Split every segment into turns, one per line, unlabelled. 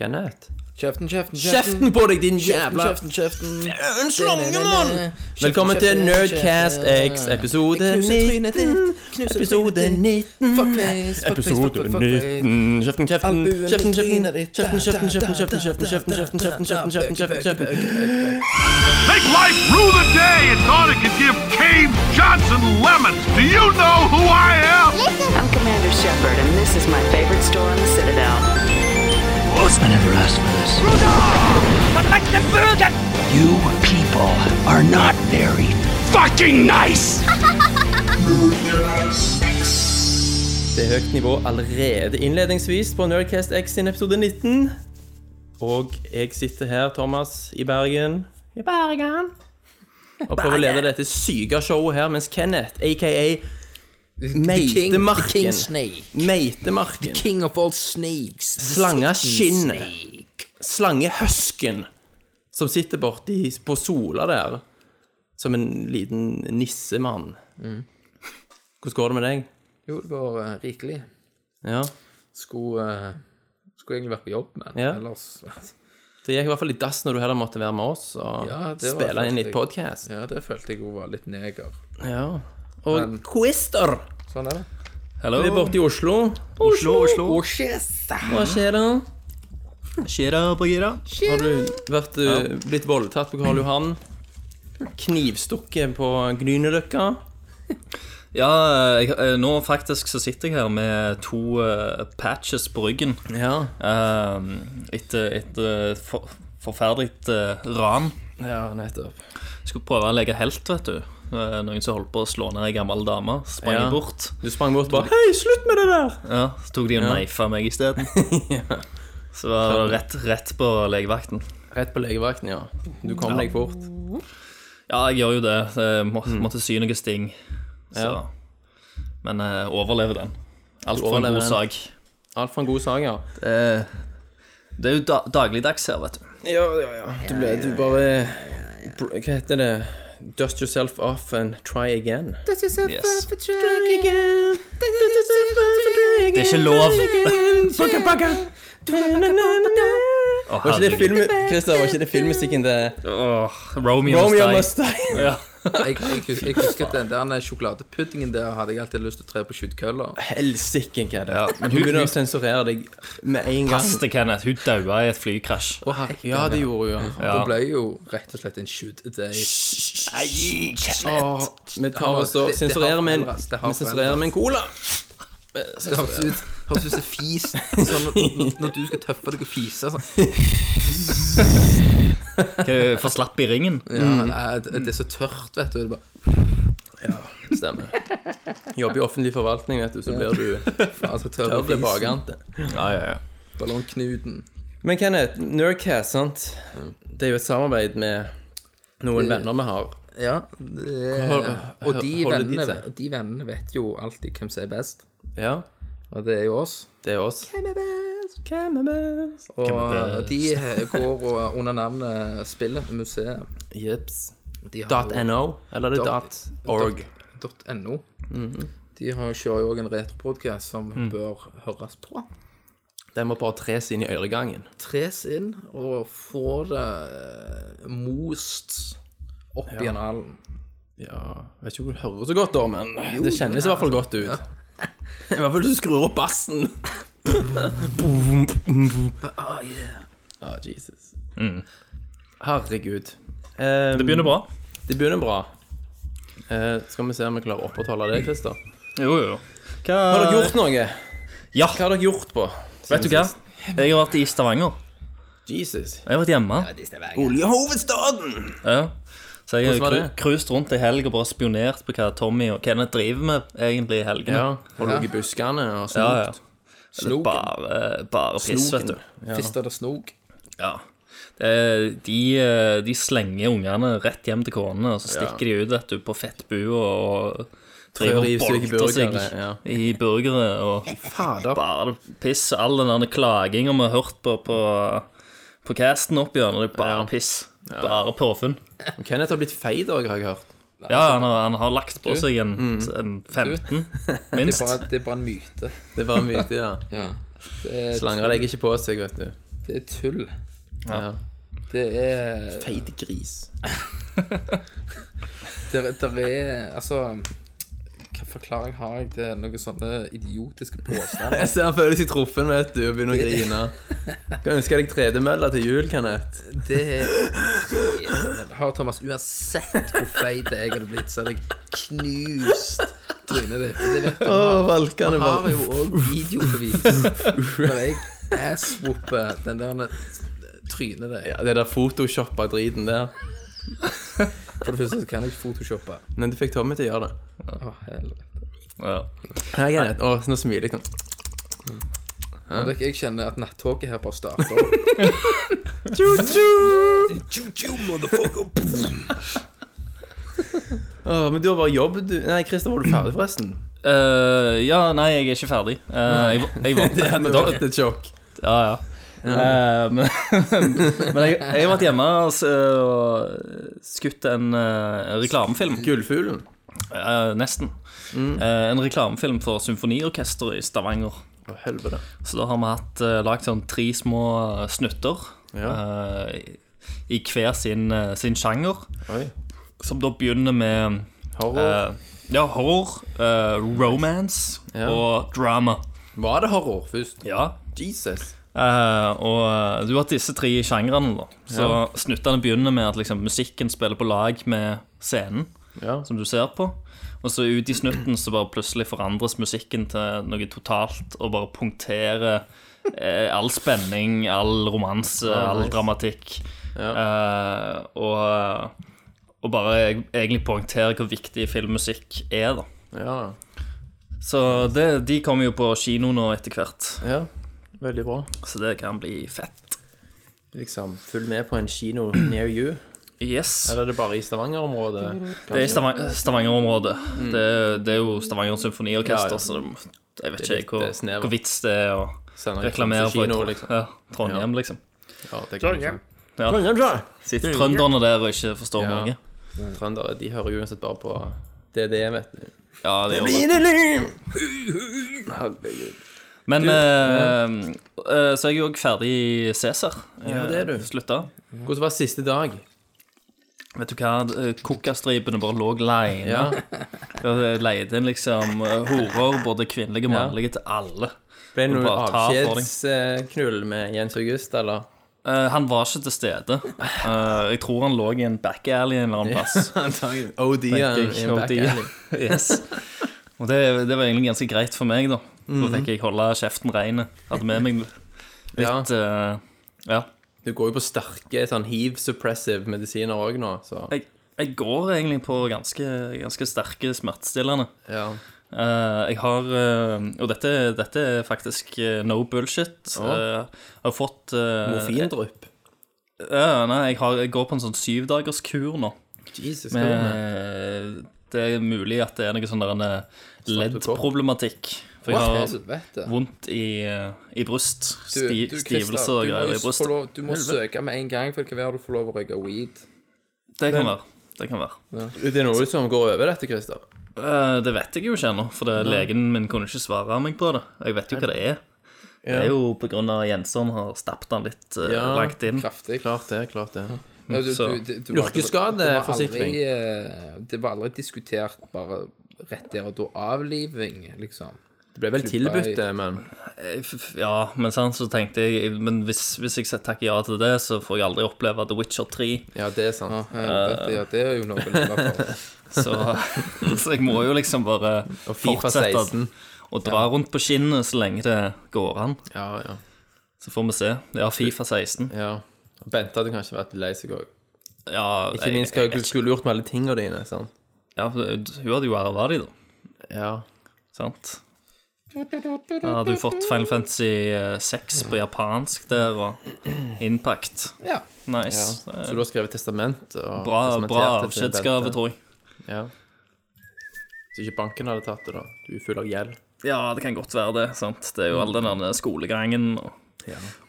Kenneth?
Kjeften, kjeften, kjeften.
Kjeften på deg, din
Kjeften,
jævla
kjeften, kjeften.
En slangemann!
Kjeften,
Velkommen til
kjeften,
Nerdcast
kjeften.
X, episode
Jeg knuser trynet ditt,
19.
knuser
Episode
trynet ditt.
19.
Fuckface, fuckface,
Episode
fuckface,
19. Kjeften, kjeften,
Albuen i
kjeften, kjeften,
trynet ditt.
kjeften, kjeften, kjeften, kjeften, kjeften, kjeften, kjeften, kjeften, kjeften, kjeften, kjeften, kjeften.
Make life rue the day and thought it could give Cave Johnson lemons. Do you know who I am?
I'm Commander Shepard, and this is my favorite store on the Citadel.
I never asked for this. You people are not very fucking nice!
Det er høyt nivå allerede innledningsvis på Nerdcast X sin episode 19. Og jeg sitter her, Thomas, i Bergen. I Bergen. Og prøver å lede dette syke showet her, mens Kenneth, aka
The king-
Meitemarken.
the King snake.
Meitemarken,
King of all snakes.
slangeskinnet, slangehøsken, som sitter borti på sola der, som en liten nissemann.
Mm.
Hvordan går det med deg?
Jo, det går eh, rikelig.
Ja,
Skulle, eh, skulle egentlig vært på jobb, men
Ja.
ellers
Det gikk i hvert fall i dass når du heller måtte være med oss og
Ja, det var
spille inn litt
faktisk-
podkast.
Ja, det følte jeg jo var litt neger.
Ja. Og Quister!
Sånn er det.
Vi er borte i Oslo.
Oslo, Oslo.
Hva skjer da?
Skjer det, Bagheera?
Har du vært, eh, blitt voldtatt på Karl Johan? Knivstukket på Grünerløkka?
Ja, jeg, eh, nå faktisk så sitter jeg her med to eh, patches på ryggen.
Ja.
Um, etter et eh, for, forferdelig eh, ran.
ja, nettopp.
Skulle prøve å legge helt, vet du. Eh, Noen som holdt på å slå ned ei gammel dame. Sprang
Ja.
bort.
Du sprang bort og bare Hei, slutt med det der!
Ja, Så tok de og neifa meg isteden. Så var det rett, rett på legevakten.
Rett på legevakten, ja. Du kom deg fort.
Ja, jeg gjør jo det. Jeg må,
Mm.
måtte sy noe sting. Så. Men eh, overlever den. Alt for en
overlever
god
den.
sak.
Alt for en god sak, ja.
Eh, Det er jo da dagligdags her, vet du.
Ja, ja, ja. Du ble du bare br- Hva heter det? Dust yourself off and try again.
Yes.
Det
Det er ikke lov.
Bakka, bakka.
Å,
Var ikke det
herregud.
film... Christer, var ikke det filmmusikken til
Åh, Romeo,
Romeo
Must Die.
Mustang?
Ja.
Jeg, jeg, hus- jeg husker den der den sjokoladepuddingen der hadde jeg alltid lyst til å tre på skyttkølla.
Helsike, hva er det?
Ja, men
Hun
hun-
begynner å sensurere deg med en gang.
Pass deg, Kenneth. Hun daua i et flykrasj.
Å, herregud. Ja, det gjorde hun, ja.
Det ble jo rett og slett en shoot day.
Åh, vi tar oss og
Det- det har
sensurerer med en
forandret, det har
Vi sensurerer med en cola.
Det høres ut høres ut som fis. Sånn, når- når du skal tøffe deg og fise sånn.
Hun forslapp i ringen.
ja, nei, det, det er så tørt, vet du. Det er bare,
Stemmer. Jobber i offentlig forvaltning, vet du, så blir du
faen, så tørr
tørr
i
blir
fisen.
bakant.
Ja, ja, ja.
Ballongknuten.
Men Kenneth, Nerdcast, sant? Det er jo et samarbeid med noen venner vi har.
Ja. Det, og de
Holder de
vennene,
seg?
de vennene vet jo alltid hvem som er best.
Ja,
Og det er jo oss.
det er oss. Hvem er best? Hvem er best?
Og de eh, går og under navnet Spillet museet.
Jips.
De har
Dot
jo-
.no, eller er det
Dot-
dot .org?
dot- .no. Mhm. De har, kjører jo òg en retropodcast som bør høres på.
Den må bare tres inn i øregangen.
tres inn og få det eh, most opp i analen.
Ja, jeg vet ikke om du hører så godt da, men det kjennes i hvert fall godt ut. I hvert fall du skrur opp bassen.
Ah, yeah.
Ah, Jesus. Mm. Herregud. Eh,
Det begynner bra.
det begynner bra. Eh, skal vi se om vi klarer å opprettholde det, Christer.
Jo, jo, jo.
Har dere gjort noe?
Ja,
Hva har dere gjort på?
vet du hva? Jeg har vært i Stavanger.
Jesus.
Jeg har vært hjemme.
Oljehovedstaden!
Ja. Så jeg
Hvordan var
har
det?
cru- cruist rundt i helg og bare spionert på hva Tommy og Kenneth driver med egentlig i helgene.
Ja, og lå i buskene og
ja,
snokt.
ja. Det er Bare, bare piss, vet du.
Fist eller snog.
Ja. Eh, De, eh, de slenger ungene rett hjem til konene, og så stikker de ut vet du, på fettbua og driver
i
og
stykker
bolter seg
burgere, ja.
i burgere. Og
Fader.
bare piss. All den der klaginga vi har hørt på på, på casten opp gjennom, det er bare
Ja.
piss. Bare påfunn.
Kenneth har blitt feit òg, har jeg hørt.
Ja, han har, han har lagt på seg en,
Mm.
en 15,
Det er
minst.
bare, det er bare en myte.
Det var mye, ja.
Det er,
Slanger legger ikke på seg, vet du.
Det er tull.
Ja.
Det er
Feit gris.
Der, der er Altså Hva forklaring har jeg til noen sånne idiotiske påstander?
Jeg ser han føler seg truffen, vet du, og begynner å grine. Kan ønske deg tredemølla til jul, Kenneth.
Det har Thomas uansett hvor feit jeg hadde blitt, så hadde jeg knust trynet ditt. Det vet du.
Å,
Han
valkene
han har
bare
jo òg videobevis når jeg asswopper den der trynet der.
ja, Det der photoshoppa driten der.
For det første så kan jeg ikke photoshoppe.
Men du fikk Tommy til å gjøre det.
Å, helvete.
Ja.
Hei, Kenneth. Å, nå smiler jeg sånn.
Og dere, Jeg kjenner at nattoget her bare starter. Choo-choo! Choo-choo, motherfucker!
Å, men du har bare jobb, du. Nei, Christer, var du ferdig, forresten?
Eh, ja, nei, jeg er ikke ferdig. Eh, jeg, jeg
Det
var
hadde vært et sjokk.
Ja, ja. Eh, men men jeg, jeg har vært hjemme altså, og skutt en eh, reklamefilm.
Gullfuglen.
Eh, nesten. Eh, en reklamefilm for symfoniorkesteret i Stavanger.
Å, helvete.
Så da har vi hatt uh, lagd sånn tre små snutter eh, i- i hver sin, eh, sin sjanger.
Oi.
Som da begynner med
Horror.
eh, ja, horror, eh, romance og drama.
Var det horror først?
Ja.
Jesus.
Eh, og eh, du har hatt disse tre sjangrene, da. Så snuttene begynner med at liksom, musikken spiller på lag med scenen
Ja.
som du ser på. Og så ut i snutten så bare plutselig forandres musikken til noe totalt og bare punkterer eh, all spenning, all romanse, all dramatikk. Eh, og, og bare egentlig poengterer hvor viktig filmmusikk er, da.
Ja.
Så det, de kommer jo på kino nå etter hvert,
ja. Veldig bra.
så det kan bli fett.
Liksom, følg med på en kino near you.
Yes.
Eller er det bare i Stavanger-området?
Det er i Stavang- Stavanger-området. Det, det er jo Stavanger Symfoniorkester,
Mm. Ja, ja.
så det, jeg vet
Det er litt,
ikke
eh,
hvor,
snevert.
hvor vits det er å
Sender
reklamere
til
for
kino,
et-
liksom.
ja, Trondheim, liksom.
Ja, det kan jeg
Sitter trønderne der og ikke forstår
Ja.
noe.
Trøndere de hører jo uansett bare på DDE, vet du.
Ja, det gjør det. Men eh, eh, så er jeg jo også ferdig i Cæsar. Eh,
Ja, det er du.
Slutta.
Hvordan var siste dag?
Vet du hva, Eh, kokastripene bare lå leine.
Ja.
Jeg Leide inn liksom eh, horer, både kvinnelige og
Ja.
mannlige, til alle.
Ble det
Du
noe
bare tar for deg.
avskjedsknull med Jens August, eller?
Eh, han var ikke til stede. Eh, jeg tror han lå i en back alley en eller annen plass.
OD
Tenker jeg,
i en
OD.
back alley.
yes. Og det, det var egentlig ganske greit for meg, da. Da fikk jeg holde kjeften rein. Hadde med meg litt
Ja.
eh, Ja.
Du går jo på sterke sånn hiv-suppressive medisiner òg nå, så
Jeg, jeg går egentlig på ganske, ganske sterke smertestillende.
ja.
Eh, jeg har eh, Og dette, dette er faktisk eh, no bullshit. Eh, jeg har fått eh,
Morfindrypp.
Ja, nei, jeg, har, jeg går på en sånn syvdagerskur nå.
Jesus Christ.
Men det er mulig at det er noe sånn der en eh, LED-problematikk. For
Hva
jeg har
helvete?
vondt i, eh, i bryst.
Du,
Sti,
du, Christer,
stivelse og
du må
greier
jo
i
få
brystet.
lov- Du må søke med en gang, for det kan være du får lov å røyke weed.
Det kan være. Det kan være.
Det er noe som går over dette, Christer.
Eh, det vet jeg jo ikke ennå, for det, legen min kunne ikke svare meg på det. Jeg vet jo hva det er. Det er jo på grunn av Jensson har stappet han litt eh,
Ja,
langt inn.
Kraftig.
Klart det, klart det.
Ja, du- du-
Mm. så-
du- du- du-
Yrkesskadeforsikring.
det var aldri, eh, Det var aldri diskutert bare rett der og da avliving, liksom.
Det ble vel tilbudt, det, men
Eh, f- f- Ja, men sant, så tenkte jeg Men hvis, hvis jeg takker ja til det, så får jeg aldri oppleve The Witcher 3.
ja, det er sant.
Ja, det, ja, det er jo noe å leve for.
Så, så jeg må jo liksom bare
Og FIFA
fortsette
16.
å dra rundt på skinnet så lenge det går an.
Ja, ja.
Så får vi se. Ja, Fifa 16.
ja. Og Bente hadde kanskje vært lei seg òg.
Ja,
Ikke minst hva du skulle gjort med alle tingene dine. sant?
ja, hun hadde jo arva de, da.
Ja.
Sant? Ja, hadde hun fått Final Fantasy 6 på japansk der, og Impact.
Ja.
Nice.
Så du har skrevet testament? Og
Bra, bra
testamentert det til
avskjedsgave,
Bente.
tror jeg.
Ja. Hvis ikke banken hadde tatt det, da. Du er full av gjeld.
Ja, det kan godt være det. sant? Det er jo all den der skolegangen og,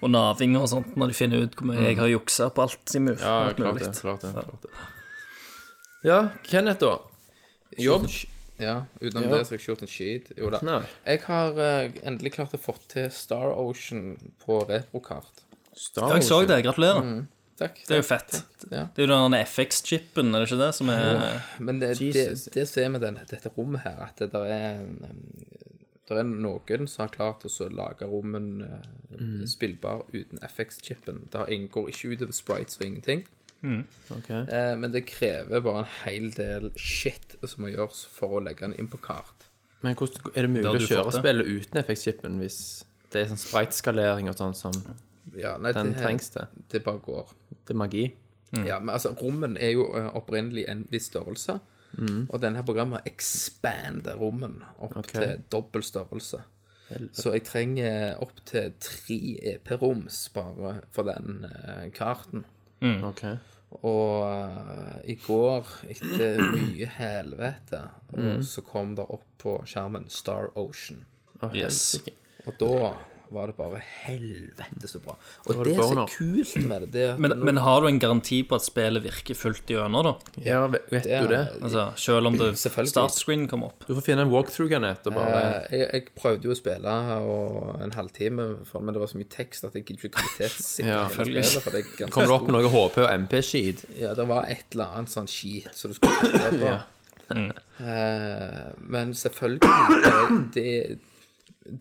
og naving og sånt, når de finner ut hvor mye jeg har juksa på alt i mulig. alt mulig.
klart det, klart det. Ja, Kenneth, da? Jobb?
Ja, utenom
Ja.
det så har jeg ikke gjort en skit. Jo da.
Nei.
Jeg har eh, endelig klart å få til Star Ocean på reprokart. Star
Jeg så
Ocean.
det. Gratulerer.
Mm.
Takk.
Det er jo fett.
Ja.
Det er jo den FX-chipen, er det ikke det, som er
Men det,
Jesus.
det, det som er med den, dette rommet her, at det der er, der er noen som har klart å så lage rommen eh,
Mm.
spillbar uten FX-chipen. Det har- går ikke utover sprites og ingenting.
Ok.
Eh, men det krever bare en hel del shit som må gjøres for å legge den inn på kart.
Men hvordan er det mulig
Det har
å
du
kjøre
fått det.
spillet uten FX-chipen hvis det er sånn sprite-skalering og sånn som
Ja, nei,
den
det,
trengs til?
det bare går.
Det er magi. Mm.
Ja, men altså, rommen er jo eh, opprinnelig en viss størrelse. Og denne programmet ekspander rommen opp
Mm. Ok.
til dobbel størrelse. Så jeg trenger opp til tre EP-rom bare for den eh, karten.
Mm.
Ok.
Og eh, i går, etter mye helvete,
Mm.
og så kom det opp på skjermen Star Ocean.
Yes.
Og da var det bare helvete så bra. Og
var
det
det
som
boner.
er kult med det, det er at
Men,
nå-
men har du en garanti på at spillet virker fullt gjennom, da?
Ja, vet vet
det er-
du det?
Altså, selv om det
Selvfølgelig.
startscreen kommer opp?
Du får finne en walkthrough, Garnett, og bare
Eh, Jeg, jeg prøvde jo å spille og en halvtime, for- men det var så mye tekst at jeg gidder ikke kvalitetssikre
Ja,
hele spillet. For det, er ganske
Kommer det opp
stort.
med noe HP og MP-skit?
Ja, det var et eller annet sånn skit som du skulle trykke på.
Mm.
Eh, men selvfølgelig, det, det,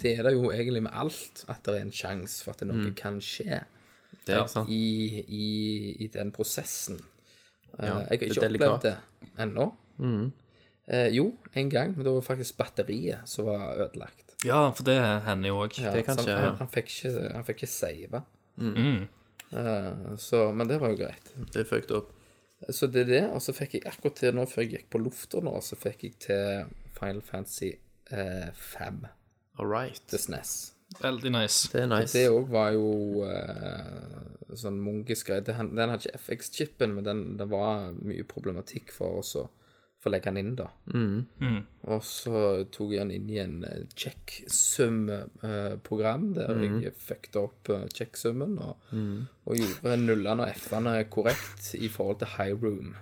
det er det jo egentlig med alt, at det er en sjanse for at noe
Mm.
kan skje
Det er ikke sant?
i, i, i den prosessen. Eh,
Ja,
jeg har
det er Mm.
ikke opplevd
delikat.
det ennå. Eh, jo, en gang, men det var faktisk batteriet som var ødelagt.
Ja, for det hender jo òg.
Ja,
Det kan
så
skje,
han,
ja. Mm.
han, fikk ikke, han fikk ikke save. Eh, så, men det var jo greit.
Det er fucked up.
Så det er det. Og så fikk jeg akkurat til nå før jeg gikk på lufta nå, så fikk jeg til Final Fantasy eh, 5
All right.
til E SNES.
Veldig nice.
Det er nice.
Det òg var jo eh, sånn munkisk greie. Det- han- Den hadde ikke FX-chipen, men den, det var mye problematikk for oss å få legge den inn, da. Og så tok jeg den inn i en eh, checksum-program, der jeg fuckte opp eh, checksummen og, og gjorde nullene og f-ene korrekt i forhold til high room.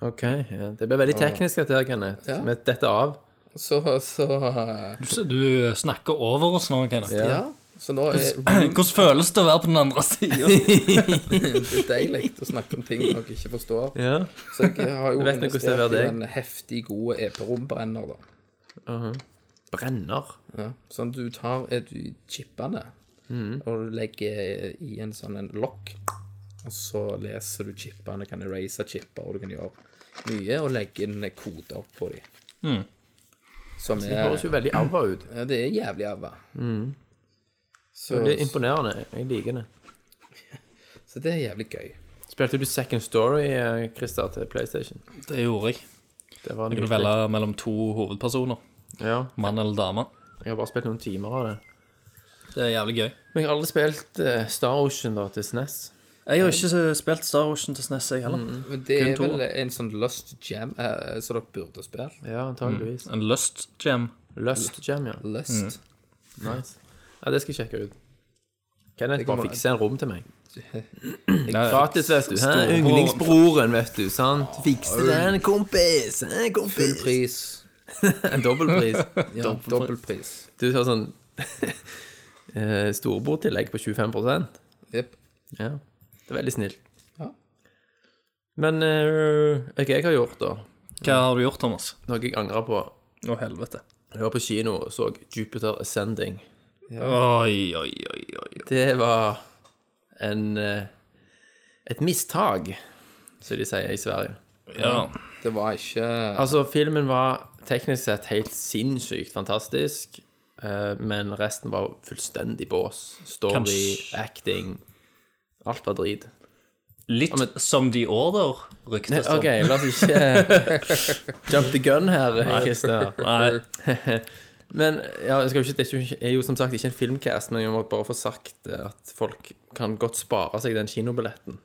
Ok. Ja. Det ble veldig teknisk, dette her, Garnett.
Ja.
Med dette av.
Så, så eh,
Du, du snakker over oss nå, Kenneth.
ja. Så nå er
Hvordan føles det å være på den andre sida?
det deilig å snakke om ting dere ikke forstår.
Ja.
Så jeg har jo
Vet du hvordan det
investert
var
i
deg?
en heftig god EP-rombrenner, da.
Brenner.
Ja. Sånn du tar eh, du chipene
Mhm.
og du legger i en sånn en lokk, og så leser du chipene, kan erase chipper, og du kan gjøre mye, og legge inn koder på dem. Som
Mhm. Det
er
høres jo veldig alva ut.
ja, Det er jævlig ræva. Så,
Det er imponerende. Jeg liker det.
så det er jævlig gøy.
Spilte du Second Story, eh, Christer, til PlayStation?
Det gjorde jeg.
Det var
Jeg
nyttig.
kunne velge mellom to hovedpersoner.
Ja.
Mann eller dame.
Jeg har bare spilt noen timer av det.
Det er jævlig gøy.
Men jeg har aldri spilt eh, Star Ocean da til E SNES.
Jeg har ikke så- spilt Star Ocean til SNES, jeg heller.
Men det
Kun
er
to,
vel
da.
en sånn Lust Jam eh, som dere burde spille.
Ja, antageligvis.
En Lust Gem.
Lust Jam, ja. Mhm.
Lust.
Nice. Ja, det skal jeg sjekke ut. Kenneth
kommer-
bare fikse en rom til meg.
Ja,
Gratis, vet du. Hæ?
Storebror.
Yndlingsbroren, vet du. Sant? Fikse den, kompis! Hæ,
Full
kompis!
pris.
En dobbeltpris.
Ja, dobbel pris.
Du tar sånn eh, storebordtillegg på 25
Jep.
Ja. Det er veldig snilt.
Ja.
Men eh, hva jeg har gjort, da?
Hva har du gjort, Thomas?
Noe jeg angrer på.
Å, helvete.
Jeg var på kino og så Jupiter Ascending.
Oi, oi, oi, oi.
Det var en eh, et mistak, som de sier i Sverige.
Ja.
Det var ikke
Altså, filmen var teknisk sett helt sinnssykt fantastisk, eh, men resten var fullstendig bås. Story,
Kanskje-
acting Alt var drit.
Litt som The Order ryktes
OK, la oss ikke jump the gun her, Christer.
Nei.
Men ja, jeg skal jo ikke, det er jo- er jo som sagt ikke en filmcast, men jeg må bare få sagt eh, at folk kan godt spare seg den kinobilletten.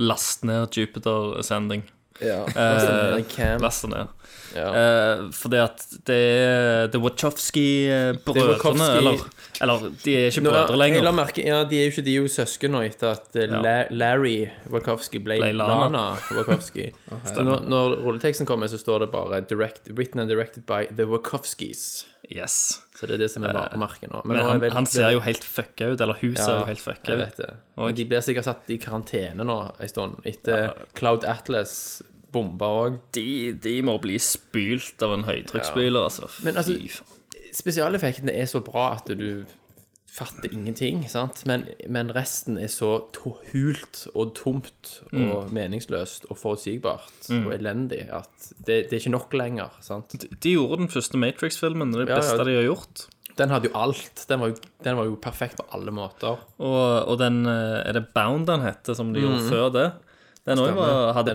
Last ned Jupiter Ascending.
ja.
Eh, Den Cam.
Eh, Last ned.
Ja.
Eh, fordi at det er The Wachowski-brødrene
Wachowski-
eller, eller, de er ikke
Nå,
brødre
Jeg la
lenger.
merke, ja, De er jo ikke de er jo søsken nå etter at eh, La Larry Wachowski ble,
Ble Lana.
Lana, Wachowski. Så når, når rulleteksten kommer, så står det bare direct, 'Written and directed by The Wachowskis'.
Yes.
Så det er det som er varemerket nå.
Eh, Men
nå er
han,
vel-
han ser jo helt fucka ut. Eller hun ser jo helt fucka
jeg
ut.
vet det. Men de blir sikkert satt i karantene nå en stund, etter Cloud Atlas bomber òg.
De, de må bli spylt av en høytrykksspyler, altså.
Men altså-
Fy faen.
Spesialeffektene er så bra at du fatter ingenting, sant? Men, men resten er så to hult og tomt og
Mm.
meningsløst og forutsigbart og elendig at det, det er ikke nok lenger, sant?
de, de gjorde den første Matrix-filmen, det er det
Ja, ja.
beste de har gjort.
Den hadde jo alt. Den var jo, den var jo perfekt på alle måter.
Og, og den eh, Er det Bound den heter, som de gjorde før det? Mm. Den òg hadde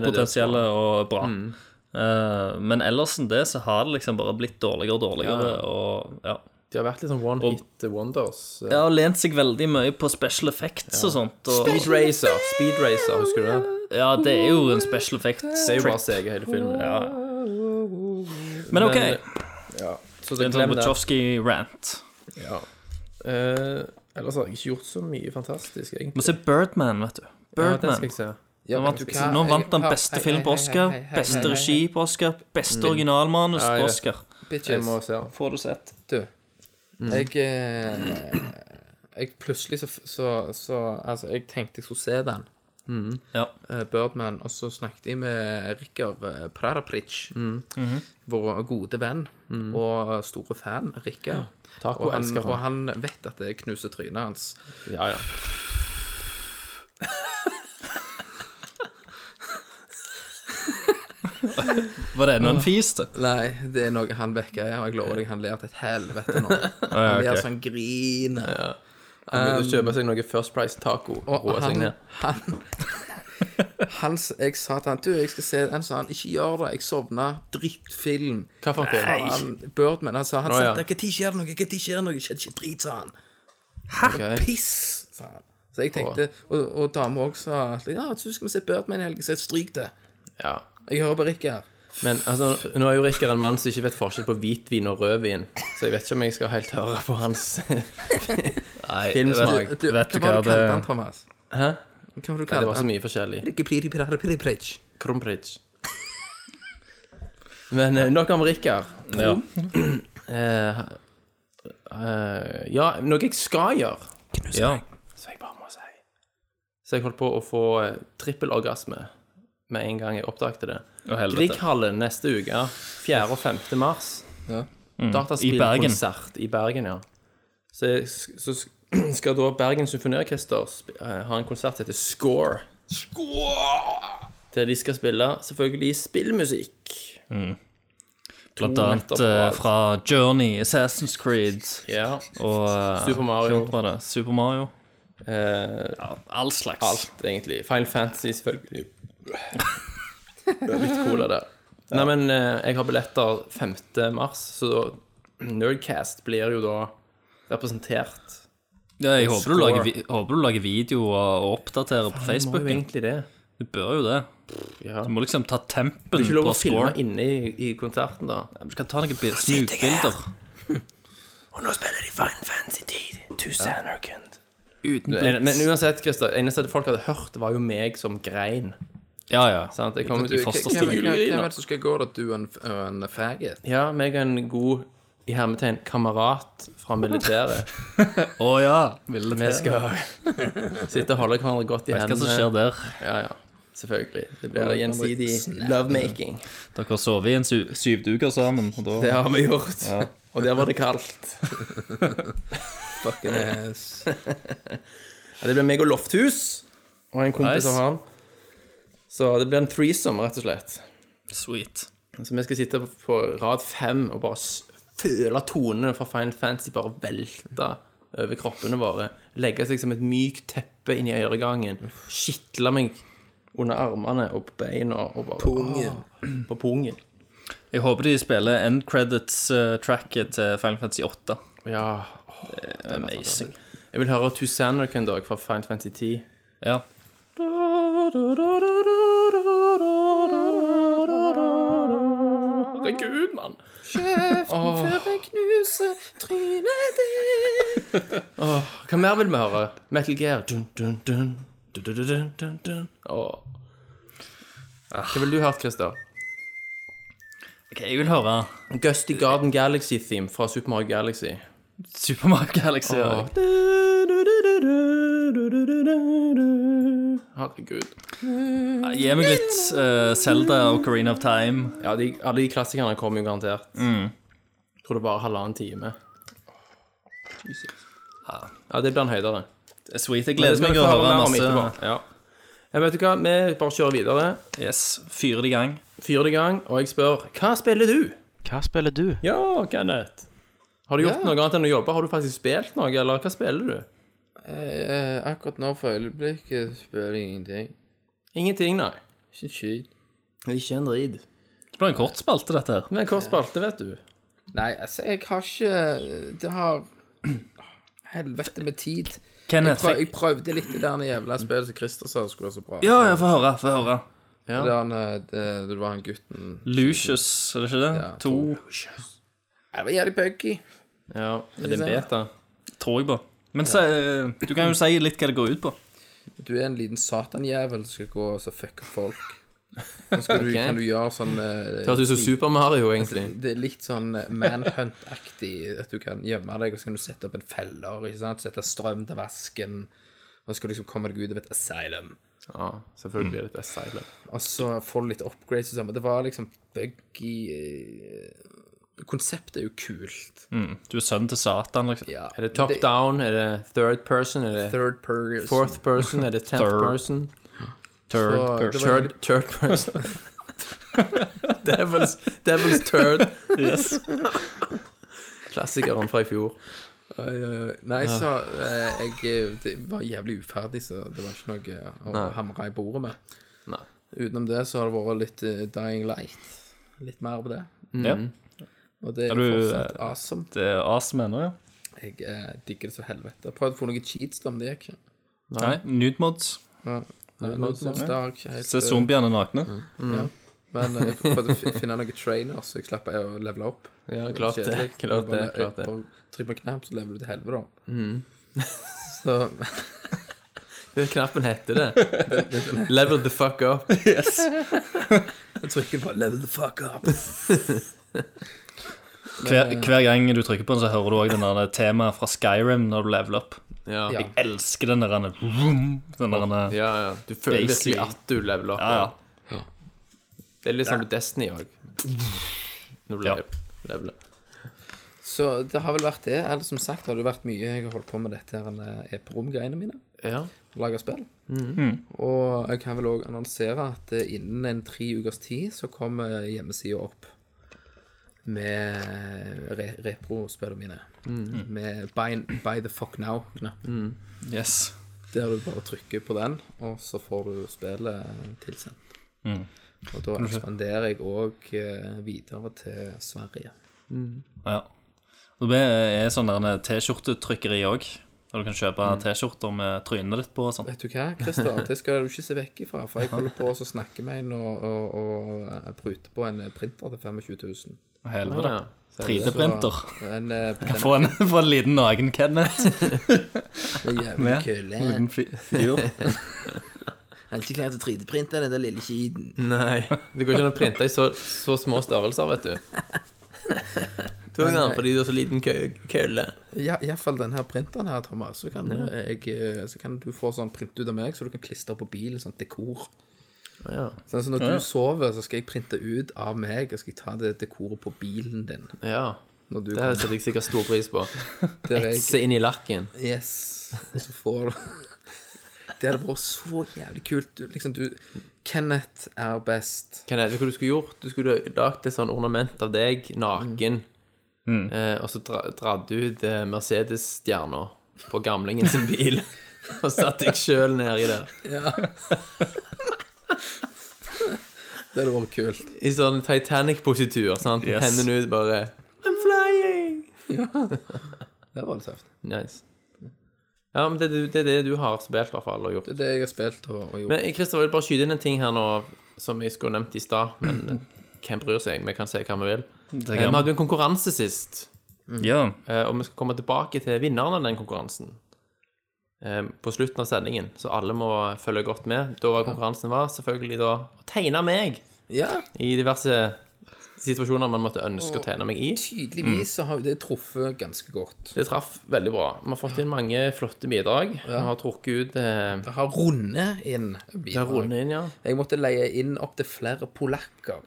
Den er det
potensial og bra. Eh, men ellers enn det så har det liksom bare blitt dårligere og dårligere. Og, ja.
De har vært litt sånn one hit wonders.
Det har lent seg veldig mye på special effects og sånt.
Speed
Og,
Racer, Speed Racer, husker du det?
ja, det er jo en special effects
Det er jo bare CG hele filmen.
Men OK.
Men- Så
Det er en sånn Wachowski-rant.
Ja. Eh, ellers har jeg ikke gjort så mye fantastisk, egentlig.
Må se Birdman, vet du.
Ja, den
Birdman.
skal jeg se.
Ja, vet
Nå vant,
du hva?
nå
Jeg-
vant han
hei,
beste
hei,
film på
hei,
Oscar,
hei, hei, hei,
beste
hei,
regi på Oscar, beste originalmanus
Ja, ja.
på Oscar.
Jeg må
Bitches.
se. den.
Mm. Får du sett.
Du,
Mm.
jeg, eh, jeg plutselig så, så, så Altså, jeg tenkte jeg skulle se den,
Mm. Ja.
eh, Birdman, og så snakket jeg med Rikard eh, Prarapric,
Mm.
vår gode venn og store fan, Rikard.
Taco
Og han,
elsker han.
og han vet at det knuser trynet hans.
Ja, ja.
Var det enda en fis, det?
Nei, det er noe han vekker. Jeg, og jeg lover deg, han ler til et helvete nå. Han ler sånn griner.
Han
Um,
vil kjøpe seg noe First Price taco og roe seg ned.
han, han s- Jeg sa til han Du, jeg skal se den, sa han. Ikke gjør det. Jeg sovna. Drittfilm.
Hva for en film?
Og Han, Birdman. Han sa han
Å, ja.
sa, «Det- Når skjer det noe? Når skjer det noe? Skjer det ikke drit, sa han.
Ok.
Piss, sa han. Så jeg tenkte Og, og dama òg sa at, Ja, så skal vi se Birdman i helgen, så stryk det.
Ja.
Jeg hører på Rikard.
Men altså, nå er jo Rikard en mann som ikke vet forskjell på hvitvin og rødvin, så jeg vet ikke om jeg skal helt høre på hans
Nei,
Filmsmak.
vet,
Du,
vet du
hva
hva
var det du
det
kalte han, Thomas?
Hæ?
Hva var det du
Det
kalte
var så
han?
mye forskjellig.
Rikki-piri-pirari-piripritch.
Krumpritsch. Men eh, nok om Rikard.
ja.
Eh, eh, ja, noe jeg skal gjøre,
ja.
som jeg bare må si. Så jeg holdt på å få eh, trippelorgasme med en gang jeg oppdagte det.
Å, helvete.
Grieghallen neste uke, 4. og 5. mars.
Mm. I Bergen.
Dataspillkonsert i Bergen, ja. Så, jeg- så sk- skal da Bergen Symfoniorkester sp- eh, ha en konsert som heter Score. Der de skal spille selvfølgelig spillmusikk.
Blant annet eh, fra Journey, Assassin's Creed
Ja.
og eh,
Super Mario.
hva var det? Super Mario.
Eh,
All slags.
alt, egentlig. Final Fantasy, selvfølgelig. Det er litt cola der. Nei, men eh, jeg har billetter 5. mars, så Nerdcast blir jo da representert
Ja, jeg håper du,
Score.
lager, vi- håper du lager videoer og oppdaterer på
Facebook.
Facebook.
egentlig det.
Du bør jo det.
Ja.
Du må liksom ta
Du
tempen
er ikke lov
på
å filme
score.
inne i, i konserten, da.
Du skal ta noen bil- snukbilder.
Og nå spiller de Fine Fancy Tid. Tusen Anarkand.
Uten
Men,
blits.
men uansett, Christer, eneste folk hadde hørt, var jo meg som grein.
Ja, ja.
Sant? Jeg kom ut
Du,
i
hvem
foster-
hvem- hvem
Julegryna.
er det som skal gå, da? Du og en, og en faggot?
Ja, meg og en god i hermetegn kamerat fra militæret.
Å ja.
Vi skal sitte og holde hverandre godt i
Vet hva som
hendene.
skjer der.
Ja, ja. Selvfølgelig. Det blir gjensidig lovemaking.
Dere har sovet i en sy syv duker sammen. Og da...
Det har vi gjort. Og der var det kaldt.
Fucking ass.
Ja, det blir meg og Lofthus og en kompis
Nice.
av han. Så det blir en threesome, rett og slett.
Sweet.
Så vi skal sitte på rad fem og bare s- føle tonene fra Final Fantasy bare velte over kroppene våre. Legge seg som et mykt teppe inn i øregangen. Skitle meg under armene og på beina og bare Pungen. På pungen.
Jeg håper de spiller end credits-tracket til Final Fantasy 8.
Ja.
Amazing.
Jeg vil høre Tusaner en dag fra Final Fantasy 10.
Ja.
Herregud, mann! Hva mer vil vi høre? Metal Gear. Dun, dun, dun. Dun, dun, dun, Ah. dun, dun. Åh. Hva vil du høre, Christer?
Ok, Jeg vil høre
Gusty Garden Galaxy-theme fra Super Mario Galaxy.
Super Mario Galaxy. ja.
Herregud.
Gi meg litt uh, Zelda og Carina of Time.
Ja, de, Mm. alle de klassikerne kommer jo garantert. Jeg tror det bare halvannen time. Ja, det blir en høydere.
Eh, Sweet. Jeg
Men det
gleder
skal
meg
dere
å
få
høre
mer om
masse.
etterpå. Ja. Jeg vet du hva, vi bare kjører videre.
Yes, Fyre det i gang.
Fyr det i gang, og jeg spør hva spiller du?
Hva spiller du?
Ja, Kenneth. Har du gjort noe annet enn å jobbe? Har du faktisk spilt noe, eller hva spiller du?
Eh, akkurat nå for øyeblikket spør jeg ingenting.
Ingenting, nei.
Ikke en skit.
Ikke en drit.
Det blir en kort spalte, dette her.
Men en kort spalte, vet du.
Nei, altså, jeg har ikke eh, Det har Helvete med tid. Jeg,
Kenneth,
prøv,
fikk...
jeg prøvde litt det der jævla spillet som Christer sa skulle være så bra.
Ja, jeg får høre. Får høre.
Det, der, eh, det, det var han gutten
Lucius, er det ikke det? to,
Nei, Det var jævlig buggy.
Ja, er det en beta?
tror jeg på. Men se, du kan jo si litt hva det går ut på.
Du er en liten satanjævel som skal gå og så fucke folk. Så skal du, kan du gjøre sånn eh,
Det høres ut som Super Mario, egentlig.
Det er litt sånn manhunt-aktig, at du kan gjemme deg, og så kan du sette opp en feller, ikke sant? sette strøm til vasken, og så skal du liksom komme deg ut av et asylum.
Ja, selvfølgelig blir det liksom. et S-side.
Og så får du litt upgrades og sånn, men det var liksom buggy eh, Konseptet er jo kult.
Du er sønnen til Satan, liksom.
Ja.
Mm. Er det top down? Er det third person? Er det
Third person.
fourth person? Er det tenth
Third.
person?
Third
Så det
person.
var-
Third, third person? devil's, devil's third.
Yes.
Klassikeren fra i fjor.
Oi, oi, oi. Nei,
Ah.
så eh, jeg eh, det var jævlig uferdig, så det var ikke noe eh, å hamre i bordet med.
Nei.
Utenom det så har det vært litt eh, Dying Light. Litt mer på det.
Ja.
Mm.
Og det er
du, eh,
fortsatt awesome.
Det er awesome ennå, ja.
Jeg eh, digger det så helvete. Jeg prøvde å få noen cheats, da, men det gikk ikke.
Nei, nude mods.
Ja. Nei, nå synes jeg det har ikke helt,
eh,
Se zombiene nakne.
mm.
ja. Men eh, jeg prøvde å fi- finne noen trainers, så jeg slapp å levele opp.
Ja, klart det.
Kjedelig.
Klart det. Mm.
Bare,
klart det.
eh, bare Trykk på en knapp, så leveler du til helvete. så
Den knappen heter det. Level the fuck up.
jeg trykker på 'level the fuck up'.
Hver, hver gang du trykker på den, så hører du òg den der temaet fra Skyrim når du leveler opp.
Ja,
Ja.
ja.
Elsker den der vroom, Den der ja,
ja. Du føler
Basically.
virkelig at du leveler opp.
ja.
Det er litt sånn Destiny òg. Når du
Ja.
leveler- leveler.
Så det har vel vært det. Eller som sagt har det vært mye. Jeg har holdt på med dette her eh, eperom-greiene mine.
Ja.
Lager spill. Og jeg kan vel òg annonsere at eh, innen en tre ukers tid så kommer hjemmesida opp med re reprospillene mine. Med buy, buy the fuck now-knapp.
Yes.
Der du bare trykker på den, og så får du spillet tilsendt. Og da ekspanderer jeg òg videre til Sverige.
Ja. Og Det er sånn der T-skjortetrykkeri òg. Der du kan kjøpe T-skjorter med trynet ditt på og sånn.
Vet du hva, Christer, det skal du ikke se vekk ifra. For jeg holder på å snakke med en og, og, og prute på en printer til 25 000.
Helvete.
Ja.
3D-printer.
En, eh, den
Få en, få en liten naken Kenneth.
er jævlig kul. eh.
Liten fy- fyr.
Jeg har ikke klart å 3D-printe den der lille kiden.
Nei. Det går ikke an å printe i så, så små størrelser, vet du. Tok den fordi du har så liten kø- kølle.
Ja, Iallfall denne printeren her, Thomas. Så kan, eh, jeg, eh, så kan du få sånn print ut av meg, så du kan klistre på bilen. Sånn dekor.
Ja.
Sånn, så når du sover, så skal jeg printe ut av meg, og skal jeg ta det dekoret på bilen din.
ja.
Når du
Det her
kommer
setter jeg sikkert stor pris på.
der jeg
Se inn i lakken.
Yes. Og så får du Det hadde vært så jævlig kult. Du, liksom, du Kenneth er best.
Kan jeg, vet du hva du skulle gjort? Du skulle lagd et sånn ornament av deg, naken,
Mm.
eh, og så dra, dratt ut eh, Mercedes-stjerna på gamlingen sin bil. og satt deg sjøl nedi der.
Det hadde vært kult.
I sånn Titanic-positur. sant?
Yes.
Hendene ut, bare I'm flying!
Det var litt tøft.
Nice. Ja, men det, er du- det er det du har spilt, i hvert fall, og gjort.
Det er det jeg har spilt og, og gjort.
Men Kristoffer, jeg vil bare skyte inn en ting her nå som jeg skulle nevnt i stad. Men hvem bryr seg? Vi kan si hva vi vil.
Det
Eh, Vi
kan-
hadde jo en konkurranse sist,
Ja.
eh, og vi skal komme tilbake til vinneren av den konkurransen eh, på slutten av sendingen. Så alle må følge godt med. Da var konkurransen var selvfølgelig da å tegne meg
Ja,
i diverse situasjoner man måtte ønske å trene meg i.
Tydeligvis så har jo det truffet ganske godt.
Det traff veldig bra. Vi har fått inn mange flotte bidrag. Vi har trukket ut eh,
Det har rundet inn bidrag.
runde inn, ja.
Jeg måtte leie inn opptil flere polakker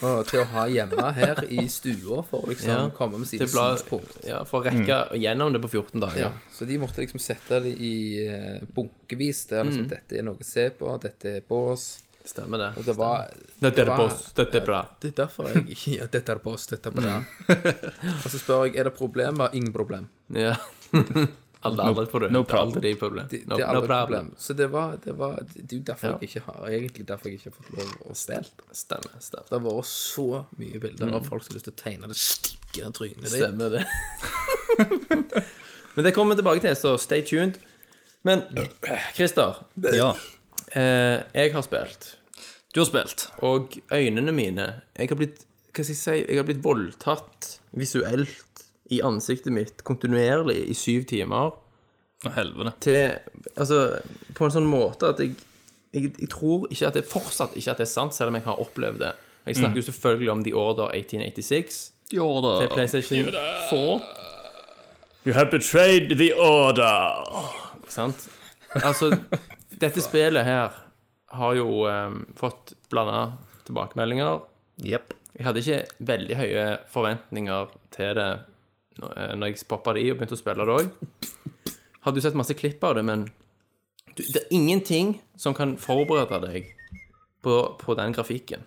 og, til å ha hjemme her i stua for å liksom
Ja.
komme med sine
Det ble-
synspunkt.
ja, for å rekke gjennom det på 14 dager.
Ja. Så de måtte liksom sette det i eh, bunkevis der liksom,
Mm.
dette er noe å se på, dette er bås.
Stemmer det.
Det var
Dette er
det
det
var-
på oss. Dette er bra.
Det er derfor jeg ja, Dette er bås, dette er bra.
Mm.
og så spør jeg er det problemer. Ingen problem.
Ja. Alle aldri på det.
no
Det er
problem.
aldri problem.
Det,
No,
det er
no
aldri et
problem.
problem. Så det var Det, var, det er jo derfor
Ja.
jeg ikke har, egentlig derfor jeg ikke har fått lov å spille.
Stemmer. stemmer.
Det har vært så mye bilder av folk som har lyst til å tegne det stikkende trynet ditt.
Mm. Stemmer det. Men det kommer vi tilbake til, så stay tuned. Men Christer,
Ja.
eh, jeg har spilt,
Du har spilt.
og øynene mine Jeg har blitt hva skal jeg si, jeg har blitt voldtatt visuelt i ansiktet mitt kontinuerlig i syv timer.
Å, helvete.
Til, altså, på en sånn måte at jeg, jeg, jeg tror ikke at det fortsatt ikke at det er sant, selv om jeg har opplevd det. Jeg snakker jo selvfølgelig om The Order 1886
Jo da.
til PlayStation 4.
You have betrayed the order.
Sant? Altså, dette spillet her har jo ehm, fått blanda tilbakemeldinger.
Jepp.
Jeg hadde ikke veldig høye forventninger til det når eh, når jeg poppa det i og begynte å spille det òg. Hadde jo sett masse klipp av det, men du, det er ingenting som kan forberede deg på, på den grafikken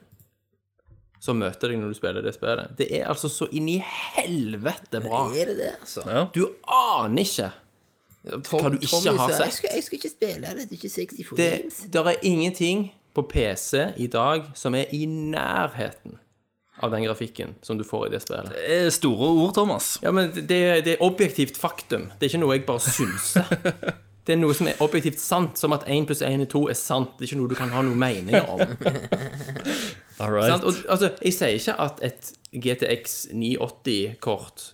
som møter deg når du spiller det spillet. Det er altså så inn i helvete bra.
Er det det, altså?
Du aner ikke hva du ikke har
Altså,
sett.
jeg skal ikke spille det, det er ikke 60
Det der er ingenting på PC i dag som er i nærheten av den grafikken som du får i det spillet.
Eh, Store ord, Thomas.
Ja, men det, det er objektivt faktum. Det er ikke noe jeg bare synser. Det er noe som er objektivt sant, som at 1 pluss 1 er 2 er sant. Det er ikke noe du kan ha noen meninger om.
All
Sant? Og, altså, jeg sier ikke at et GTX 980-kort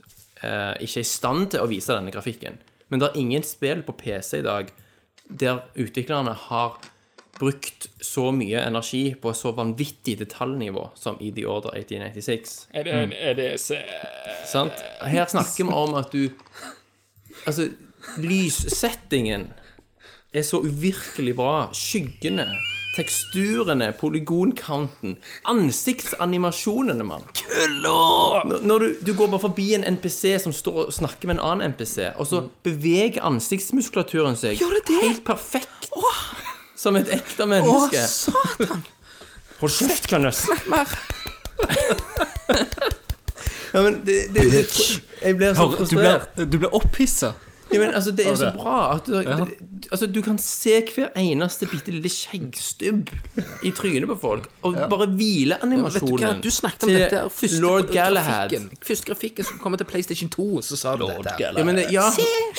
eh, ikke er i stand til å vise denne grafikken, men det er ingen spill på PC i dag der utviklerne har brukt så mye energi på så vanvittig detaljnivå som i The Order 1886.
And, and, and it's, uh,
Sant? Her snakker vi om at du Altså, lyssettingen er så uvirkelig bra. Skyggene, teksturene, polygonkanten, ansiktsanimasjonene, mann. Når- Når du, du går bare forbi en NPC som står og snakker med en annen NPC, og
Mm.
så beveger ansiktsmuskulaturen seg helt perfekt. Som et ekte menneske.
Hold kjeft, Kenneth.
Ja, men det, det, det, jeg blir så
Du
frustrert.
blir, du blir opphissa.
Ja, men altså, det er så
det?
bra at du, altså, du kan se hver eneste bitte lille skjeggstubb i trynet på folk, og bare hvile
Vet du hva,
animasjonen
du snakket om
til
dette her første
Lord
på-
Galahad.
grafikken. Første grafikken som kommer til PlayStation 2, så sa du dette. her.
Ja, men det- ja,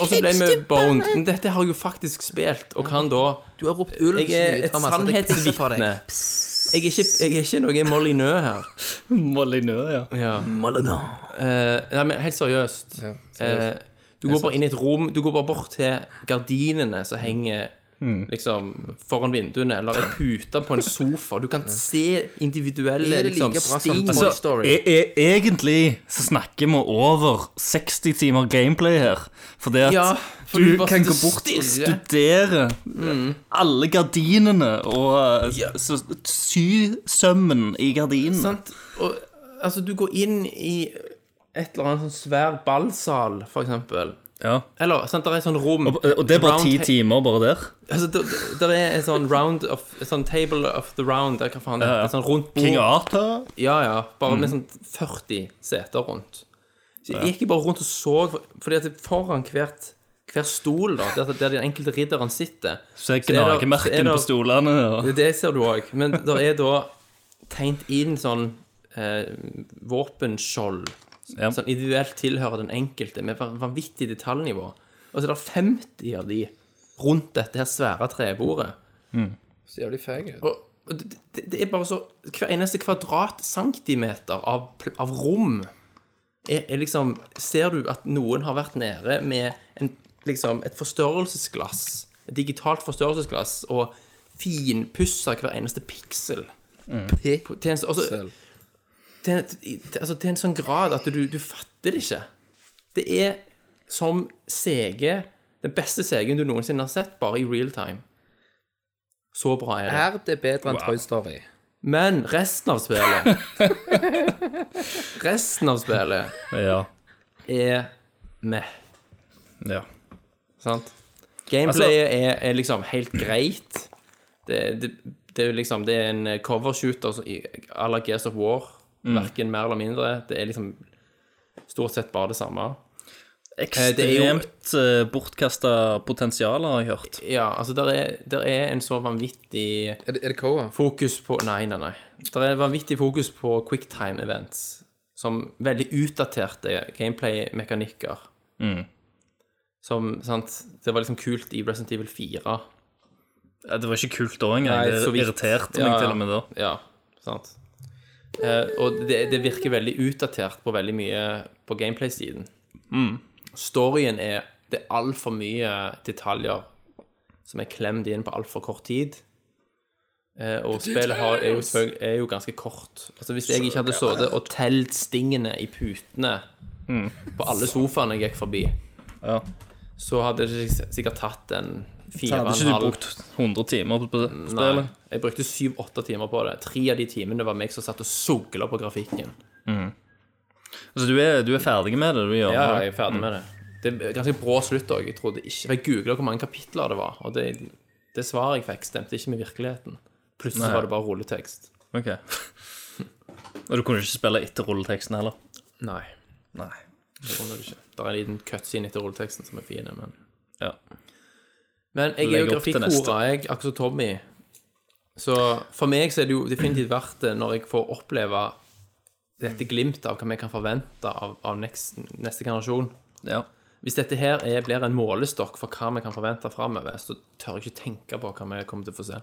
og så ble vi boned. Men dette har jeg jo faktisk spilt, og kan da
Du har ropt ulv
Jeg er et
altså.
sannhetsvitne. Jeg er ikke, jeg er ikke noe Molyneux her.
Molinø, ja.
Ja. Eh, nei, men helt seriøst. Eh, du går bare inn i et rom, du går bare bort til gardinene som henger
Mm.
liksom foran vinduene, eller ei pute på en sofa. Du kan se individuelle
Er det like
liksom,
bra som
sting.
Toy Story?
E e egentlig så snakker vi over 60 timer gameplay her. Fordi at
Ja, for
du
du bare
kan gå
sitter og
bort og
stirrer. Mm.
studere alle gardinene og eh, så, sysømmen i gardinene.
sant? Og, altså, du går inn i et eller annet sånn svær ballsal, for eksempel.
Ja.
Eller sant, der er et sånt rom.
Og, og det er bare
Round
ti
ta-
timer bare der.
Altså, der, der er en sånn round of en Sånn table of the round, eller hva faen det
Ja,
heter.
ja.
Et sånt rundt bord.
King Arthur.
Ja, ja. Bare
Mhm.
med sånn 40 seter rundt. Så jeg gikk bare rundt og så, fordi at foran hvert, hver stol, da, der, der den enkelte ridderen sitter
Så er
er det- så er
gnagemerkene
det-
på stolene. Og,
Det, det ser du òg. Men der er da tegnet inn sånn eh, våpenskjold
ja.
som individuelt tilhører den enkelte, med van- vanvittig detaljnivå. Og så er det 50 av de rundt dette her svære trebordet.
Så jævlig feg. ut.
Og, og det, det- det er bare så Hver eneste kvadratcentimeter av, pl- av rom er, er liksom Ser du at noen har vært nede med en, liksom, et forstørrelsesglass, et digitalt forstørrelsesglass, og finpussa hver eneste piksel. På- til en s- altså, til, til, altså, til en sånn grad at du, du fatter det ikke. Det er som CG, den beste CG-en du noensinne har sett, bare i real time. Så bra er det.
Er det bedre enn Toy Story?
Men resten av spillet Resten av spillet
Ja.
er meh,
ja.
sant? Gameplayet er, er liksom helt greit. Det, det, det er jo liksom Det er en covershooter som i- à la Gears of War. Verken mer eller mindre. Det er liksom stort sett bare det samme.
Eh,
det er jo-
Ekstremt bortkasta eh, potensial, har jeg hørt.
Ja, altså, der er, der er en så vanvittig
Er det, er det Koa?
fokus på Nei, nei, nei. Det er vanvittig fokus på quicktime events. Som veldig utdaterte gameplay-mekanikker. Som, sant Det var liksom kult i Resident Evil 4.
Ja, Eh, Det var ikke kult da engang.
Nei, så
Det
vidt.
irriterte
Ja,
meg
ja.
til og med da.
Ja, sant. Eh, og det, det virker veldig utdatert på veldig mye på gameplay-siden.
Mm.
Storyen er Det er altfor mye detaljer som er klemt inn på altfor kort tid. Eh, og spillet har, er, jo, selvfølgelig- er jo ganske kort. Altså Hvis jeg ikke hadde sittet og telt stingene i putene på alle sofaene jeg gikk forbi,
Mm. Ja.
så hadde det sik- sikkert tatt en
Så
fire og
hadde
en
ikke du
halv
brukt 100 timer på- på
Nei,
spillet?
jeg brukte syv-åtte timer på det. Tre av de timene var meg som satt og sogla på grafikken.
Altså, du er, du er ferdig med det du gjør?
Ja,
nå.
jeg er ferdig med det. Mhm. Det er ganske brå slutt òg. Jeg trodde ikke Jeg googla hvor mange kapitler det var, og det, det svaret jeg fikk, stemte ikke med virkeligheten. Plutselig
Nei.
var det bare rulletekst.
Ok. Og du kunne ikke spille etter rulleteksten heller?
Nei.
Nei.
Det kunne du ikke. Det er en liten cutscene etter rulleteksten som er fin, men
Ja.
Men jeg er jo
Legger opp til neste.
grafikkora, jeg, akkurat som Tommy. Så for meg så er det jo definitivt verdt det når jeg får oppleve dette glimtet av hva vi kan forvente av, av next, neste generasjon.
ja.
Hvis dette her er, blir en målestokk for hva vi kan forvente framover, så tør jeg ikke tenke på hva vi kommer til å få se.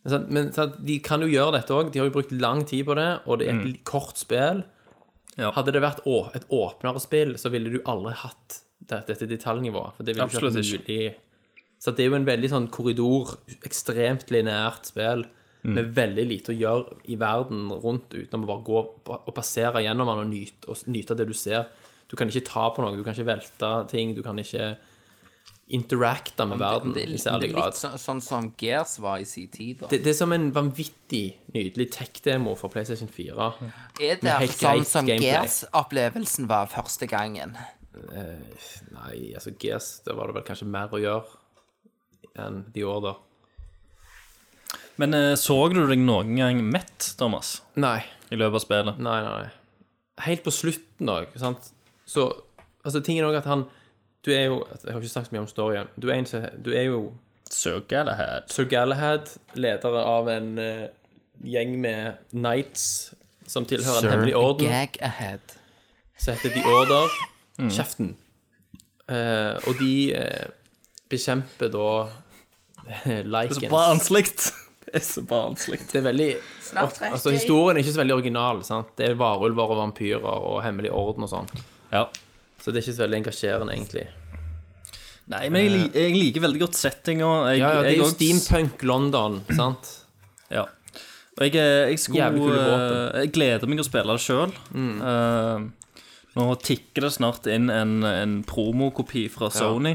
Men, sant, men sant, de kan jo gjøre dette òg. De har jo brukt lang tid på det, og det er et litt kort spill.
Mm. Ja.
Hadde det vært å, et åpnere spill, så ville du aldri hatt det, dette detaljnivået. For det ville ikke vært
Absolutt
mulig. Så det er jo en veldig sånn korridor, ekstremt lineært spill med veldig lite å gjøre i verden rundt, utenom å bare gå og passere gjennom den og nyte, og nyte det du ser. Du kan ikke ta på noe, du kan ikke velte ting, du kan ikke interacte med verden
Det er
i
litt, det
særlig
er
grad.
litt så, sånn som Gears var i sin tid. da.
Det, det er som en vanvittig nydelig tech-demo for PlayStation 4.
Er
Med
det
helt
sånn
greit
som
gameplay.
Gears-opplevelsen var første gangen?
Nei, altså GS, det var det vel kanskje mer å gjøre enn The Order.
Men eh, så du deg noen gang mett, Thomas,
Nei.
i løpet av spillet?
Nei, nei. Helt på slutten òg, sant. Så altså, tingen òg at han Du er jo altså, Jeg har ikke snakket så mye om storyen. Du er, en, som- du er jo
Søker det her?
Sir Galahad, leder av en eh, gjeng med knights som tilhører en hemmelig orden.
Gag ahead.
som heter The Order.
Mm.
Kjeften. Eh, og de eh, bekjemper da eh,
Det er så
Likens.
barnsligt. Det er så barnsligt.
Det er veldig Altså Historien er ikke så veldig original. sant? Det er varulver og vampyrer og hemmelig orden og sånn.
Ja.
Så det er ikke så veldig engasjerende, egentlig.
Nei, men jeg, li- jeg liker veldig godt settinga. Jeg-
Ja, ja, Det er
jeg
jo
også-
steampunk London, sant?
Ja. Og jeg, eh, jeg skulle
Jævlig kule våpen.
eh, Jeg gleder meg å spille det sjøl.
Mm.
nå tikker det snart inn en, en promokopi fra Sony.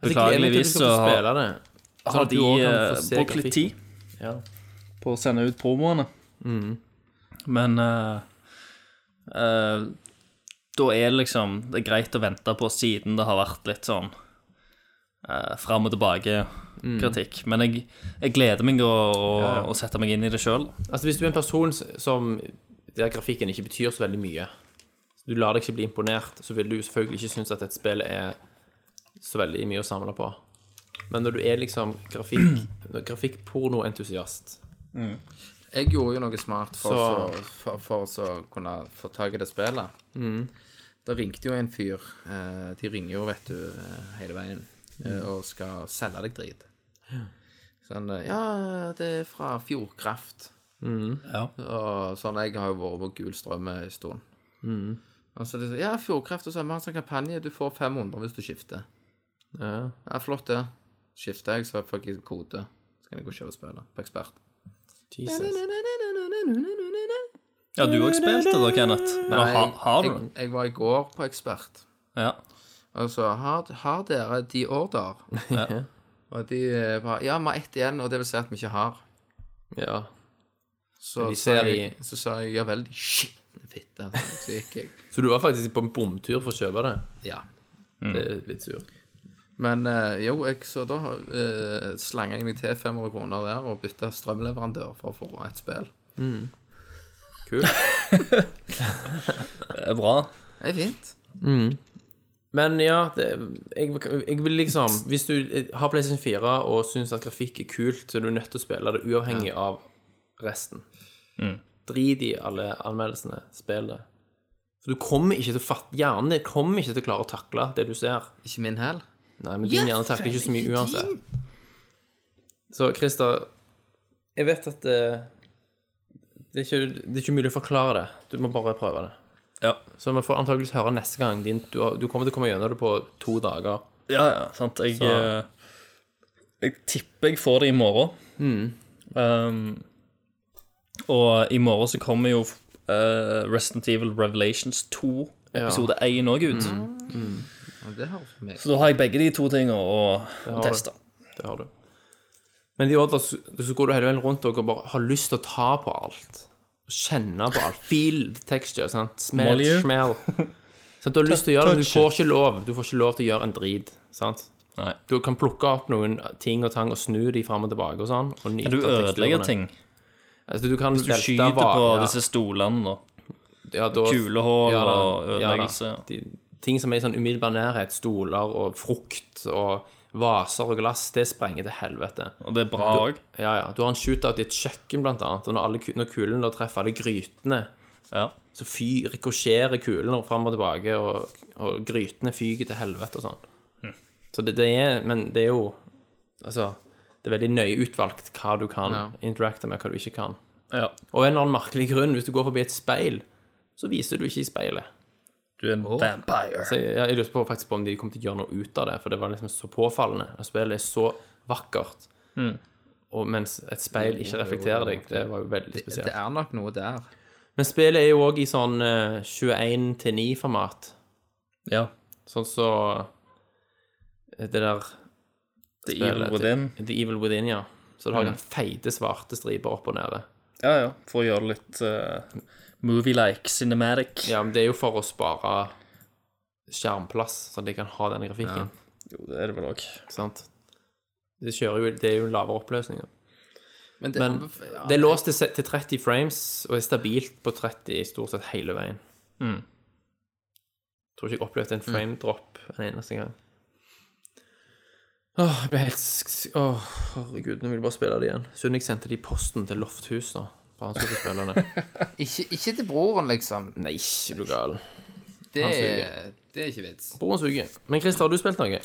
Jeg gleder meg til du
Beklageligvis
skal
så
få
har,
spille det. sånn
har
at
de
du også kan
eh,
få se
brukt litt
grafikk.
tid
Ja. Mm.
på å sende ut promoene. Men eh, eh, da er det liksom Det er greit å vente på, siden det har vært litt sånn uh, fram og
Mm.
tilbake-kritikk. Men jeg, jeg gleder meg å, å, å sette meg inn i det sjøl.
Altså Hvis du er en person s- som der grafikken ikke betyr så veldig mye, du lar deg ikke bli imponert, så vil du selvfølgelig ikke synes at et spill er så veldig mye å samle på. Men når du er liksom grafikk, grafikkpornoentusiast
Jeg gjorde jo noe smart for,
Så-
så. for, for, å kunne få tak i det spillet.
Mm.
Da ringte jo en fyr. eh, De ringer jo, vet du, eh, hele veien
Mm.
eh, og skal selge deg drit. Sånn eh, Ja, det er fra Fjordkraft.
Mm.
Og sånn, jeg har jo vært på gul strøm en stund.
Mm.
Og så de sier, ja, Fjordkraft og så har vi en sånn kampanje, du får 500 hvis du skifter.
Ja.
Ja, flott det. Skifter jeg, så får jeg kode. Så kan jeg gå og kjøpe spillet på ekspert.
Jesus.
Ja, du har også spilt det da, Kenneth. Eller har, har du
jeg,
det?
jeg var i går på Ekspert.
Ja.
Altså, har, har dere de order?
Ja.
Og de eh, bare Ja, vi har ett igjen, og det vil si at vi ikke har.
Ja.
Så,
De
sa
ser
jeg, så sa jeg ja vel, shit, fitte. Så gikk jeg.
Så du var faktisk på en bomtur for å kjøpe det?
Ja.
Det er litt surt.
Men eh, jo, jeg, så da uh, slanga jeg meg til 500 kroner der og bytta strømleverandør for å få et spill.
Det er Eh, bra.
Det er fint.
Men ja, det, jeg, jeg vil liksom Hvis du har PlayStation 4 og syns at grafikk er kult, så er du nødt til å spille det uavhengig av resten. Drit i alle anmeldelsene. Spill det. For du kommer ikke til å fatte Hjernen din kommer ikke til å klare å takle det du ser.
Ikke min hell.
Nei, men din hjerne takler ikke så mye uansett. Så Christer, jeg vet at det, det, er ikke, det er ikke mulig å forklare det. Du må bare prøve det.
Ja.
Så vi får antakeligvis høre neste gang. Din, du, har- du kommer til å komme gjennom det på to dager.
Ja, ja, sant. Jeg,
Så-
eh, jeg tipper jeg får det i morgen. Mm. Um, og i morgen så kommer jo uh, Resident Evil Revelations 2, episode 1 òg ut.
Og det har for meg.
Så da har jeg begge de to tingene å å
du.
teste.
Det har du. Men i Odda så så går du hele veien rundt og bare har lyst til å ta på alt. Kjenne på alt. Feel the texture. sant? Smell,
Molly.
smell. Sant, du har lyst til å gjøre det, men du får ikke lov. Du får ikke lov til å gjøre en drit. sant?
Nei.
Du kan plukke opp noen ting og tang og snu de fram og tilbake og sånn. Og
Kan du ødelegge ting?
Altså, du kan
Du
velte
skyter
va-
på
ja,
disse stolene, da.
ja, da-
kulehull
ja da,
og
ja da.
ødeleggelse.
de, ting som er i sånn umiddelbar nærhet, stoler og frukt og vaser og glass, det sprenger til helvete.
Og det er bra òg.
Ja, ja. Du har en shootout i et kjøkken, blant annet, og når, alle, ku- når kulen da treffer alle grytene,
Ja.
så fy, rikosjerer kulene fram og tilbake, og, og grytene fyker til helvete og sånn.
Hm.
Så det, det er Men det er jo Altså, det er veldig nøye utvalgt hva du kan
Ja.
interacte med, hva du ikke kan.
ja.
Og en eller annen merkelig grunn, hvis du går forbi et speil, så viser du ikke i speilet.
Du er en vampire.
Så jeg, jeg lurte på faktisk på om de kom til å gjøre noe ut av det, for det var liksom så påfallende. Og spillet er så vakkert. Og mens et speil ikke reflekterer deg, det var jo veldig
Det
spesielt.
er nok noe der.
Men spillet er jo òg i sånn 21 til 9-format.
Ja.
Sånn så eh, Det der
The Evil
spillet-
Within.
The Evil Within, ja. Så du
Mm.
har den feite, svarte striper opp og nede.
Ja, ja. For å gjøre det litt eh, movie-like, cinematic.
Ja, men det er jo for å spare skjermplass, så de kan ha den grafikken.
Jo, det er det vel òg.
Sant? Det, kjører jo, det er jo lavere oppløsninger.
Men det,
Men det er låst til, se- til 30 frames, og er stabilt på 30 stort sett hele veien. Mm. Tror ikke jeg opplevde en frame drop en eneste gang. Åh, jeg ble helt sk- sk- Åh, herregud, nå vil jeg bare spille det igjen. Siden jeg sendte det i posten til Lofthus, da. Bare han skulle spille det.
Ikke, ikke til broren, liksom.
Nei, ikke bli gal.
Det,
Han
er- det er ikke vits.
Broren suger. Men Christer, har du spilt noe?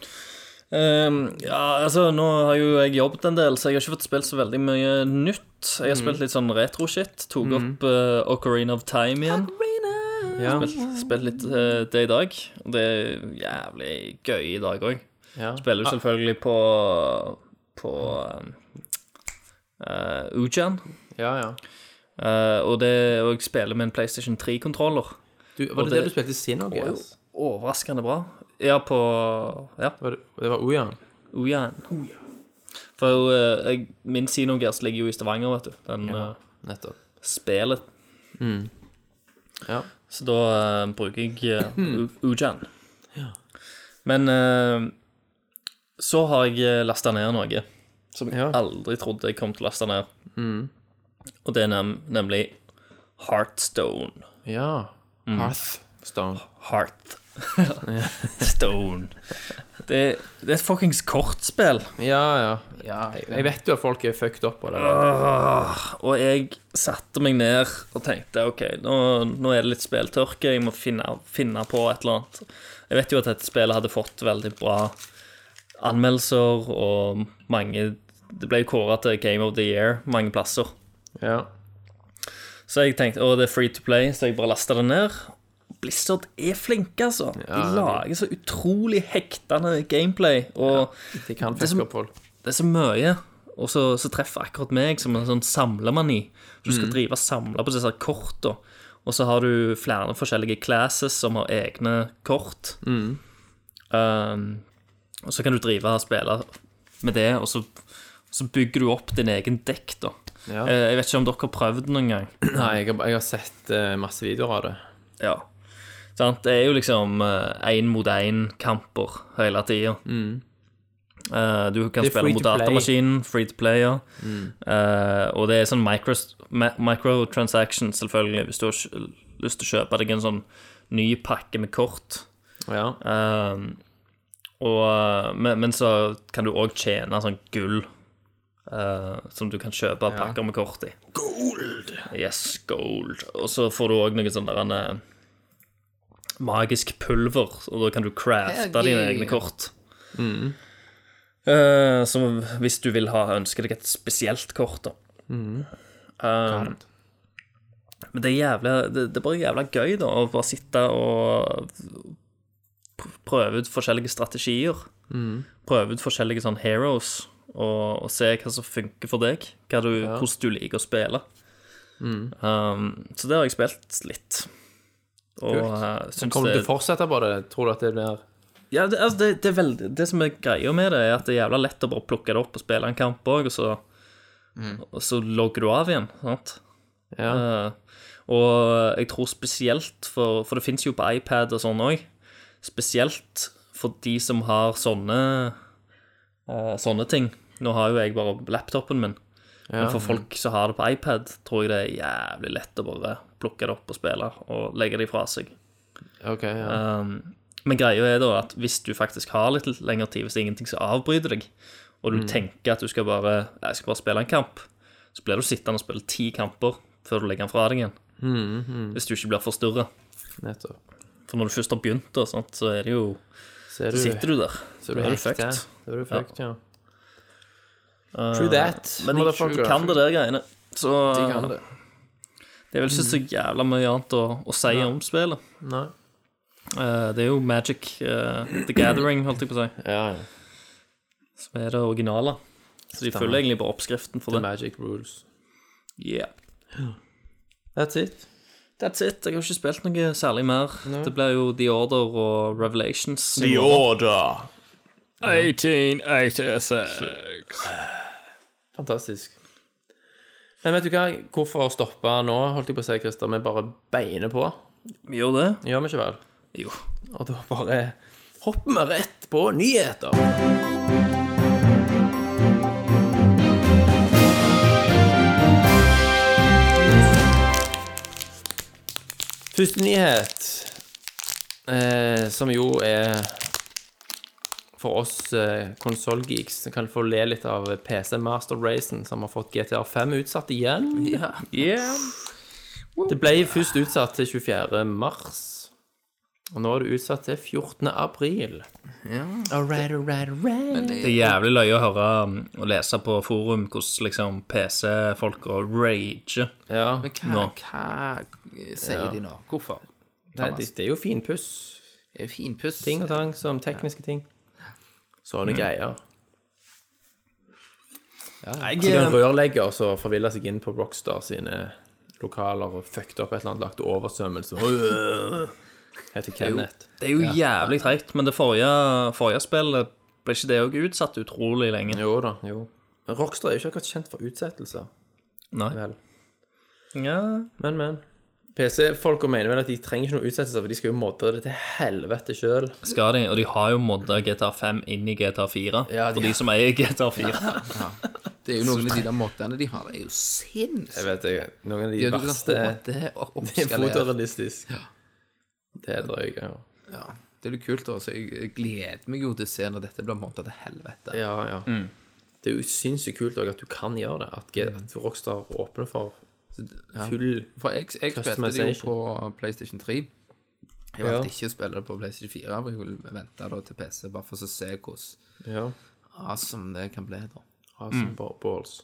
Ehm, ja, altså, nå har jo jeg jobbet en del, så jeg har ikke fått spilt så veldig mye nytt. Jeg har spilt litt sånn retro-shit. Tok opp eh, Ocarina of Time igjen.
Ja.
Spilt, spilt litt eh, det i dag. Og det er jævlig gøy i dag òg.
ja.
Spiller jo selvfølgelig på på eh, Ujan.
Ja, ja.
Eh, og, det, og jeg spiller med en PlayStation 3-kontroller.
Du, var
Og
det
det-
det, du spilte i Synergies?
Overraskende bra. Ja, på Ja.
Var det, det var Ojan?
Ujan. For eh, jeg, min Sinogears ligger jo i Stavanger, vet du. Den eh,
Nettopp.
spelet.
Ja.
Så da eh, bruker jeg eh, U- Ujan. Men eh, så har jeg lasta ned noe som jeg
Ja.
aldri trodde jeg kom til å laste ned. Og det er nem nemlig Heartstone.
ja. Mm. Hearthstone.
Heart. Stone. Det, det er et fuckings kortspill.
Ja, ja. jeg, jeg vet jo at folk er fucked up på det.
Og jeg satte meg ned og tenkte OK, nå, nå er det litt spilltørke. Jeg må finne, finne på et eller annet. Jeg vet jo at dette spillet hadde fått veldig bra anmeldelser, og mange Det ble jo kåra til Game of the Year mange plasser.
Ja.
Så jeg tenkte å, det er free to play, så jeg bare lasta det ned. Blizzard er flinke, altså. De lager så utrolig hektende gameplay. Og
De kan
Det som-
fucke opp folk.
det er så mye. Og så, så treffer akkurat meg som en sånn samlemani. Så Du skal drive og samle på disse her korta. Og så har du flere forskjellige classes som har egne kort. Um, og så kan du drive og spille med det, og så, så bygger du opp din egen dekk, da.
Ja.
Eh, Jeg vet ikke om dere har prøvd det noen gang.
Nei, jeg har, jeg har sett eh, masse videoer av det.
Ja. Sant? Det er jo liksom én mot én-kamper hele tida. du kan
Mm. Det er
spille
free
mot
to play. Mm.
datamaskinen, free to play, ja. Eh, og det er sånn micro, ma- microtransaction, selvfølgelig, hvis du har kj- lyst til å kjøpe deg en sånn ny pakke med kort.
Ja.
Eh, og, eh, men, men så kan du òg tjene sånn gull eh, som du kan kjøpe pakker med kort i. Gold! Yes, gold. Og så får du òg noe sånn der en, eh, magisk pulver, og da kan du crafte
Herregud.
dine egne kort. Eh, som hvis du vil ha ønske deg et spesielt kort, da.
Mm.
Eh, men det er jævla det, det er bare jævla gøy, da, å bare sitte og pr- prøve ut forskjellige strategier.
Mm.
Prøve ut forskjellige sånn heroes, og, og se hva som funker for deg. Hva du, Hvordan du liker å spille.
Mm.
Um, så det har jeg spilt litt. Og
Kult.
eh, syns
Kommer du
det
til å fortsette på det? Tror du at det blir
ja, det, altså det, det, er veldig, det som er greia med det, er at det er jævla lett å bare plukke det opp og spille en kamp òg, og, så- og så logger du av igjen. sant?
Ja.
Eh, og jeg tror spesielt for For det fins jo på iPad og sånn òg. Spesielt for de som har sånne eh, sånne ting. Nå har jo jeg bare laptopen min. Men for folk som har det på iPad, tror jeg det er jævlig lett å bare plukke det opp og spille, og legge det fra seg.
Eh, OK. Ja.
Um, men greia er da at hvis du faktisk har litt lengre tid, hvis det er ingenting som avbryter deg, og du
Mm.
tenker at du skal bare, "Ja, jeg skal bare spille en kamp, så blir du sittende og spille ti kamper før du legger den fra deg igjen.
Mm-hmm.
Hvis du ikke blir forstyrra.
Nettopp.
For når du først har begynt, da, sant, så er det jo
Så er
Så sitter du der.
så er du
da er du
hekta.
fucked.
Da er du fucked, ja. Eh, True that.
Men de
motherfucker.
kan det der greiene. Så
De kan det. Mm.
det er vel ikke så jævla mye annet å, å si om spillet.
Nei.
Eh, det er jo Magic eh, The Gathering, holdt jeg på å si,
Ja, ja.
som er det originale. Så de følger egentlig bare oppskriften for
The
det.
magic rules.
Yeah.
That's it.
That's it. Jeg har ikke spilt noe særlig mer. Det blir jo The Order og Revelations.
The Order. 1886.
Fantastisk. Men vet du hva? Hvorfor stoppe nå, holdt jeg på å si, Christer? Vi bare beiner på.
Vi gjør det.
Gjør vi ikke vel?
Jo.
Og da bare hopper vi rett på nyheter. Første nyhet, eh, som jo er for oss eh, konsollgeeks, som kan få le litt av PC Master Racen, som har fått GTR5 utsatt igjen.
Yeah.
Det ble først utsatt til 24. mars, og nå er det utsatt til 14. april.
Det er jævlig løye å høre um, og lese på forum hvordan liksom PC-folka rager.
Ja,
Men
Nå.
hva, hva sier de nå? Hvorfor?
det, det, det er jo finpuss.
Det er jo finpuss.
Ting og tang som tekniske ting. Mm. Sånne greier. Så det er en
Jeg, um,
rørlegger som forvilla seg inn på Rockstar sine lokaler og fucked opp et eller annet, lagt oversvømmelse. Heter Kenneth.
det er jo jævlig treigt, men det forrige, forrige spillet ble ikke det òg utsatt utrolig lenge?
Jo da, jo. Men Rockstar er jo ikke akkurat kjent for utsettelser.
Nei.
Vel.
Ja.
Men, men. PC-folka mener vel at de trenger ikke noe utsettelser, for de skal jo modde det til helvete sjøl.
Skal de? Og de har jo modda GTR5 inn i GTR4,
Ja, de-
for de som eier GTR4.
Det er jo noen av de der måtene de har. Det er jo sinnssykt.
Jeg vet ikke. Noen av de
Ja, du kan
verste
HD og
Det er
oppskalere.
fotorealistisk. Det er drøyt, ja.
Ja. Det er jo kult, da. Så jeg jeg gleder meg jo til å se når dette blir måttet til helvete.
ja, ja. Det er jo sinnssykt kult også at du kan gjøre det. At, G- at Rockstar åpner for full
For jeg, jeg spilte det jo
Customization.
på PlayStation 3. Jeg valgte ikke å spille det på PlayStation 4, for jeg ville vente da til PC, bare for å se hvordan
ja.
awesome det kan bli. da.
Awesome ba- balls.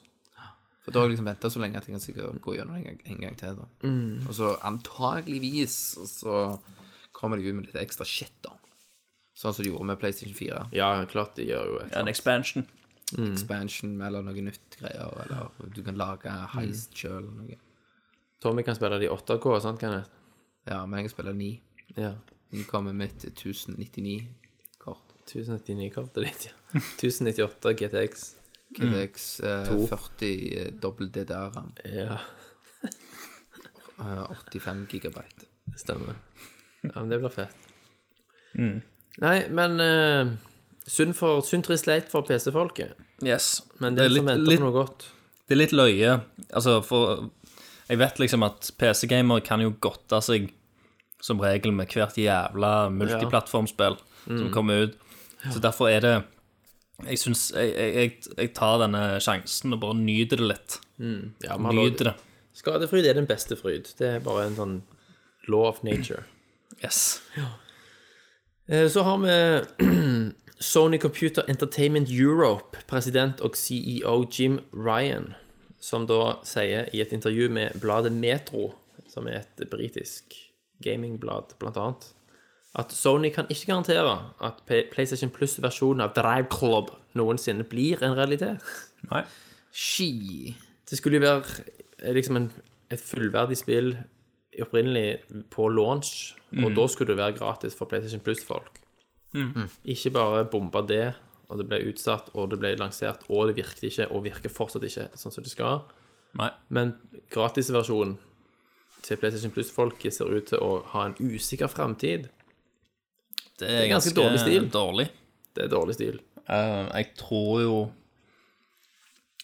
For da har jeg liksom venta så lenge at jeg kan sikkert gå gjennom det en gang, en gang til. da.
Mm.
Og så antageligvis så kommer de ut med litt ekstra shit, da. Sånn som de gjorde med PlayStation 4.
Ja, klart de gjør jo et
En expansion.
expansion eller noe nytt greier. Eller du kan lage
Mm.
heist sjøl eller noe.
Tommy kan spille det i 8K, sant, Kenneth?
Ja, men jeg spiller 9.
Ja.
Jeg kommer med et 1099-kort.
Mm. 1099-kortet ditt, ja. 1098 GTX.
KDX eh, 40 eh, dobbel DDR-ram.
Ja,
Eh, 85 gigabyte.
det stemmer. Ja, men det blir fett. Nei, men eh, synd, for, synd trist leit for PC-folket.
Yes.
Men det, er litt, som venter
litt,
på noe godt.
det er litt løye. Altså, for jeg vet liksom at PC-gamere kan jo godte seg som regel med hvert jævla multiplattformspill
Mm.
som kommer ut. Så derfor er det Jeg syns jeg, jeg, jeg, jeg tar denne sjansen og bare nyter det litt.
Ja, vi har lov-
Nyter det.
Skadefryd er den beste fryd. Det er bare en sånn law of nature.
Yes.
Eh, Så har vi Sony Computer Entertainment Europe, president og CEO Jim Ryan, som da sier i et intervju med bladet Metro, som er et britisk gamingblad, blant annet, at Sony kan ikke garantere at P- PlayStation Plus-versjonen av Drive Club noensinne blir en realitet.
Nei.
Ski.
Det skulle jo være eh, liksom en, et fullverdig spill opprinnelig på launch, og da skulle det være gratis for PlayStation Plus-folk.
Mm.
Ikke bare bomba det, og det ble utsatt, og det ble lansert, og det virket ikke, og virker fortsatt ikke sånn som det skal.
Nei.
Men gratisversjonen til PlayStation Plus-folket ser ut til å ha en usikker framtid.
Det er
ganske
ganske,
dårlig stil.
Dårlig.
Det er dårlig stil.
Eh, jeg tror jo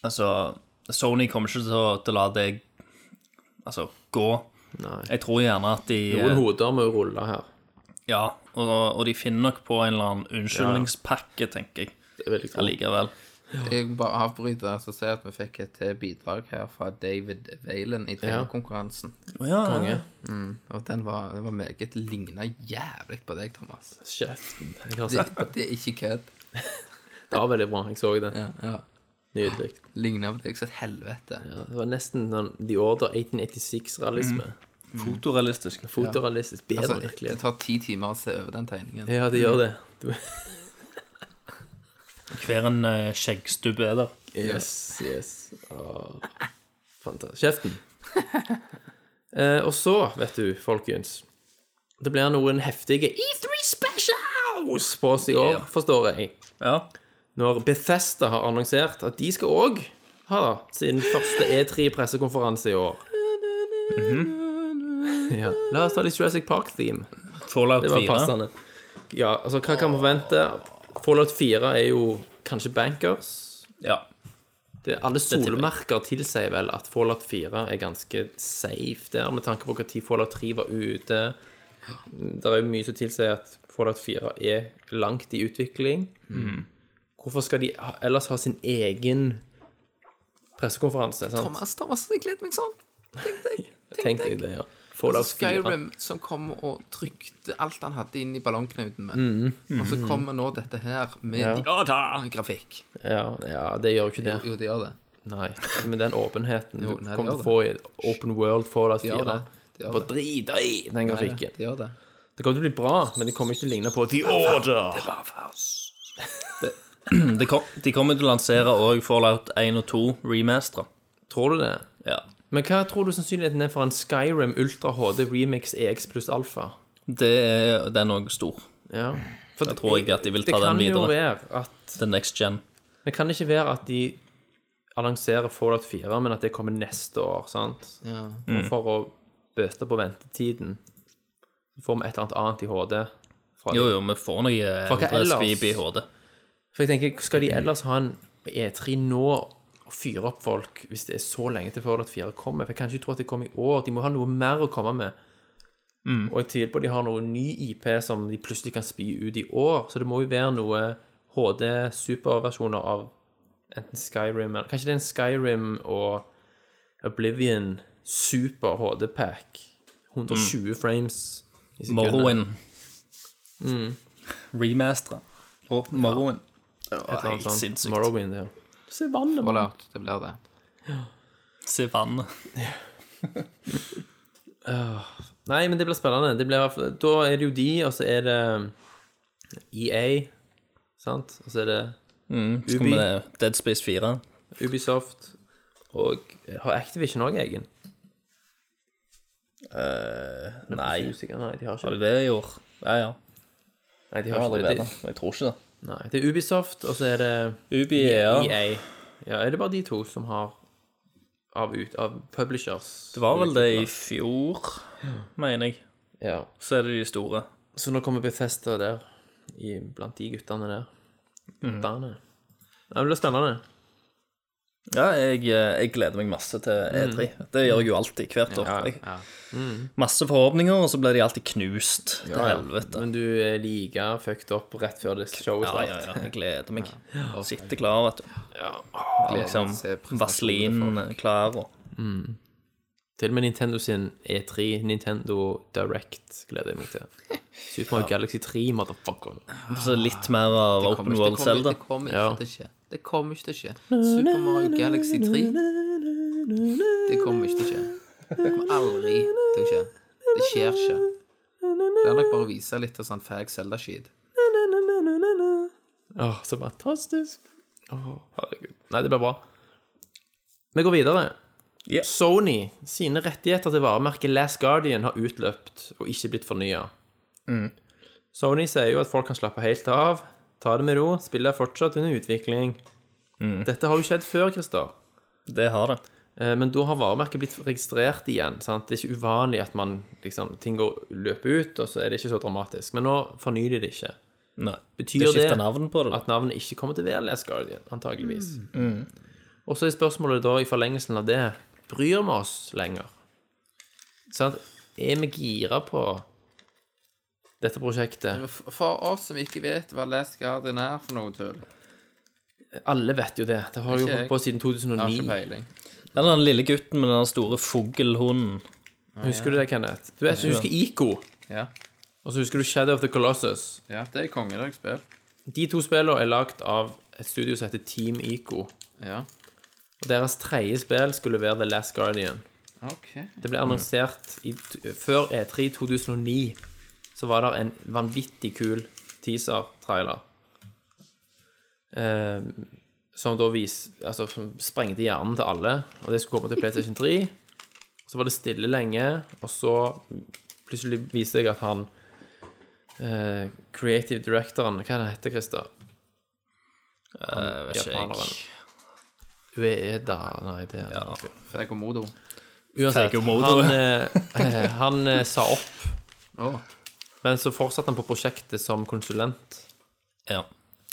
Altså, Sony kommer ikke til å, til å la det altså, gå.
Nei.
Jeg tror gjerne at de eh,
Noen hoder må jo rulle her.
Ja, og, og de finner nok på en eller annen unnskyldningspakke, tenker jeg.
Det er veldig tro.
Allikevel.
Jeg må bare avbryter og ser at vi fikk et til bidrag her fra David Valen i trenerkonkurransen.
Å ja, ja, ja.
Og den var, den var meget ligna jævlig på deg, Thomas.
Shit. Jeg har
Det,
sett det.
det er ikke kødd.
Det var veldig bra. Jeg så det.
Ja, ja.
Nydelig.
Ligna på deg som et helvete.
Ja, det var nesten sånn The Order 1886-realisme.
Fotorealistisk.
Fotorealistisk. Bedre
Altså, det
virkelighet.
tar ti timer å se over den tegningen.
Ja, det gjør det. Du,
Hver en eh, skjeggstubbe er der.
yes, yes. Åh, Fantastisk. Kjeften. Eh, og så, vet du, folkens Det blir noen heftige E E3 specials på oss i år, forstår jeg.
Ja.
Når Bethesda har annonsert at de skal òg ha sin første E3-pressekonferanse i år. Mhm. ja. La oss ta litt Jurassic Park-theme.
Fallout
Det var
4.
passende. Ja, altså, hva kan man forvente? Fallout 4 er jo kanskje bankers.
Ja.
Det, alle
tipper jeg.
solemerker tilsier vel at Fallout 4 er ganske safe der, med tanke på når Fallout 3 var ute. Det er jo mye som tilsier at Fallout 4 er langt i utvikling. Hvorfor skal de ha- ellers ha sin egen pressekonferanse? Sant?
Thomas, Thomas, jeg gleder meg sånn. Tenk deg.
Tenk deg det, ja. Fallout 4.
Skyrim som kom og trykte alt han hadde inn i ballongknuten med. Og så kommer nå dette her med de- grafikk.
Ja, ja, det gjør jo ikke det.
Jo, det gjør det.
Nei, Altså, men den åpenheten
Jo,
du
nei, det
kommer til
gjør
å få i Open World Fallout
Det gjør
4
det. Det gjør
Bare
det.
drit i den grafikken.
Det gjør det.
Det kommer til å bli bra, men det kommer ikke til å ligne på The Order.
Order.
De, kom, de kommer til å lansere òg Fallout 1 og 2 remastera.
Tror du det?
Ja.
Men hva tror du sannsynligheten er for en Skyrim Ultra HD Remix EX pluss Alpha?
Det er den òg stor.
Ja. For
Da tror jeg at de vil
det
ta
kan
den
jo
videre.
være at
The next gen.
Det kan ikke være at de annonserer Fallout 4, men at det kommer neste år, sant?
Ja.
Og for å bøte på ventetiden så får vi et eller annet annet i HD. fra de.
Jo, jo, vi får noe eh,
For hva
andre
ellers?
skvip i hodet.
For jeg tenker, skal de ellers ha en E3 nå og fyre opp folk hvis det er så lenge til Fallout 4 kommer? For jeg kan ikke tro at det kommer i år. De må ha noe mer å komme med.
Mm.
Og jeg tviler på at de har noe ny IP som de plutselig kan spy ut i år. Så det må jo være noe HD-superversjoner av enten Skyrim eller Kanskje det er en Skyrim og Oblivion super HD-pack. 120 frames i sekundet.
Mm. Morrowind.
Mm.
Remastera. Og Morrowind.
Et eller annet
Helt
sånt.
sinnssykt.
Morrowind, ja. Se vannet, mann.
Fallout, det blir det.
Se vannet.
Nei, men det blir spennende. Det blir, i hvert fall- da er det jo de, og så er det EA, eh, E sant? Og så er det
Så kommer det Dead Space 4.
Ubisoft. Og har Activision òg egen?
Nei,
Usikker, nei, de har ikke
var
det.
det det i år? Ja, ja.
Nei, de
Jeg har
har
aldri
ikke det.
vært der. Jeg tror ikke det.
De- Nei, det er Ubisoft, og så er det
Ubi er ja.
EA. Ja, er det bare de to som har av, ut, av publishers?
Det var vel det i fjor, mener jeg.
Ja.
Så er det de store.
Så nå kommer Bethesda der, i, blant de guttene der.
Mm.
Guttene. Ja, det blir spennende.
Ja, jeg, eh, jeg gleder meg masse til E3.
Mm.
Det gjør jeg jo alltid hvert år. Jeg- Masse forhåpninger, og så blir de alltid knust til helvete.
Men du er like fucked up rett før det showet
Ja, ja,
starter.
ja, jeg gleder meg. Sitter klar, vet du. Liksom
Se presentasjonen
Vaselin klar og
Til og med Nintendo sin E3, Nintendo Direct, gleder jeg meg til. Super Mario Galaxy 3, motherfucker.
Så litt mer av Open
kommer
World
ikke- det kommer-
Zelda.
Det kommer
Ja.
ikke til å skje. Det kommer ikke til å skje. Super Mario Galaxy 3 Det kommer ikke til å skje. Det kommer aldri til å skje. Det skjer ikke. Det er nok bare å vise litt av sånn fag Zelda-skit.
Åh, så fantastisk. Åh, herregud. Nei, det blir bra. Vi går videre.
Ja.
Sony sine rettigheter til varemerket Last Guardian har utløpt og ikke blitt fornya.
Mm.
Sony sier jo at folk kan slappe helt av, ta det med ro, spillet er fortsatt under utvikling.
Mm.
Dette har jo skjedd før, Christer.
Det har det.
Eh, Men da har varemerket blitt registrert igjen. sant? Det er ikke uvanlig at man, liksom, ting går, løper ut, og så er det ikke så dramatisk. Men nå fornyer de det ikke.
Nei.
Betyr
det
det
skifter navn på det. da.
at navnet ikke kommer til å være Last Guardian, antageligvis.
Mm.
Og så er spørsmålet da i forlengelsen av det Bryr vi oss lenger? Sant? Er vi gira på dette prosjektet?
For oss som ikke vet hva Last Guardian er for noe tull,
Alle vet jo det. Det har jo
Ikke jeg.
holdt på siden
har ikke
2009.
peiling.
Eller den lille gutten med den store fuglhunden.
Husker du det, Kenneth? Du vet, du husker Ico,
Ja,
og så husker du Shadow of the Colossus.
ja det er kongedagsspill.
De to spillene er lagd av et studio som heter Team Ico.
Ja.
Og deres tredje spill skulle være The Last Guardian.
OK.
Det ble annonsert i, t- før E E3 2009. Så var det en vanvittig kul teaser-trailer. Eh, som da vis, altså, som sprengte hjernen til alle. Og det skulle komme til PlayStation 3. Så var det stille lenge, og så plutselig viste jeg at han eh, Creative directoren Hva er det han heter, Christer?
Jeg vet ikke, jeg.
Ueda Nei, det er
Ja.
Fegomodo.
Uansett,
Takeomoto.
han, eh, eh, han eh, sa opp.
Å.
Men så fortsatte han på prosjektet som konsulent.
Ja.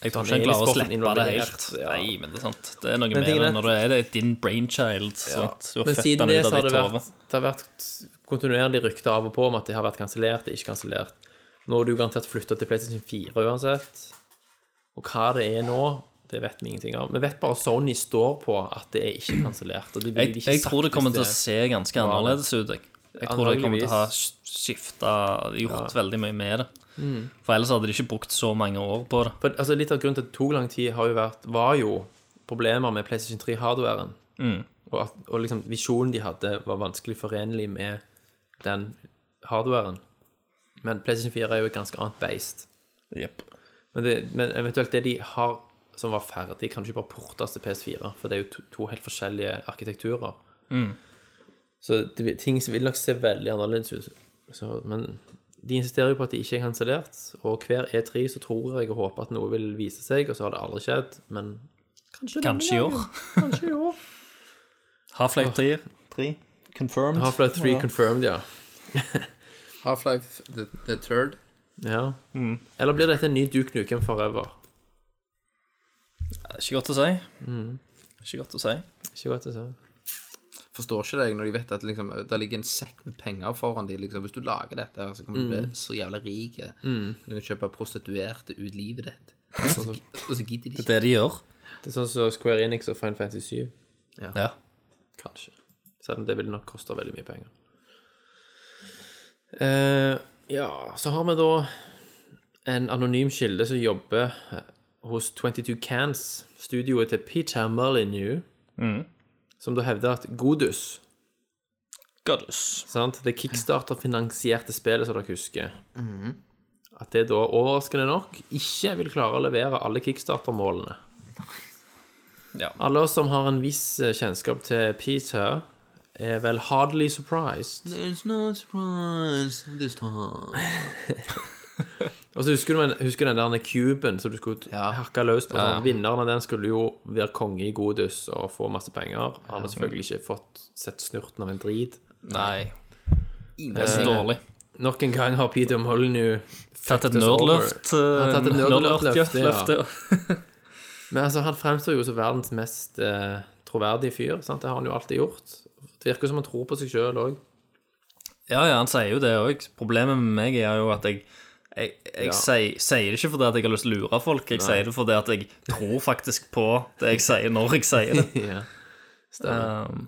Jeg tror
Sånn,
ikke han klarer å
egentlig
slippe det
involvert,
helt.
ja.
Nei, men det er sant. Det er noe
Men
med det
tingene-
når det er det er din brainchild. Sant? Du har
Men
født
siden
den
det
ut
så
av
har det
ditt hode.
vært, det har vært kontinuerlig rykte av og på om at det har vært kansellert, det er ikke kansellert. Nå er du garantert flytta til PlayStation 4 uansett. Og hva det er nå, det vet vi ingenting av. Vi vet bare at Sony står på at det er ikke kansellert. og det ville
Jeg,
de ikke
jeg
sagt
tror det
hvis
kommer til å se ganske annerledes ut. Jeg, jeg tror det kommer til å ha skifta Gjort veldig mye med det.
Mm.
For ellers hadde de ikke brukt så mange år på det.
For, altså, litt av grunnen til at det tok lang tid, har jo vært, var jo problemer med PlayStation 3-hardwaren. Og, at, og liksom, visjonen de hadde, var vanskelig forenlig med den hardwaren. Men PlayStation 4 er jo et ganske annet beist. Men, det, men eventuelt det de har som var ferdig, kan ikke bare portes til PS4, for det er jo to, to helt forskjellige arkitekturer. Så det, vil- ting vil nok se veldig annerledes ut. Så, men de insisterer jo på at det ikke er kansellert, og hver E3 så tror jeg og håper at noe vil vise seg, og så har det aldri skjedd, men
Kanskje i år. Half-Life 3. 3. Confirmed.
Half-Life 3 confirmed, ja.
Half-Life the, the Third.
ja. Eller blir dette en ny Duke Nukem Forever?
Ikke godt å si.
Mm.
Ikke godt å si.
Ikke godt å si.
Forstår ikke det jeg, når de vet at liksom, det ligger en sekk med penger foran dem. Liksom. Hvis du lager dette, her, så kommer du bli så jævla rik. Du kan kjøpe prostituerte ut livet ditt. Og så, og så gidder de
Det er
ikke.
det de gjør.
Det er sånn som Square Enix og Final Fantasy 7,
Ja.
kanskje. Selv om det vil nok koste veldig mye penger. Eh, ja, så har vi da en anonym kilde som jobber eh, hos 22 Cans, studioet til Peter Molyneux, som da hevder at Godus,
Godless.
sant, det kickstarter-finansierte spillet som dere husker,
Mhm.
at det da overraskende nok ikke vil klare å levere alle kickstarter-målene. Alle oss som har en viss eh, kjennskap til Peter, er vel hardly surprised.
There's no surprise this time.
Og så husker du den, husker du den der kuben som du skulle
Ja.
hakke løs på? Sånn. Vinneren av den skulle jo være konge i Godus og få masse penger. Han har selvfølgelig ikke fått sett snurten av en drit.
Nei. Det er så dårlig.
Nok en gang har Peter Molyneux
Tatt et
fucked us over.
nerdløft.
Han har tatt et
eh,
nerdløft, ja.
nerdløft, ja.
Men altså, han fremstår jo som verdens mest eh, troverdige fyr. Sant? Det har han jo alltid gjort. Det virker som han tror på seg sjøl òg.
Ja, ja, han sier jo det òg. Problemet med meg er jo at jeg jeg, jeg sier, sier det ikke fordi at jeg har lyst til å lure folk, jeg sier det fordi at jeg tror faktisk på det jeg sier når jeg sier det. Um,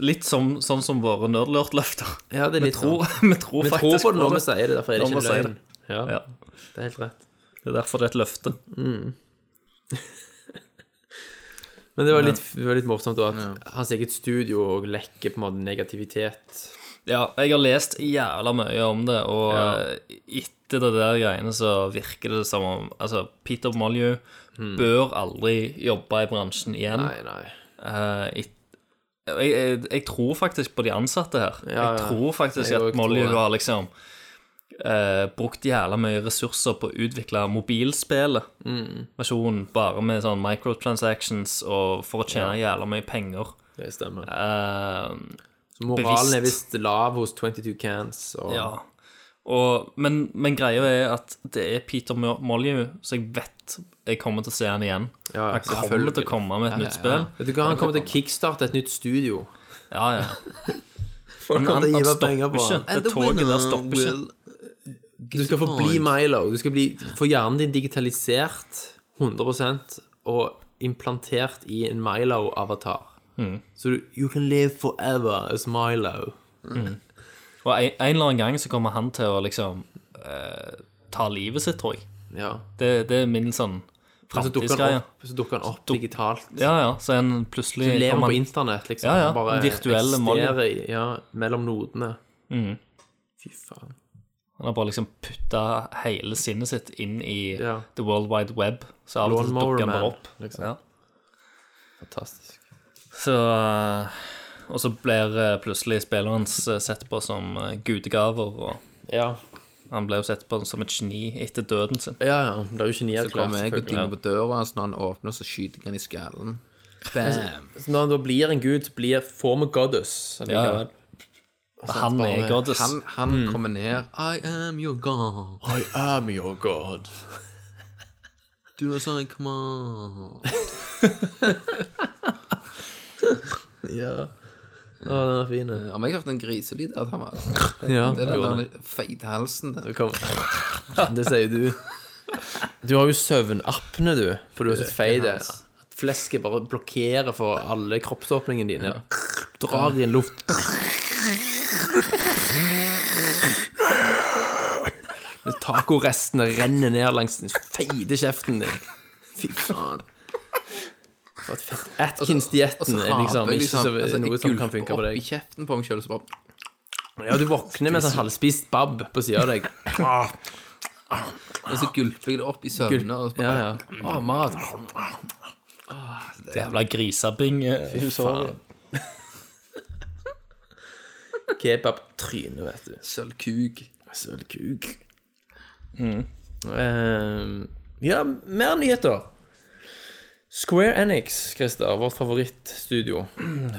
litt som, sånn som våre nerdlurt-løfter.
Ja, det er
Vi
litt
tror, vi
Vi tror
tror faktisk
på det når vi sier det, derfor er det
Når
ikke en
vi sier
løgn. Ja,
Ja,
det er helt rett.
det er derfor det er et løfte.
Men det var litt, det var litt morsomt da at hans eget studio og lekker på en måte negativitet.
Ja, jeg har lest jævla mye om det, og eh, etter det der greiene så virker det som om Altså, Peter Molyu
Hmm.
bør aldri jobbe i bransjen igjen.
Nei, nei.
Eh, et, jeg, jeg, jeg tror faktisk på de ansatte her.
ja.
Jeg tror faktisk
Jeg
at
også
Molly
tror det.
har liksom eh, brukt jævla mye ressurser på å utvikle mobilspillet.
Mm.
Versjonen bare med sånn microtransactions og for å tjene jævla mye penger.
Det stemmer.
Eh,
Så moralen er
bevisst.
visst lav hos 22 Cans. Og,
ja. Og, men, men greia er at det er Peter Molyu, så jeg vet jeg kommer til å se han igjen.
Ja, ja,
han kommer til å komme med et nytt spill.
Vet du hva, han kommer til å kickstarte et nytt studio.
Ja, ja.
Folk
Men
kommer til å
han
hive
stopper
penger på
ikke.
han.
Det toget der stopper ikke.
Du skal få bli Milo. Du skal bli, få hjernen din digitalisert 100 og implantert i en Milo-avatar.
Mm.
Så du You can live forever as Milo.
Og en, en eller annen gang så kommer han til å liksom eh, ta livet sitt, tror jeg.
Ja.
Det, det er min sånn
Men så dukker han
framtidsgreie.
opp, så dukker han opp digitalt.
Ja, ja. Så en plutselig
Du lever
kommer
på
han-
internett, liksom.
Ja, ja,
Han Bare
virtuelle Mm. Milo.
eksisterer i- Ja, mellom nodene. Fy faen.
Han har bare liksom putta hele sinnet sitt inn i
Ja.
the world wide web. Så av og til
Lawnmower
dukker han
Man,
bare opp.
liksom.
Ja.
Fantastisk.
Så eh, Og så blir eh, plutselig spilleren hans eh, sett på som eh, gudegaver, og
Ja,
han ble jo sett på som et geni etter døden sin.
ja. ja. Det er jo
Så kommer jeg og
genierklært.
tynger på døra hans når han åpner, så skyter jeg han i skallen. Bam!
Så når han da blir en gud, så blir former goddess.
Ja, ja.
allikevel.
Han er
bare-
goddess.
Han, han
Hmm.
kommer ned. I am your god.
I am your god.
Du er sånn, come on.
Ja. Å,
Oh,
den er fin. den.
Har vi hørt en griselyd der, Thomas?
Ja,
Det er
jo,
den
den.
der feite halsen der.
Det kommer. Det sier du. Du har jo søvnapne, du, for du er så feit. altså. At Flesket bare blokkerer for alle kroppsåpningene dine. Drar i en luft. Når Tacorestene renner ned langs den feite kjeften din. Fy faen. For at fett- Atkins-dietten er Altså, liksom
Aper,
ikke så,
altså,
noe
jeg
som kan
gulper
funke på
opp
deg.
i kjeften på meg selv, så bare
Ja, du våkner med en sånn halvspist babb på sida av deg.
Og så gulper jeg det opp i søvne. Og så
Ja,
bare,
ja. Å, mat.
Jævla grisabing. eh, faen.
Kebabtryne, vet du.
Sølvkuk.
Sølvkuk.
Mm.
Eh, ja, mer nyheter. Square Enix, Christer, vårt favorittstudio.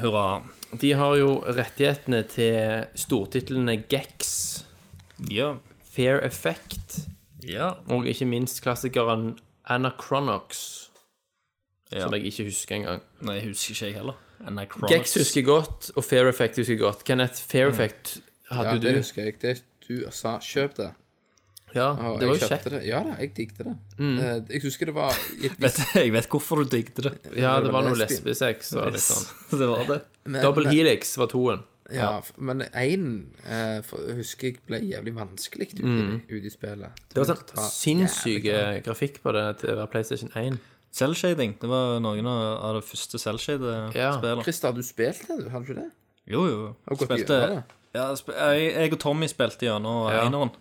Hurra.
De har jo rettighetene til stortitlene Gex,
Ja.
Fair Effect
Ja.
og ikke minst klassikeren Anachronox,
ja.
som jeg ikke husker engang.
Nei, jeg husker ikke jeg heller. Anacronics.
Gex husker jeg godt, og Fair Effect husker jeg godt. Kenneth, Fair Effect
Mm. Ja,
hadde
det
du.
husker jeg. Det, du sa 'kjøp det'.
Ja,
Og
det var
jeg
jo
kjøpte
kjekt.
Det. Ja da, jeg digget det.
Mm.
Eh, Jeg husker det var i et
Vet, jeg vet hvorfor du digget det.
Ja, det var noe
lesbisk.
lesbesex og litt sånn.
Det var det.
Double Helix var toen.
Ja, f- men én husker jeg ble jævlig vanskelig ute
Mm.
i- ute i spillet.
Det var sånn sinnssyk grafikk på det til å være PlayStation 1.
Selvshading. Det var noen av av det første
Ja,
selvshade-spillet.
Christer, har du spilt det? du? Har du ikke det?
Jo, jo.
Har du gått gjennom det?
ja, sp jeg, jeg og Tommy spilte gjennom eneren.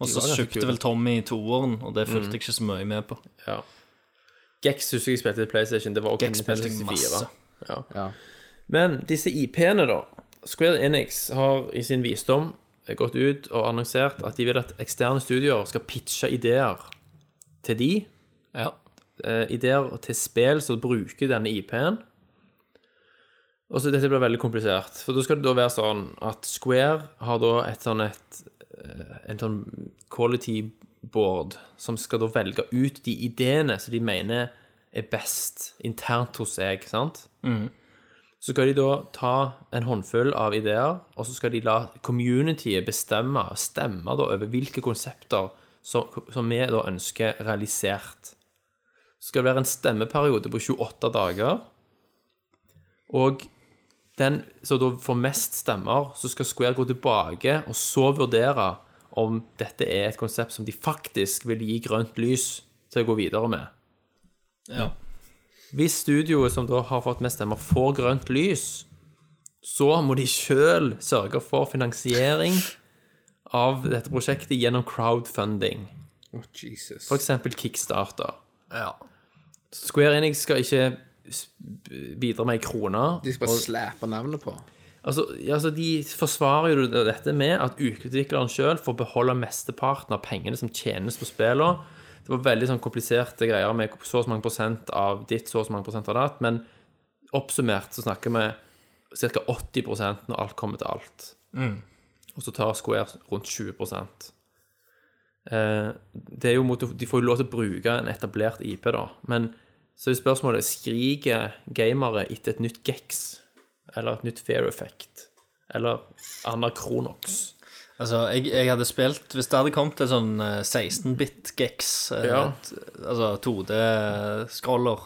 Og så
ganske
kjøpte
kule.
vel Tommy toeren, og det fulgte jeg ikke så mye med på.
Ja. Gex husker jeg spilte i PlayStation. Det var også
Gex
Nintendo
spilte jeg
64.
masse.
Ja.
Ja.
Men disse IP-ene, da. Square Enix har i sin visdom gått ut og annonsert at de vil at eksterne studioer skal pitche ideer til de.
Ja.
Eh, ideer til spill som bruker denne IP-en. Og så Dette blir veldig komplisert. For da skal det da være sånn at Square har da et sånn et eh, en sånn quality board som skal da velge ut de ideene som de mener er best internt hos seg, sant? Så skal de da ta en håndfull av ideer, og så skal de la communityet bestemme, stemme da over hvilke konsepter som, som vi da ønsker realisert. Så skal det være en stemmeperiode på 28 dager, og den som da får mest stemmer, så skal Square gå tilbake og så vurdere om dette er et konsept som de faktisk vil gi grønt lys til å gå videre med.
Ja.
Hvis studioet som da har fått mest stemmer, får grønt lys, så må de sjøl sørge for finansiering av dette prosjektet gjennom crowdfunding,
Å, Jesus.
f.eks. Kickstarter.
ja.
Square Enix skal ikke s- bidra med ei krone.
De skal bare slappe navnet på.
Altså, altså, de forsvarer jo det- dette med at utvikleren sjøl får beholde mesteparten av pengene som tjenes på spillene. Det var veldig sånn kompliserte greier med så og så mange prosent av ditt, så og så mange prosent av datt, men oppsummert så snakker vi ca. 80 når alt kommer til alt. Og så tar Square rundt 20 eh, det er jo mot, De får jo lov til å bruke en etablert IP, da, men så er spørsmålet skriker gamere etter et nytt Gex eller et nytt Fair Effect, eller Anachronox.
Altså, jeg, jeg hadde spilt Hvis det hadde kommet til sånn eh, 16-bit Gex, eh,
Ja.
t- altså 2D-scroller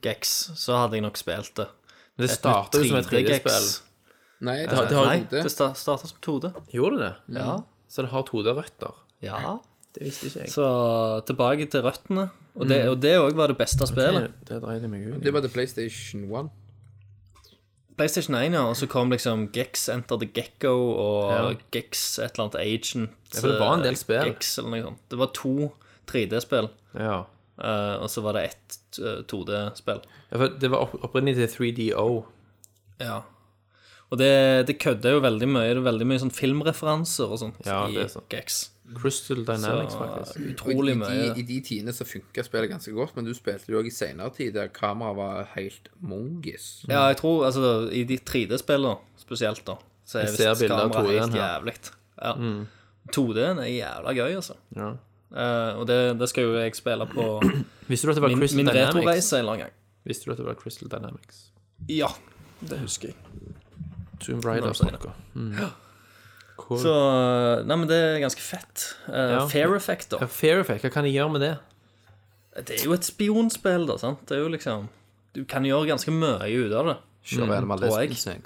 Gex, så hadde jeg nok spilt det.
Men det starter jo som et 3D-spill.
Nei,
Eh,
det,
har- det har-
Nei,
det.
det sta- starter som 2D.
Gjorde det det? Ja. Så det har 2D-røtter?
Ja.
Det visste ikke jeg.
Så tilbake til røttene. Og det
Mm.
òg var det beste
det,
spillet.
det dreide meg ut.
det var til PlayStation 1.
PlayStation 1, ja, og så kom liksom Gex Enter the Gecko og
Ja.
Gex et eller annet Agent.
for det var en del
eh,
spill.
Gex, eller noe sånt. Det var to 3D-spill,
Ja.
eh, og så var det ett eh, 2D-spill.
Ja, for det var opp- opprinnelig til 3DO.
Ja. Og det, det kødder jo veldig mye. Det er veldig mye sånn filmreferanser og sånt
Ja, det
i
er sant.
Gex.
Crystal Dynamics,
Så, eh,
faktisk.
Og i
Utrolig
de,
mye.
I de tidene så funka spillet ganske godt, men du spilte det jo òg i seinere tid, der kameraet var helt
Mm.
mongis.
Ja, jeg tror altså I de 3D-spillene spesielt, da, så er
Jeg ser
visst
bilder av
kameraet
2D-en
helt
her. Mm.
jævlig. Ja. 2D-en er jævla gøy, altså.
Ja.
Eh, og det, det skal jo jeg spille på
Visste du at det var
min,
Crystal
min
Dynamics?
retroreise en eller annen gang.
Visste du at det var Crystal Dynamics?
Ja, det husker jeg.
Tomb
Nå
Raider
sier jeg
snakker. Mm. Cool.
Så eh, Nei, men det er ganske fett. Eh,
Ja.
Fair Effect, da.
Ja, Fair Effect, hva kan jeg gjøre med det?
Det er jo et spionspill, da. sant? Det er jo liksom Du kan gjøre ganske mye ut av det.
Sure, mm,
og jeg.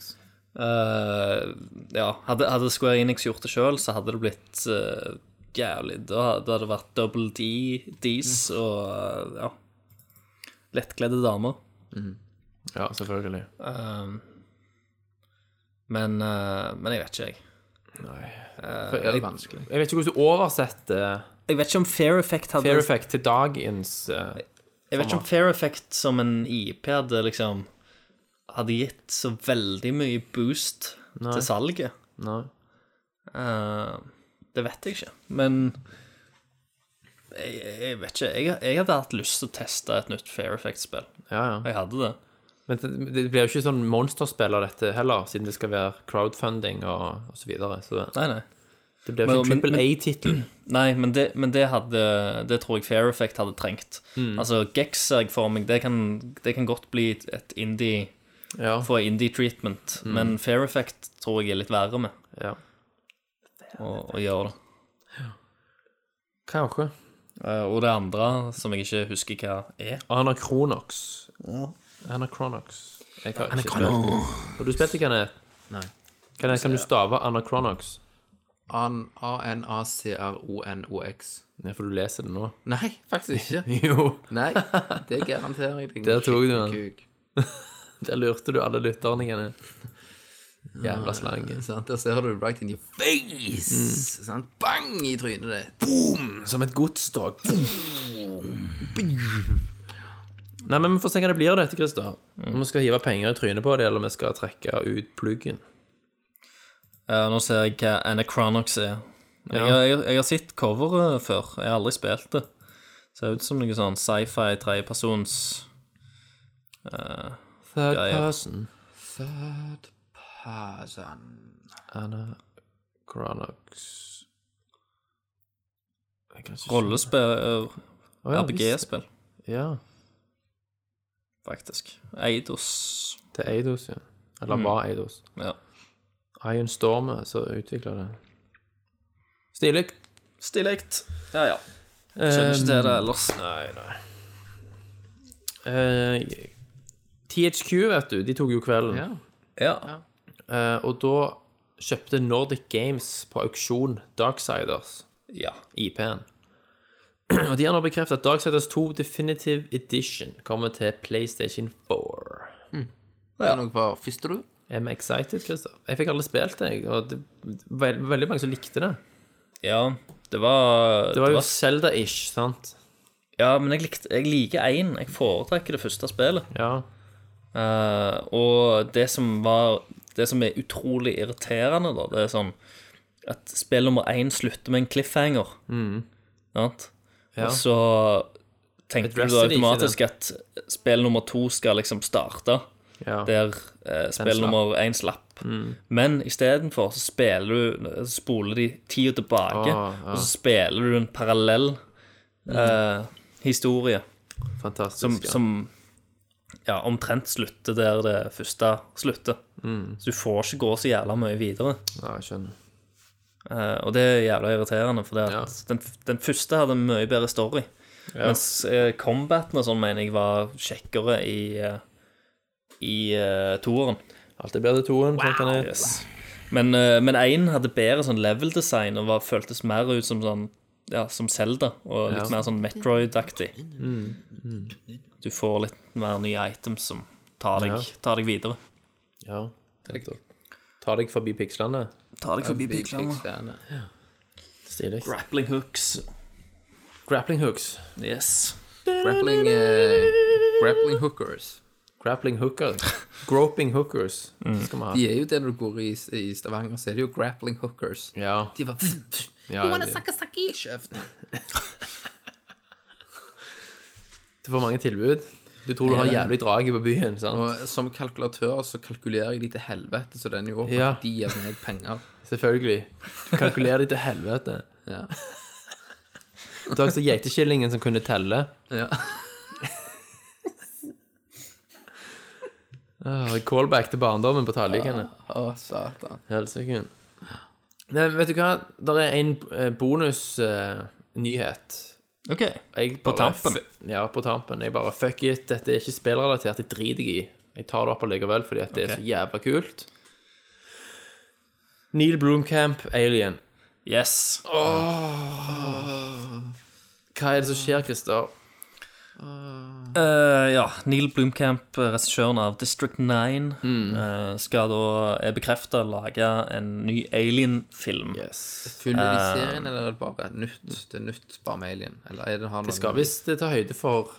Eh, ja, hadde, hadde Square Enix gjort det sjøl, så hadde det blitt eh, jævlig Da da hadde det vært double D, Ds og eh, ja Lettkledde damer.
Ja, selvfølgelig.
Um, men, eh, men jeg vet ikke, jeg.
For er det vanskelig? Jeg vet ikke hvordan du oversetter
Jeg vet ikke om Fair Effect hadde
Fair Effect til dagens eh,
Jeg vet ikke om Fair Effect som en IP hadde liksom Hadde gitt så veldig mye boost til salget.
Nei.
Eh, det vet jeg ikke. Men jeg, jeg vet ikke. Jeg, jeg hadde hatt lyst til å teste et nytt Fair Effect-spill.
Ja, ja.
Jeg hadde det.
Men det, det blir jo ikke sånn monsterspill av dette heller, siden det skal være crowdfunding og, og så videre. Så det,
Nei, nei.
det blir jo ikke
Men- men-
trippel A-tittel.
Nei, men det, men det hadde Det tror jeg Fair Effect hadde trengt. Altså, Gex ser jeg for meg. Det kan, det kan godt bli et- et indie
Ja.
Få indie treatment. Men Fair Effect tror jeg er litt verre med
ja.
å, å gjøre det.
Kanskje.
Eh, Og det andre, som jeg ikke husker hva er
Anachronox. Anachronox. Jeg har ikke spilt det. Har du spilt det, Kenneth?
Nei.
Kenneth, kan du stave Anachronox?
A-n-a-c-r-o-n-o-x.
Nei, for du leser det nå.
Nei, faktisk ikke.
Jo.
Nei, det garanterer jeg deg.
Der tok du den.
Kuk.
Der lurte du alle lytterne, Kenneth. Jævla slange.
Sant? Der ser du right in your face. Sant? Bang i trynet ditt.
Som et godstog. Nei, men vi får se hva det blir av dette, Christer. Om vi skal hive penger i trynet på det, eller om vi skal trekke ut pluggen.
Eh, nå ser jeg hva Anachronox er. Jeg, jeg, jeg har sett coveret før. Jeg har aldri spilt det. Ser ut som noe sånn sci-fi tredjepersons
Third
Ja, ja.
person.
Third
Altså,
person.
Anna Cronox Jeg kan ikke-
rollespill,
Å, ja, visst.
RPG-spill,
Ja.
faktisk. Eidos.
Til Eidos, ja. Eller var Eidos.
Ja.
Ion Storm er som utvikler det. Stilig. Ehm,
Stilig. Ja, ja. Skjønner ikke til det ellers.
Nei, nei. Eh, THQ, vet du, de tok jo kvelden.
Ja.
Eh, og da kjøpte Nordic Games på auksjon Darksiders.
ja.
IP-en. Og de har nå bekreftet at Darksiders 2 Definitive Edition kommer til PlayStation 4.
Er det noe på første, du?
Er vi excited, Christer? Jeg fikk aldri spilt det, jeg, og det var veldig mange som likte det.
Ja, det var,
Det var jo Zelda-ish, sant?
Ja, men jeg, likte, jeg liker én. Jeg foretrekker det første spillet.
Ja.
Eh, og det som var Det som er utrolig irriterende, da, det er sånn at spill nummer én slutter med en cliffhanger.
Mm.
Sant? Og så tenker du da
Adresser de ikke
automatisk at spill nummer to skal liksom starte
ja.
der eh, spill
slapp. Mm.
nummer én slapp. Men istedenfor så spiller du så spoler de tida tilbake,
Åh, ja. Mm.
og så spiller du en parallell eh, historie
Fantastisk.
som,
ja.
som ja, omtrent slutter der det første slutter.
Mm.
Så du får ikke gå så jævla mye videre.
ja, jeg skjønner.
Eh, og det er jævla irriterende, for det at
Ja.
den, den første hadde en mye bedre story. Mens eh, combaten og sånn mener jeg var kjekkere i, eh, i eh, toeren.
Alt er bedre til toen, tenker han er.
Yes. Men, eh, men én hadde bedre sånn level design og var, føltes mer ut som sånn ja, som Zelda, og litt
Ja.
mer sånn Metroid-aktig. Mm, Du får litt mer nye items som tar deg, tar deg videre.
Ja. nettopp. Ta deg forbi pikslene.
Tar deg forbi piklene.
Kickstarter.
Stilig.
Grappling hooks.
Grappling hooks.
Yes.
Grappling, eh, grappling hookers.
Grappling hookers. Groping hookers. Det skal vi ha.
De er jo det når du går i, i Stavanger, så er det jo grappling hookers.
Ja.
De var
ja det-
i kjeften.
Du får mange tilbud. Du tror du har jævlig draget på byen, sant?
Og som kalkulatør så kalkulerer jeg de til helvete, så den er jo opp
Ja.
at de gir meg penger.
Selvfølgelig. Du kalkulerer deg til helvete.
Ja.
Du har også geitekillingen som kunne telle.
Ja.
Ah, callback til barndommen på tallikene.
Å, satan.
Helsike. Nei, vet du hva? Der er en eh, bonusnyhet.
OK. På tampen.
Ja, på tampen. Jeg bare fuck it, dette er ikke spillrelatert, jeg driter jeg i. Jeg tar det opp allikevel fordi at det er
Ok.
så jævla kult. Neil Broomcamp, Alien.
Yes.
Hva er det som skjer, Christer?
Eh, ja, Neil Blomkamp, eh, regissøren av District 9, eh, skal da, er bekrefta, lage en ny Alien-film.
Yes.
Følger de
Eh.
serien, eller er det bare nytt? Det er nytt bare med Alien? Eller er det har noen...
Skal visst ta høyde for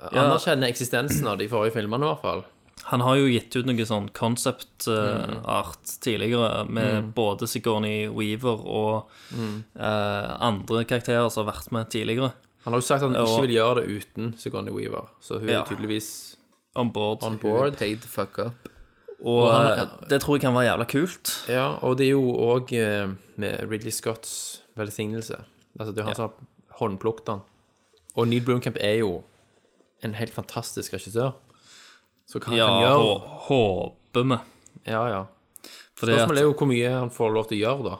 eh,
Ja.
Anerkjenne eksistensen av de forrige filmene, i hvert fall.
Han har jo gitt ut noe sånn concept eh,
Mm.
art tidligere, med både Sigourney Weaver og
Mm.
eh, andre karakterer som har vært med tidligere
Han har jo sagt at han
Og-
ikke vil gjøre det uten Sigourney Weaver, så hun
Ja.
er tydeligvis
on board.
on
Board.
board.
Paid the fuck up.
Og eh, det tror jeg kan være jævla kult.
Ja, og det er jo òg med Ridley Scotts velsignelse. Altså, det er jo han som har håndplukket han. Og Neil Blomkamp er jo en helt fantastisk regissør. Så hva han
Ja,
kan gjøre
hå- håper vi.
Ja, ja.
Fordi at
Spørsmålet er jo hvor mye han får lov til å gjøre, da.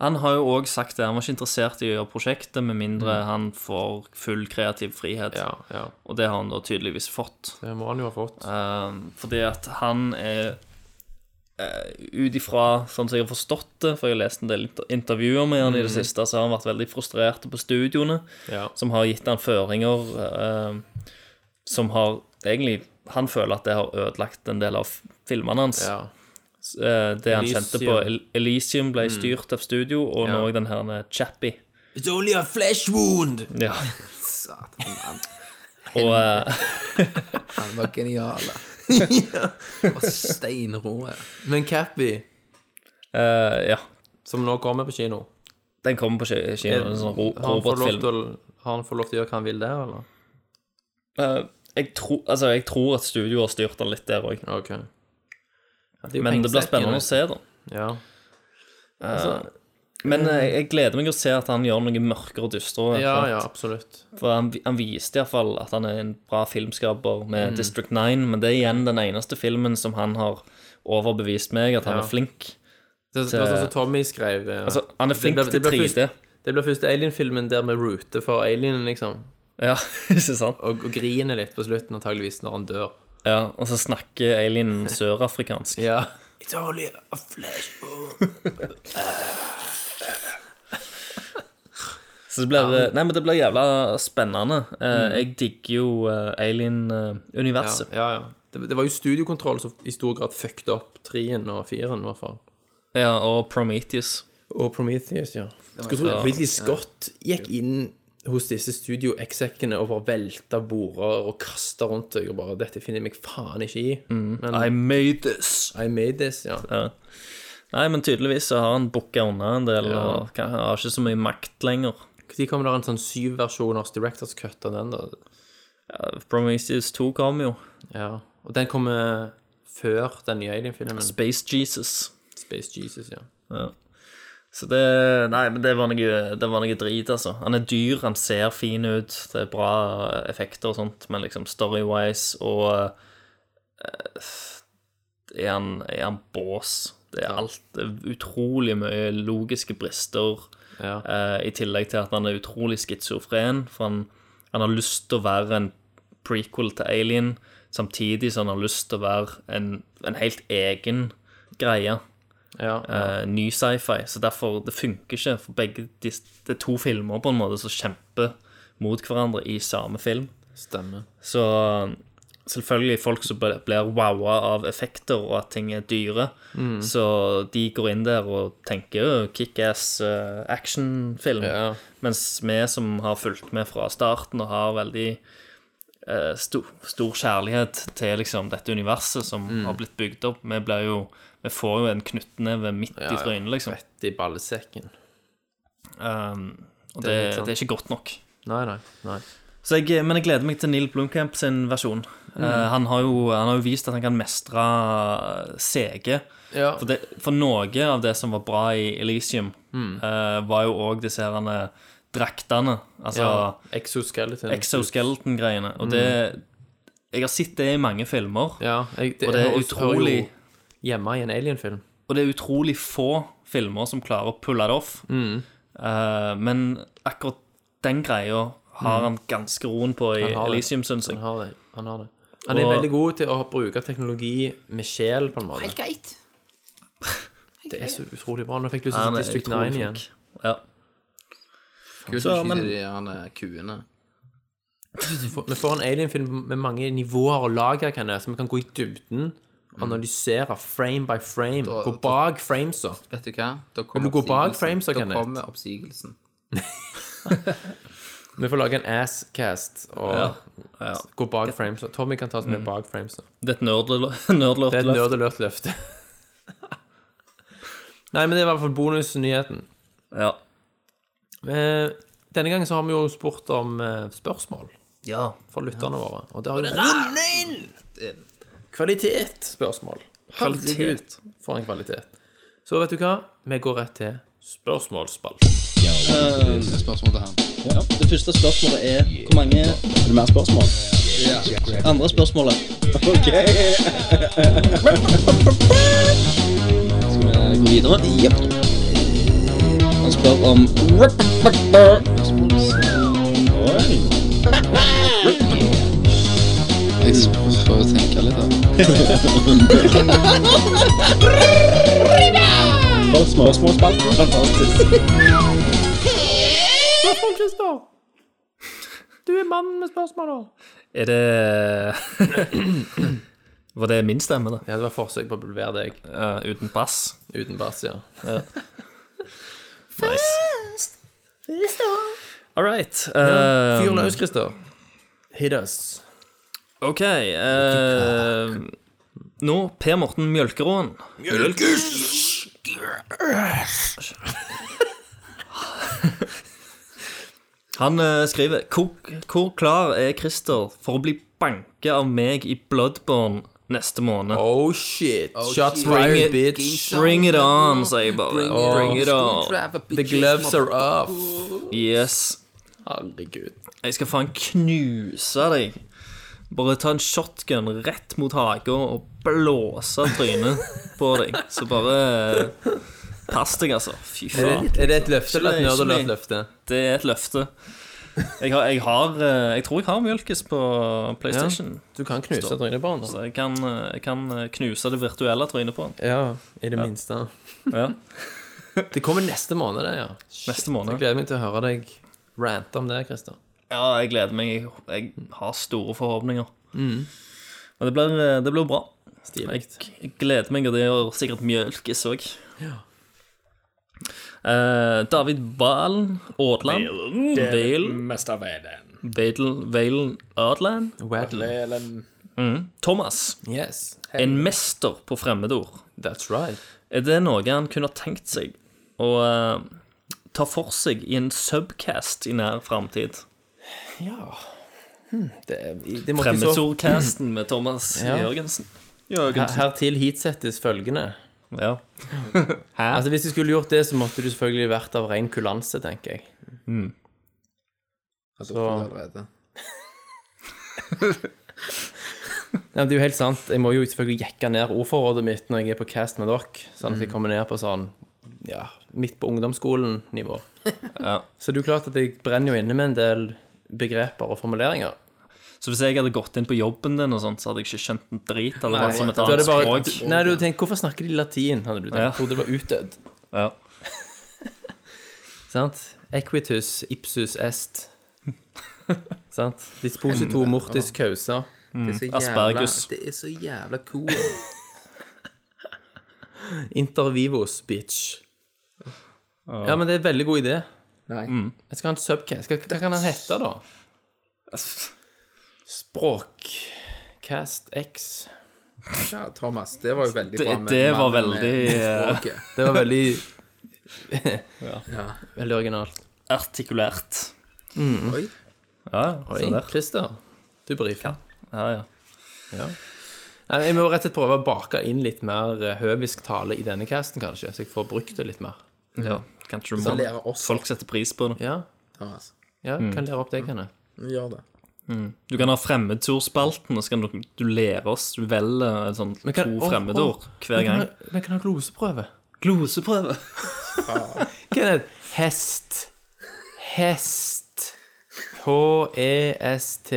han har jo òg sagt det, han var ikke interessert i å gjøre prosjektet med mindre han får full kreativ frihet.
Mm. Ja, ja.
Og det har han da tydeligvis fått.
Det må han jo ha fått.
Um, fordi at han er eh, Ut ifra sånn som jeg har forstått det, for jeg har lest en del inter- intervjuer med han i
Mm.
det siste, så har han vært veldig frustrert på studioene,
Ja.
som har gitt han føringer eh, som har egentlig Han føler at det har ødelagt en del av filmene hans.
ja.
S- eh, det
Elysium.
han
Mm.
kjente på El- Elysium ble styrt av studio, og nå
Ja.
den her med Chappie.
It's only a flesh wound!
Ja.
Satan, mann.
Og eh,
Han var genial. Han var steinrå.
Men Cappy,
eh, ja.
som nå kommer på kino,
Den kommer på ki- kino, en sånn ro-
Eh, har han fått lov
robotfilm.
til å- har han fått lov til å gjøre hva han vil der, eller?
Eh, jeg, tror- altså, jeg tror at studio har styrt den litt der òg.
Ok.
Men det blir spennende å se, da.
Ja.
Men eh, jeg gleder meg å se at han gjør noe mørkere og dystere.
ja,
for at-
ja, absolutt.
For han, han viste iallfall at han er en bra filmskaper med
Mm.
District 9, men det er igjen den eneste filmen som han har overbevist meg at han
Ja.
er flink.
Det, det var sånn som Tommy skrev. eh,
Altså, han er flink
ble- det ble
til 3D.
først- Det blir første Alien-filmen der vi rooter for alienen, liksom.
Ja, ikke sant?
Og, og griner litt på slutten, antageligvis når han dør.
Ja, og så snakker alienen sørafrikansk.
Ja.
Så det blir, nei, men det blir jævla spennende. Eh,
Mm.
Jeg digger jo eh,
Ja,
alien-universet.
ja, ja. Det, det var jo studiokontroll som i stor grad fucket opp trien og firen, i hvert fall.
Ja. og Prometheus.
Og Prometheus, ja. Skulle tro
klart.
Ridley Scott gikk inn hos disse studio execene og bare velta border og kasta rundt seg og bare 'Dette finner jeg meg faen ikke i'. Men
I made this.
I made this, Mm. ja.
Ja. Nei, men tydeligvis så har han booka unna en del,
Ja.
og kan- har ikke så mye makt lenger.
Når kommer det en sånn syv versjon av Directors Cut av den, da?
Eh, Prometheus 2 kom jo.
Ja. Og den kommer før den nye Alien-filmen.
Space Jesus.
Space Jesus, ja.
Så det Nei, men det var noe, det var noe drit, altså. Han er dyr, han ser fin ut, det er bra eh, effekter og sånt, men liksom story-wise og eh, er, han, er han bås. Det er alt det er utrolig mye logiske brister,
Ja.
eh, i tillegg til at han er utrolig schizofren, for han, han har lyst til å være en prequel til Alien, samtidig som han har lyst til å være en, en helt egen greie
ja.
eh, ny sci-fi, så derfor det funker ikke. For begge de, det er to filmer på en måte som kjemper mot hverandre i samme film.
Stemmer.
Så selvfølgelig folk som ble- blir wowa av effekter og at ting er dyre,
Mm.
så de går inn der og tenker «Å, kickass eh, actionfilm,
Ja.
mens vi som har fulgt med fra starten og har veldig eh, stor, stor kjærlighet til liksom dette universet som
Mm.
har blitt bygd opp, vi blir jo vi får jo en knyttneve midt i trynet, liksom.
Rett i ballesekken.
Um, og det,
Det er helt
det,
sant.
er ikke godt nok.
Nei, nei. nei.
Så jeg, eh, men jeg gleder meg til Neil Blomkamp sin versjon.
Mm.
Eh, han, har jo, han har jo vist at han kan mestre CG.
Ja.
For, det, for noe av det som var bra i Elisium,
Mm.
eh, var jo òg disse her eh, draktene. Altså
Ja. Exoskeleton.
exoskeleton-greiene. Og det Jeg har sett det i mange filmer,
ja, jeg,
og det er
høres- hører jo
utrolig
Hjemme i en Alien-film.
Og det er utrolig få filmer som klarer å pulle det off.
Mm.
Eh, men akkurat den greia har han ganske roen på i
Mm. Han har det.
Elisium, syns jeg.
Han har det. Han, har det. han er
Og-
veldig god til å bruke teknologi med sjel, på en måte.
Helt greit.
Det er så utrolig bra. Nå fikk jeg lyst
Han
til
er
å se Altså, District
utrolig
9 igjen.
flink. Ja.
Kult
Så,
å skyte
men-
de der kuene.
Vi får en Alien-film med mange nivåer og lager, kan jeg, så vi kan gå i dybden. Analysere frame by frame.
Da-
Gå bak framesa.
Vet du hva? Da
Vil du
kommer
gå bak
oppsigelsen.
frame, så
Da
Kenneth?
kommer oppsigelsen.
Vi får lage en ass-cast og
Ja. Ja.
gå bak framesa. Tommy kan ta oss med bak framesa.
Det er et nerdløft. nerdløft.
Det er et nerdelørt løfte. Nei, men det er i hvert fall bonusnyheten.
Ja.
Eh, Denne gangen så har vi jo spurt om eh, spørsmål
ja.
for lytterne våre. Og det har jo rundet inn kvalitetsspørsmål. Kvalitet. For en kvalitet. Så vet du hva? Vi går rett til spørsmålsspalten.
Det første spørsmålet er Hvor mange Er det mer spørsmål? Andre spørsmålet. Ok. Skal vi gå videre? Jepp. Han spør om Oi. Jeg får tenke litt, da. Spørsmål. Spørsmålsspalten. Fantastisk.
Tom Christer, du er mannen med spørsmål, da.
Er det Var det min stemme, da?
Ja, det var forsøk på å bulvere deg
Eh, uten bass?
uten bass, ja.
All right. eh,
Eh,
eh, Fyr løs, Christer. Hit us.
OK. Eh, nå Per Morten Mjølkeråen. Han eh, skriver hvor, hvor klar er Christer for å bli banket av meg i Bloodborne neste måned?
Oh shit. Shots
shit.
fired,
Bring it.
bitch.
Bring it on, sier jeg bare.
Bring it
Bring
on.
it on.
Grab a
The
bitch,
gloves are
mother-
off.
Yes.
Herregud.
Jeg skal faen knuse deg. Bare ta en shotgun rett mot hagen og blåse trynet på deg. Så bare eh, pass deg, altså. Fy faen.
Er det et løfte eller et
Ikke
nerd
meg.
løfte?
Det er et løfte. Jeg, har, jeg, har, eh, jeg tror jeg har Mjølkes på PlayStation.
Du kan knuse
Forstår.
trynet på han. altså.
Så jeg kan, eh, jeg kan eh, knuse det virtuelle trynet på den
Ja, i det minste.
Ja.
Det kommer neste måned, det, ja.
neste måned.
Gleder meg til å høre deg rante om det, Christer.
Ja, jeg gleder meg. Jeg, jeg har store forhåpninger.
Mm.
Men det blir, eh, det blir bra.
Stilig.
Jeg, jeg gleder meg, og det gjør sikkert Mjølkes òg. Eh, David Valen Aadland. Valen.
Mest av verden.
Vadel- Valen Aadland.
Wadley.
Ellen.
Thomas.
Yes.
En mester på fremmedord.
That's right.
Er det noe han kunne ha tenkt seg å eh, ta for seg i en subcast i nær framtid?
Ja det, det må ikke så
Fremmedordcasten med Thomas
Ja.
Jørgensen.
Her- Hertil hitsettes følgende.
Ja.
Altså Hvis du skulle gjort det, så måtte du selvfølgelig vært av ren kulanse, tenker jeg.
Jeg tror det allerede.
Ja, men det er jo helt sant. Jeg må jo selvfølgelig jekke ned ordforrådet mitt når jeg er på cast med dere, sånn
Mm.
at jeg kommer ned på sånn ja, midt på ungdomsskolen-nivå. Så det er jo klart at jeg brenner jo inne med en del begreper og formuleringer.
Så hvis jeg hadde gått inn på jobben din, og sånt, så hadde jeg ikke skjønt en drit. Eller
Nei,
vært som et
da er
annet
det bare,
språk.
Nei, du tenker, hvorfor snakker de latin? Hadde du tenkt.
Ja.
Jeg trodde det var utdødd.
Ja.
Sant? Equitus ipsus est. sant? Disposito mortis causa.
Det er så jævla-
Aspergus.
Det er så jævla cool.
Intervivos bitch. Ja, men det er en veldig god idé.
Nei.
Mm.
Jeg skal ha en subcast. Hva, hva kan han hete, da? Språkcast X.
Ja, Thomas, det var jo veldig
Det,
bra. med
det
mannen
var
med
veldig eh,
språket.
Det var veldig Veldig originalt.
artikulært.
Oi.
Ja,
Mm. Oi,
se der.
Christer. Du brifer.
Ja, ja.
Nei, Jeg må rett og slett prøve å bake inn litt mer eh, høvisk tale i denne casten, kanskje, så jeg får brukt det litt mer.
ja. Kan ikke du
Så
må-
lærer oss
Folk setter pris på det.
Ja,
Thomas.
ja kan lære opp deg, kan jeg.
Gjør det.
Du kan ha fremmedordspalten, og så kan du, du lære oss Du velger en sånn
Men kan-
to
å,
fremmedord
å,
hver
vi kan
gang.
ha- Vi kan ha gloseprøve.
Gloseprøve.
Kenneth. Hest. Hest. H-e-s-t.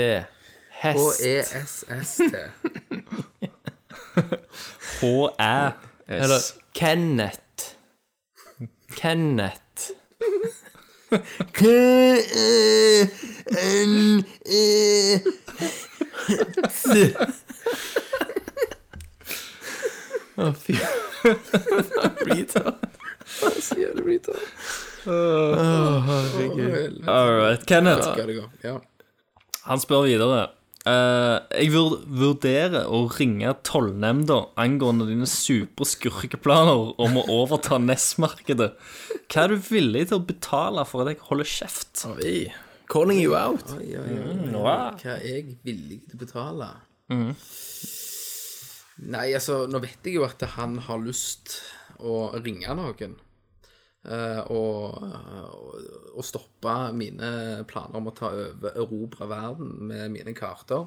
Hest.
H-E-S-S-T.
Eller
H-æ-s.
Kenneth. Kenneth. Å, fy Retard.
All right. Kenneth.
Skal det gå? Ja.
Han spør videre. eh, jeg vur vurderer å ringe tollnemnda angående dine superskurkeplaner om å overta Ness-markedet. Hva er du villig til å betale for at jeg holder kjeft?
Oi. Calling you out.
Oi, oi, oi. Hva er jeg villig til å betale? Nei, altså, nå vet jeg jo at han har lyst å ringe noen. eh, og, og, og stoppe mine planer om å ta over erobre verden med mine karter.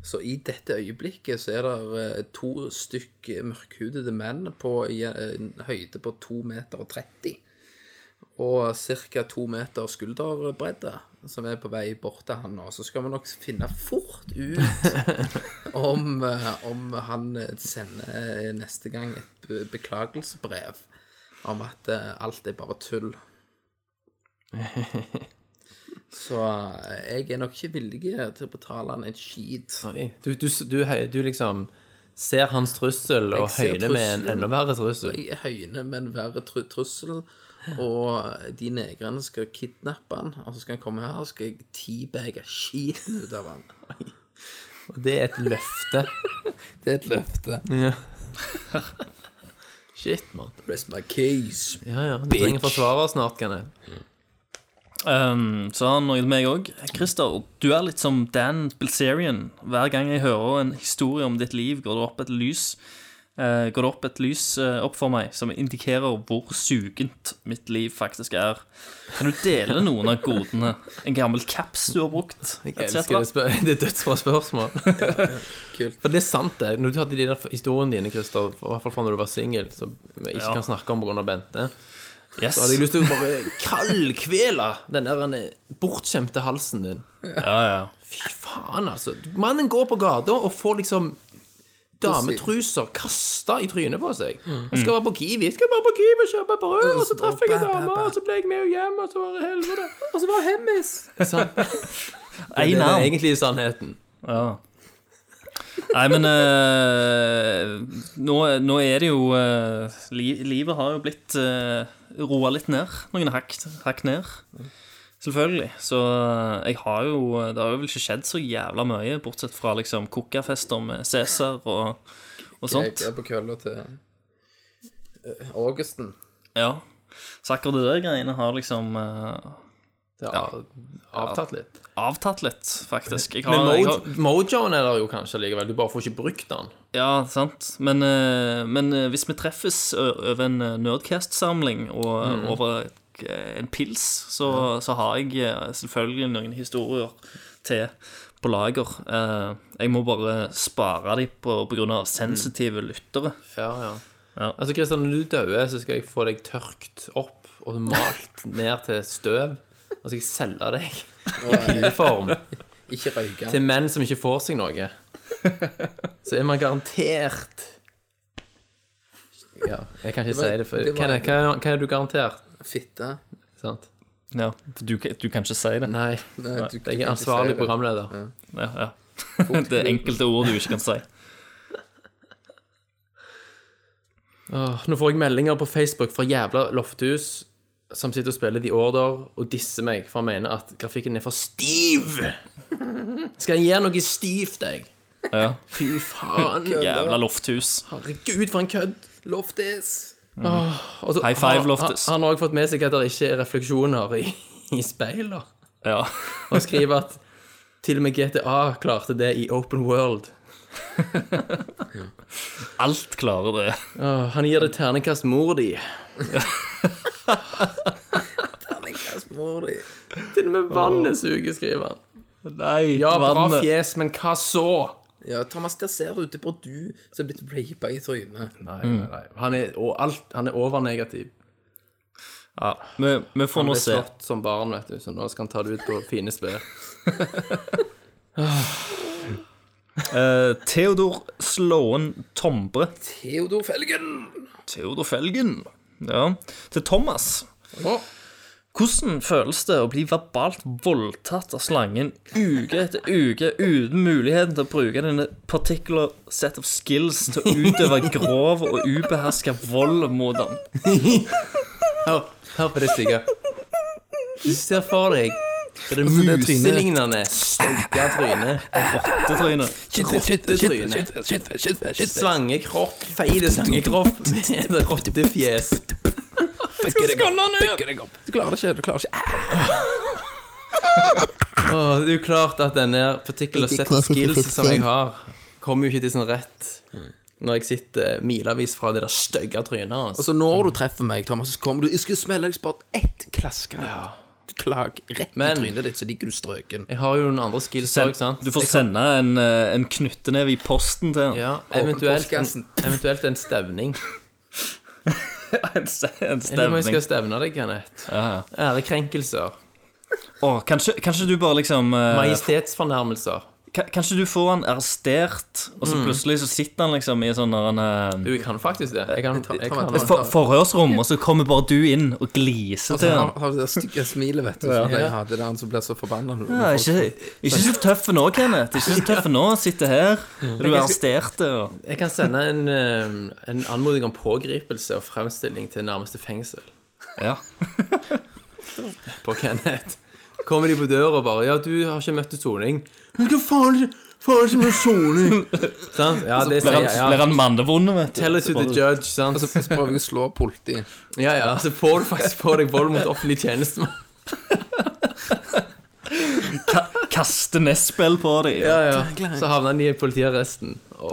Så i dette øyeblikket så er det eh, to stykk mørkhudede menn på i eh, en høyde på 2,30 meter og ca. to meter skulderbredde, som er på vei bort til han nå. Så skal vi nok finne fort ut om, eh, om han sender eh, neste gang et be- beklagelsesbrev om at eh, alt er bare tull. Så eh, jeg er nok ikke villig til å betale han en skit.
Oi. Du, du, du, hei, du liksom ser hans trussel og
ser
høyner med en
trusselen.
enda verre trussel.
Jeg høyner med en verre tru trussel, og de negrene skal kidnappe han, og så skal han komme her, og så skal jeg teabage skiten ut av han.
Og det er et løfte.
Det er et løfte.
Shit, mann.
Rest my case.
Ja, ja. Du trenger forsvarer snart, kan jeg.
Um, så har han noe til meg òg. Christer, du er litt som Dan Bilzerian. Hver gang jeg hører en historie om ditt liv, går det opp et lys eh, Går det opp et lys eh, opp for meg som indikerer hvor sugent mitt liv faktisk er. Kan du dele noen av godene? En gammel caps du har brukt?
Jeg elsker det, spør det er dødsbra spørsmål. For det er sant, det. Når du hadde de der historiene dine, Christer, i hvert fall fra når du var singel, som vi ikke
Ja.
kan snakke om pga. Bente,
Yes.
så hadde jeg lyst til å bare kaldkvele den der eh, bortskjemte halsen din.
Ja, ja.
Fy faen, altså. Mannen går på gata og får liksom dametruser kasta i trynet på seg. Jeg skal være på Kiwi, jeg skal bare på Kiwi og kjøpe brød, og så traff jeg en dame, og så ble jeg med henne hjem, og så var det helvete. Og så var det hemmis. Sånn. Det
En
er
arm.
den egentlige sannheten.
Ja. Nei, men eh, nå, nå er det jo eh, li, Livet har jo blitt uh, roa litt ned. Noen hakk, hakk ned. Selvfølgelig. Så eh, jeg har jo Det har jo vel ikke skjedd så jævla mye, bortsett fra liksom kokkefester med Cæsar og, og sånt.
Jeg er på kølla til eh, Augusten.
Ja. Så akkurat det der greiene har liksom eh,
Det har avtatt litt.
avtatt litt, faktisk. Jeg har,
Men
jeg
Mo
har,
mojoen er der jo kanskje likevel. Du bare får ikke brukt den.
Ja, sant. Men, eh, men eh, hvis vi treffes ø- over en eh, Nerdcast-samling og eh, over eh, en pils, så, så har jeg eh, selvfølgelig noen historier til på lager. Eh, Jeg må bare spare dem pga. sensitive lyttere.
Ja, ja. Altså, Kristian, når du dør, så skal jeg få deg tørkt opp og malt ned til støv. Og så skal jeg selge deg i pilleform.
Ikke røyke.
til menn som ikke får seg noe, så er man garantert Ja, jeg kan ikke si det, for
det var-
Hva er- hva er- hva er du garantert?
Fitte.
Sant?
Ja, du, kan- du kan ikke si det.
Nei.
Nei, du-
Jeg
du
er
kan ikke si
ansvarlig
det.
programleder.
Ja, ja. Det er enkelte ord du ikke kan si.
Åh, nå får jeg meldinger på Facebook fra jævla Lofthus som sitter og spiller The Order og disser meg for å mene at grafikken er for stiv! Skal jeg gjøre noe stivt, jeg?
Ja.
Fy faen.
Jævla lofthus.
Herregud, for en kødd!
Loftis.
Og så
Mm. High five,
har-
Loftus.
har- Han har også fått med seg at det ikke er refleksjoner i, i speiler.
Ja.
Og skriver at til og med GTA klarte det i Open World.
Alt klarer det.
Åh, Ah, han gir det terningkast mor di.
Mor di.
Til og med vannet suger, skriver han.
Nei,
Ja, bra fjes, men hva så?
Ja, Thomas, hva ser du til på du som er blitt rapa i trynet?
Nei, nei, nei. Han er, og alt, han er overnegativ.
Ja, vi, vi får
Han
nå
ble
se.
slått som barn, vet du, så nå skal han ta det ut på fine spill.
Eh, Theodor Slåen Tombre.
Theodor Felgen!
Theodor Felgen. Ja. Til Thomas. Hvordan føles det å bli verbalt voldtatt av slangen uke etter uke uten muligheten til å bruke denne particular set of skills til å utøve grov og ubeherska vold mot ham?
Hør, hør på det, Stigga. Du ser for deg det
trynet.
muselignende stygge trynet.
Rottetryne.
Rottetryne. Slangekropp. Feite slangekropp med et rottefjes.
Du klarer det ikke. du klarer det ikke.
Åh, det er jo klart at denne particular set of skills som jeg har, kommer jo ikke til sin rett når jeg sitter milevis fra det der stygge trynet hans.
Og så når du treffer meg, Thomas, så kommer du Jeg skulle smelle deg spart ett klaske. Du Klag rett
Men-
i trynet ditt, så ligger du strøken.
Jeg har jo noen andre skills òg, sant?
Du får sende en, eh, en knyttneve i posten til ham.
Ja, eventuelt en,
postkassen.
eventuelt en stevning.
En, se- en
Eller om jeg
stemning.
skal stevne deg, Kenneth. Ærekrenkelser.
Åh, kanskje, kanskje du bare liksom eh,
Majestetsfornærmelser.
Ka- Kanskje du får han arrestert, og
Mm.
så plutselig så sitter han liksom i sånn når han eh,
Du, jeg kan faktisk det. Jeg kan ta, jeg kan,
et for, forhørsrom, og så kommer bare du inn og gliser
Altså,
til
han
han.
har det der stygge smilet, vet du. Som jeg hadde der han som ble så forbanna.
Ja, ikke, ikke så tøff nå, Kenneth. Ikke så tøff nå. Sitter her. Du er arrestert. Og...
Jeg kan sende en, eh, en anmodning om pågripelse og fremstilling til nærmeste fengsel
Ja.
på Kenneth. Kommer de på døra og bare 'Ja, du har ikke møtt til soning'. Men hva faen faen er det som er soning? Sant? Ja, det
Blir
sier
han,
jeg.
blir
Ja.
han mannevond, vet
Tell
du.
it to the judge, sant?
Og så prøver jeg å slå politiet.
Ja, ja, så altså, får du faktisk på deg vold mot offentlig tjenestemann.
Ka kaste nettspill på dem.
Ja, ja. Så havner han i politiarresten. Å,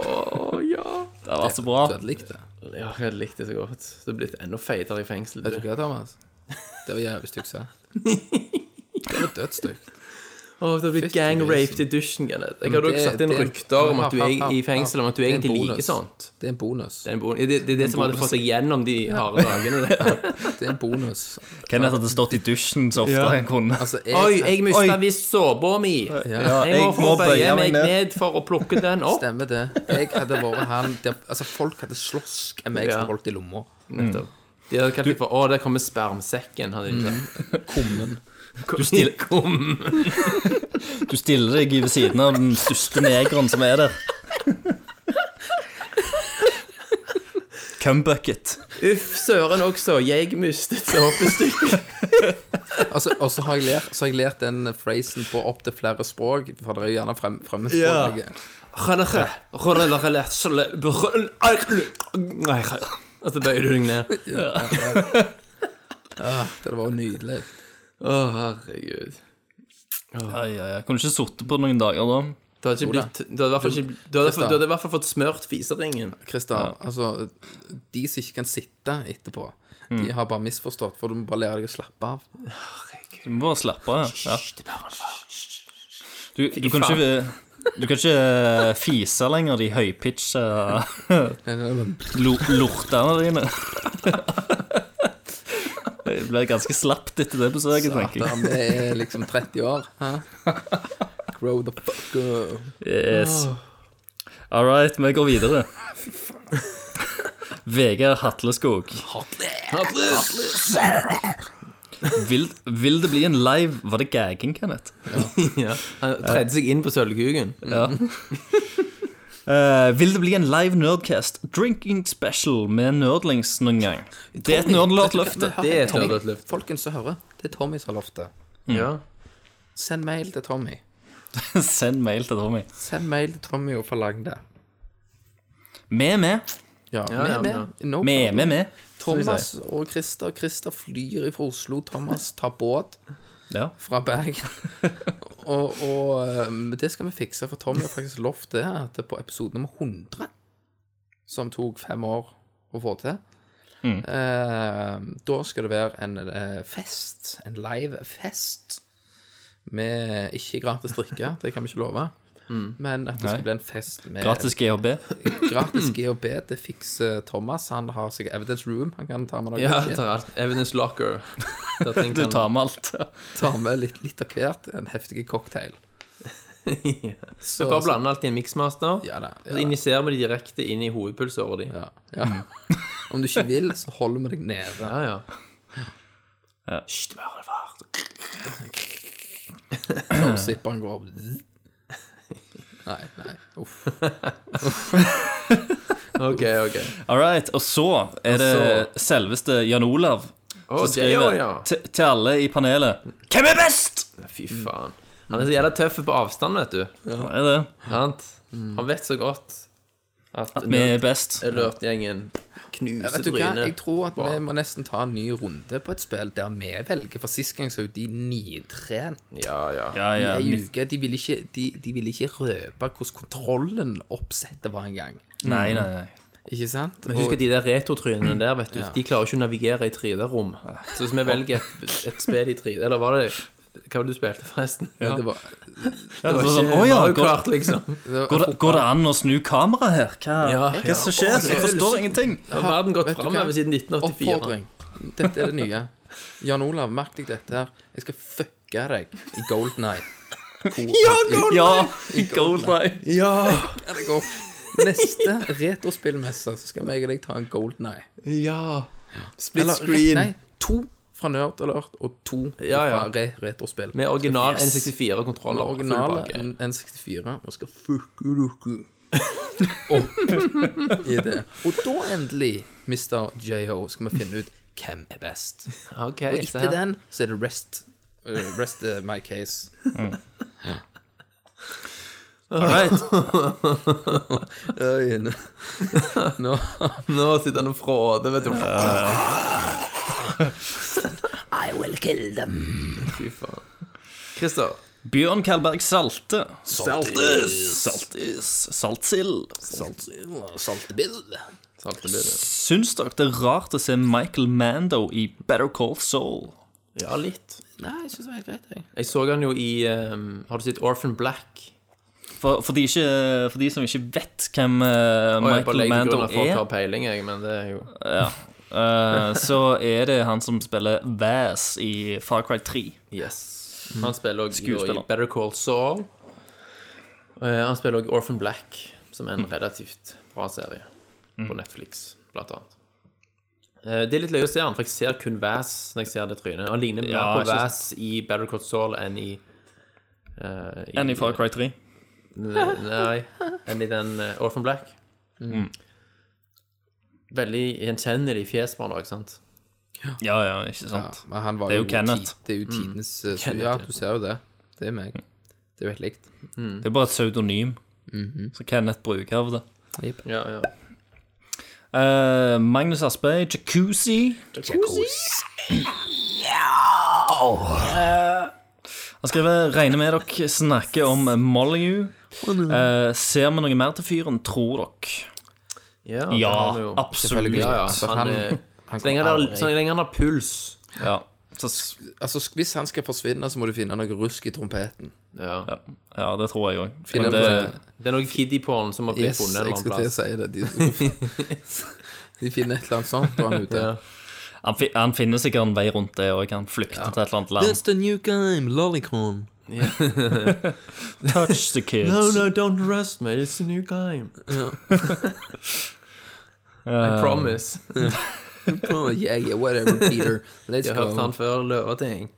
ja.
Det har vært så bra.
Dødelig, det.
Ja, jeg likte det så godt. Så det er blitt enda feitere i fengsel.
Vet du hva, Thomas? Det var jævlig stygt sagt. Det var dødsstygt.
Åh, det har blitt gang raped i dusjen, Kenneth. Jeg hadde
Men
også
det-
satt inn
det er-
rykter om at du er i fengsel, om at du
Det er en
egentlig liker
bonus.
sånt.
Det er en bonus.
Det er, en bon- det, det, er det som hadde fått seg gjennom de harde dagene. det.
Det er en bonus.
Kenneth hadde stått i dusjen så ofte han kunne.
Altså, jeg,
Oi, jeg mista visst såpa mi. Jeg må få bøye meg ned for å plukke den opp.
Stemmer det. Jeg hadde vært han der Altså, folk hadde slåss hvem jeg
Ja.
som holdt i lomma.
Nettopp. De hadde kalt meg for 'Å, der kommer spermsekken'. Hadde de sagt. Kummen.
stiller-
Kummen.
Du stiller deg ved siden av den største negeren som er der. Cumbucket.
Uff, søren også. Jeg mistet såpestykket.
Altså, og så har jeg lært, så har jeg lært den phrasen på opp til flere språk, for det er jo gjerne frem,
Ja.
fremmedspråklige.
Og så bøyer du deg ned.
Det var jo nydelig.
Å, herregud.
Ai, ai, ai. Kunne ikke sittet på noen dager da.
Du hadde, ikke blitt, du, hadde i hvert fall ikke, du, hadde, du hadde i hvert fall fått smørt fiseringen.
Kristian, altså, de som ikke kan sitte etterpå, de
Mm.
har bare misforstått, for du må bare lære deg å slappe av.
Du må bare slappe av. Ja. Du, du, kan ikke, du kan ikke eh, fise lenger de høypitcha lo- lortene dine. Det blir ganske slapt etter det besøket, tenker jeg.
Satan, vi er liksom 30 år. Hæ? Grow the fuck up.
Yes.
Ah.
All right, vi går videre. Vegard Hatleskog. Vil, vil det bli en live Var det gagging, Kenneth?
Ja. Mm. Han tredde seg inn på sølvkuken.
Ja. Eh, vil det bli en live Nerdcast drinking special med nerdlings noen gang? Det er et nerdlørt løfte.
Det er et
Tommy,
nerdlørt løfte.
Folkens som hører, det er Tommy som har lovt det.
Ja.
Send mail til Tommy.
Send mail til Tommy.
Send mail til Tommy og forlang det.
Vi er med.
Ja, vi
ja,
er
ja.
med. No
Vi
problem.
er med, vi.
Thomas og Christer. Christer flyr fra Oslo. Thomas tar båt
Ja.
fra Bergen. og, og um, det skal vi fikse, for Tommy har faktisk lovt det at det på episode nummer 100, som tok fem år å få til
Mm.
eh, Da skal det være en eh, fest. En live fest. Med ikke gratis drikke, det kan vi ikke love. Men at det
Mm. Nei.
skal bli en fest med
Gratis GHB.
Gratis GHB, det fikser Thomas. Han har sikkert Evidence Room. Han kan ta med noe.
ja
shit.
tar alt. Evidence Locker. Der ting
Du
kan-
tar med alt.
tar med litt, litt av hvert. En heftig cocktail.
Så bare blande alt i en mixmaster.
Ja da.
Så
Ja, da,
injiserer vi det direkte inn i hovedpulsåret ditt.
ja, ja. Om du ikke vil, så holder vi deg nede.
Ja, ja.
Og sipperen går opp. Nei, nei. Uff.
OK, OK.
All right. Og så er det selveste Jan Olav
Å,
som
det, ja,
skriver
ja.
til til alle i panelet Hvem er best?
Fy faen. Han er så jævla tøff på avstand, vet du.
Hva er det?
Sant? Han vet så godt at,
At vi er best.
Alert-gjengen
Ja,
knuser
Vet du hva, jeg
trynet.
tror at vi må nesten ta en ny runde på et spill der vi velger. For sist gang så er jo de nitrent
Ja, ja.
Ja,
i
ja.
ei uke. De ville ikke, de, de ville ikke røpe hvordan kontrollen oppsettet var engang.
Nei, nei, nei.
Ikke sant?
Men husk
Og-
at de der retrotrynene der, vet du, de klarer ikke å navigere i 3D-rom. Så hvis vi velger et, et spill i 3D Eller var det Hva var det du spilte, forresten?
Ja, det var,
Ja, det
Det
var
var
sånn,
ikke
«Å ja,
Mario
går,
Kart, liksom.
går, det, går det an å snu kameraet her? Hva,
Ja,
hva
ja.
som skjer? Jeg forstår ingenting.
Har verden gått
Vet du
framover
hva?
siden 1984?
Oppfordring. Dette er det nye. Jan Olav, merk deg dette her. Jeg skal fucke deg i Golden Eye.
Ja, Goldeneye.
Ja!
det går. Neste retrospillmesse så skal jeg og deg ta en Golden Eye.
Ja. Split
Eller,
screen.
Nei, to fra Nerd Alert og to
Ja, ja.
fra re retrospill.
Med original
Yes.
N64-kontroller.
Med originale N- N64 og skal fucke lukke opp i det. Og da endelig, Mr. JH, skal vi finne ut hvem er best.
Ok,
Og
se
etter
her.
den så er det rest. eh, Rest eh, my case. Øyene. Nå
Nå sitter han og fråder, vet du.
I will kill them. Fy faen.
Christer.
Bjørn Kalberg Salte. Saltis. Saltis. Saltsild.
Saltebill. Saltebill.
Syns dere det er rart å se Michael Mando i Better Call Soul?
Ja, litt.
Nei, jeg syns det var helt greit, jeg.
Jeg så han jo i ehm, Har du sett Orphan Black?
For, for, de, ikke, for de som ikke vet hvem eh,
Og jeg bare
Michael
legger til
Mando
grunn at folk
er,
har peiling, jeg, men det er jo
eh, så er det han som spiller Vaz i Far Cry 3.
Yes. Han spiller òg
Mm. Skuespiller.
i Better Call Saul. Eh, han spiller òg Orphan Black, som
Mm.
er en relativt bra serie på Netflix, blant annet. Eh, det er litt løye å se han, for jeg ser kun Vass når jeg ser det trynet. Han ligner mer
Ja,
på
ikke sant.
Vass i Better Call Saul enn i eh,
Enn i Far Cry 3.
Nei, enn i den eh, Orphan Black.
Mm.
Veldig gjenkjennelig fjes på han òg, sant?
Ja, ja, ikke sant.
Men han var
Det er jo
ti-
Kenneth. Mm.
det er jo tidenes eh, så-
Kenneth, ja.
Ja, du ser jo det. Det er meg. Det er jo helt likt.
Det er bare et pseudonym.
Mhm.
Så Kenneth bruker av det.
Ja, ja.
Eh, Magnus Aspøy, Jacuzzi. Eh, Han skriver 'Regner med dere snakker om Molyneux'. Eh, ser vi noe mer til fyren, tror dere?
Ja, det
Ja,
har vi jo.
absolutt.
Ja, ja.
Så
Han,
Altså, han-
eh,
han
så, lenge
kommer
han,
aldri-
har- så lenge han har puls.
Ja. Så, s-
Altså, sk- Hvis han skal forsvinne, så må du finne noe rusk i trompeten.
Ja.
ja. ja, det tror jeg òg.
Finne
Det,
noe-
Det er noe kiddie på han som har blitt
Yes,
funnet en
jeg
eller
skulle til å
annen plass.
si det. De, de finner et eller annet sånt, og han er ute.
han, fi- han finner sikkert en vei rundt det òg. Han flykter til et eller annet land.
the new game, Lollicon.
Touch the kids.
no, don't arrest me, it's a new game. I promise.
Oh, yeah, yeah, whatever, Peter. Let's
Jeg har hørt
go.
han før løve ting.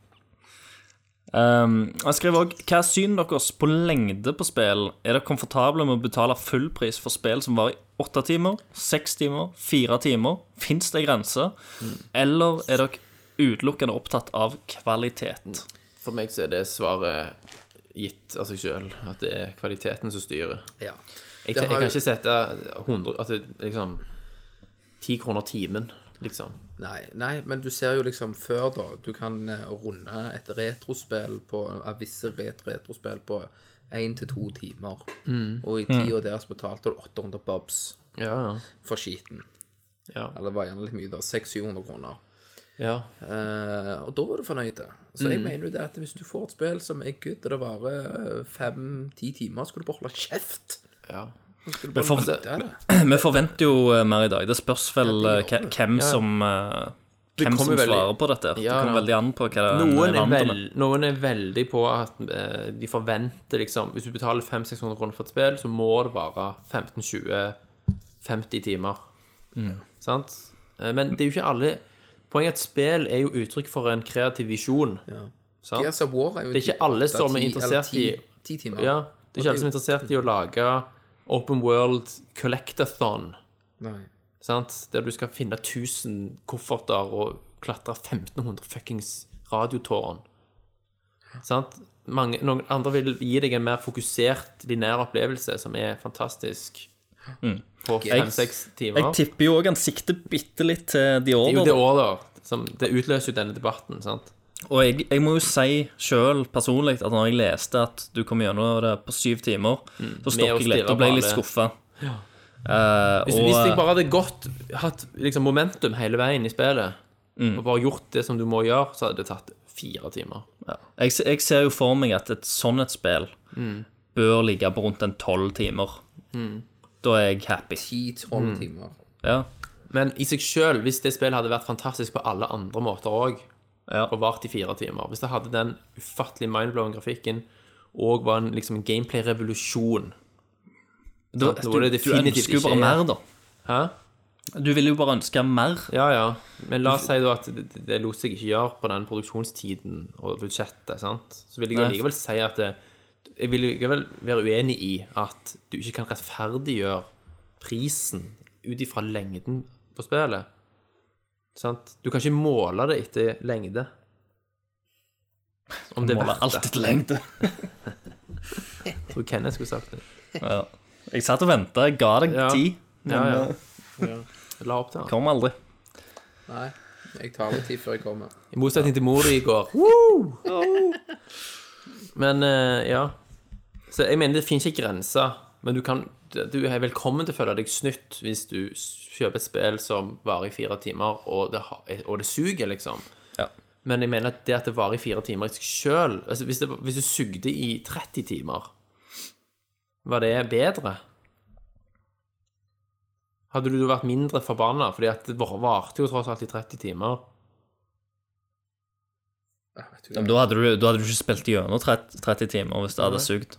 Um, han skriver òg Hva er synet deres på lengde på spill? Er dere komfortable med å betale full pris for spill som varer i åtte timer, seks timer, fire timer? Fins det grenser? Eller er dere utelukkende opptatt av
Mm.
kvalitet?
For meg så er det svaret gitt av seg sjøl, at det er kvaliteten som styrer.
Ja.
Jeg, jeg
Det har
kan
jo-
ikke sette 100 At det liksom 10 kroner timen, liksom.
Nei, nei, men du ser jo liksom før, da. Du kan eh, runde et retrospill på av visse ret retrospill på én til to timer.
Mm.
Og i tida deres betalte du 800 bobs
Ja, ja.
for skiten.
Ja.
Eller det var gjerne litt mye, da. 600-700 kroner.
ja.
Eh, og da var du fornøyd. Så
Mm.
jeg mener jo det at hvis du får et spill som er good, og det varer fem-ti timer, skal du bare holde kjeft.
ja.
Skal du
Men for-
bare nyte av det.
Vi forventer jo eh, mer i dag. Det spørs vel eh, hva- hvem som eh, hvem
kommer
som
veldig-
svarer på dette. Det
Ja,
kommer
ja.
veldig an på hva en
Noen er,
vant
vel,
med.
noen er veldig på at eh, de forventer liksom Hvis du betaler 500-600 kroner for et spill, så må det vare 15-20-50 timer. Mm. Sant? Eh, Men det er jo ikke alle Poenget er at spill er jo uttrykk for en kreativ visjon. Sant?
Gears of War er jo
Det er ikke alle som er interessert i
Ti timer.
Ja, det er ikke alle som er interessert i å lage Open World Collectathon.
Nei.
sant? Der du skal finne 1000 kofferter og klatre 1500 fuckings radiotårn. Sant? Mange, noen andre vil gi deg en mer fokusert, linær opplevelse, som er fantastisk. På fem-seks timer.
Mm. Jeg tipper jo òg han sikter bitte litt til The
Det er jo
Order.
det år, da. Som, det utløser jo denne debatten, sant?
Og jeg, jeg må jo si sjøl personlig at når jeg leste at du kom gjennom det på syv timer, så
Mm. Med å
stokk jeg litt
stirre
og ble
på
litt Eh,
alle.
skuffa.
Hvis, hvis jeg bare hadde gått, hatt liksom momentum hele veien i spillet,
Mm.
og bare gjort det som du må gjøre, så hadde det tatt fire timer.
jeg, se- jeg ser jo for meg at et sånn et spill
Mm.
bør ligge på rundt en tolv timer. Da er jeg happy.
Ti-tolv
Mm.
timer.
Ja.
Men i seg sjøl, hvis det spillet hadde vært fantastisk på alle andre måter òg,
Ja.
og vart i fire timer Hvis det hadde den ufattelig mindblowing grafikken og var en liksom, en gameplay-revolusjon.
Du,
Sant, nå er det
du, du
definitivt
ønsker jo bare
ikke-
mer, da.
Hæ?
Du vil jo bare ønske mer.
Ja, ja. Men la oss si da at det, det lot seg ikke gjøre på den produksjonstiden og budsjettet, sant? Så vil jeg jo
Nei.
likevel si at det, jeg vil likevel være uenig i at du ikke kan rettferdiggjøre prisen ut ifra lengden på spillet. Sant? Du kan ikke måle det etter lengde. Om det er
Måler
verdt
alt
det.
etter lengde.
Jeg tror Kenneth skulle sagt det.
Ja. Jeg satt og venta. Jeg ga deg
Ja.
ti.
Ja, ja. La opp til han.
Kom aldri.
Nei, jeg tar litt tid før jeg kommer.
I motsetning til mor i går. Men eh, ja. Så jeg mener det finnes ikke grenser. Men du, kan, du er velkommen til å føle deg snytt hvis du s- kjøper et spill som varer i fire timer, og det, ha- eh, og det suger, liksom.
Ja.
Men jeg mener at det at det varer i fire timer i seg sjøl altså hvis, det- hvis du sugde i 30 timer, var det bedre? Hadde du vært mindre forbanna, fordi at det var- varte jo tross alt i 30 timer?
Men da hadde du, da hadde du ikke spilt gjennom 30, 30 timer hvis det hadde sugd.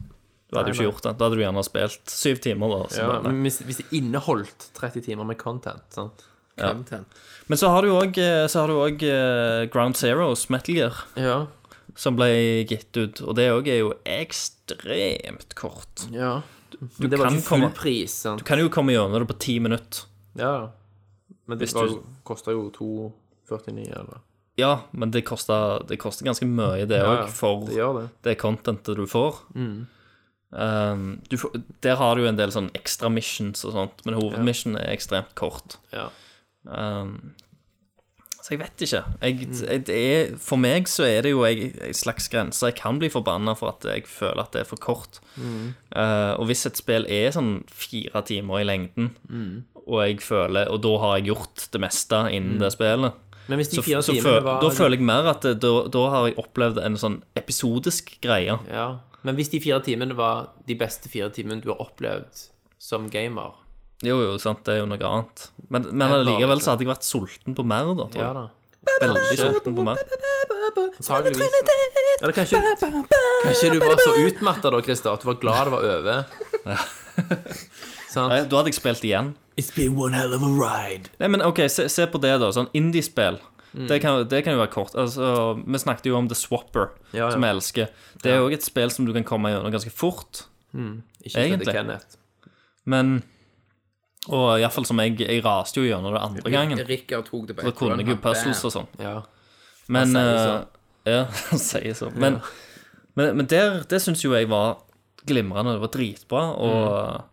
Du hadde jo ikke gjort det. Da hadde du gjerne spilt syv timer, da. så
Ja,
bare-
men hvis, hvis det inneholdt 30 timer med content, sant?
Content.
Men så har du òg så har du også, eh, Ground Zeroes Metal Gear,
Ja.
som ble gitt ut. Og det òg er jo ekstremt kort.
ja.
Du
Det var
kan
ikke full
komme-
pris, sant?
Du kan jo komme gjennom det på ti minutter.
Ja, ja. Men det
Hvis
var
du-
jo- koster jo 2,49 eller
Ja, men det koster, det koster ganske mye, det
Ja,
òg,
ja.
for
Det gjør det.
det contentet du får.
Mm.
Um, du får. Der har du jo en del sånn ekstra missions og sånt, men hovedmission er ekstremt kort.
Ja.
Um, så jeg vet ikke. Jeg,
Mm.
jeg, det er, for meg så er det jo ei ei slags grense. Jeg kan bli forbanna for at jeg føler at det er for kort.
Mm.
Uh, og hvis et spill er sånn fire timer i lengden,
Mm.
og jeg føler Og da har jeg gjort det meste innen det spillet.
Men Mm. hvis de
Så,
fire
så
timene
føl,
var
da føler jeg mer at det, da, da har jeg opplevd en sånn episodisk greie.
Ja. Men hvis de fire timene var de beste fire timene du har opplevd som gamer
Jo, jo, sant, det er jo noe annet. Men, men
Jeg klarer
allikevel
ikke.
så hadde jeg vært sulten på mer, da. Tror
Ja
jeg.
da.
Veldig sulten på mer.
Antageligvis. Eller kanskje, kanskje du var så utmatta da, Christer, at du var glad det var over.
Nei,
Sant?
Da hadde jeg spilt igjen.
It's been one hell of a ride.
Nei, men ok, se, se på det, da. Sånn indiespill.
Mm.
Det, kan, det kan jo være kort. Altså, vi snakket jo om The Swapper,
Ja, ja.
som jeg elsker. Det er jo også et spill som du kan komme gjennom ganske fort.
Ikke Egentlig.
Egentlig.
Kenneth.
Men Og iallfall som jeg Jeg raste jo gjennom det andre gangen.
Rikard tok det på
Da kunne jeg jo puzzles og sånn.
Ja. Han
Men
sier sånn.
eh, Ja, han sier så. Men, men, men der, det syns jo jeg var glimrende. Det var dritbra. Og,
Mm.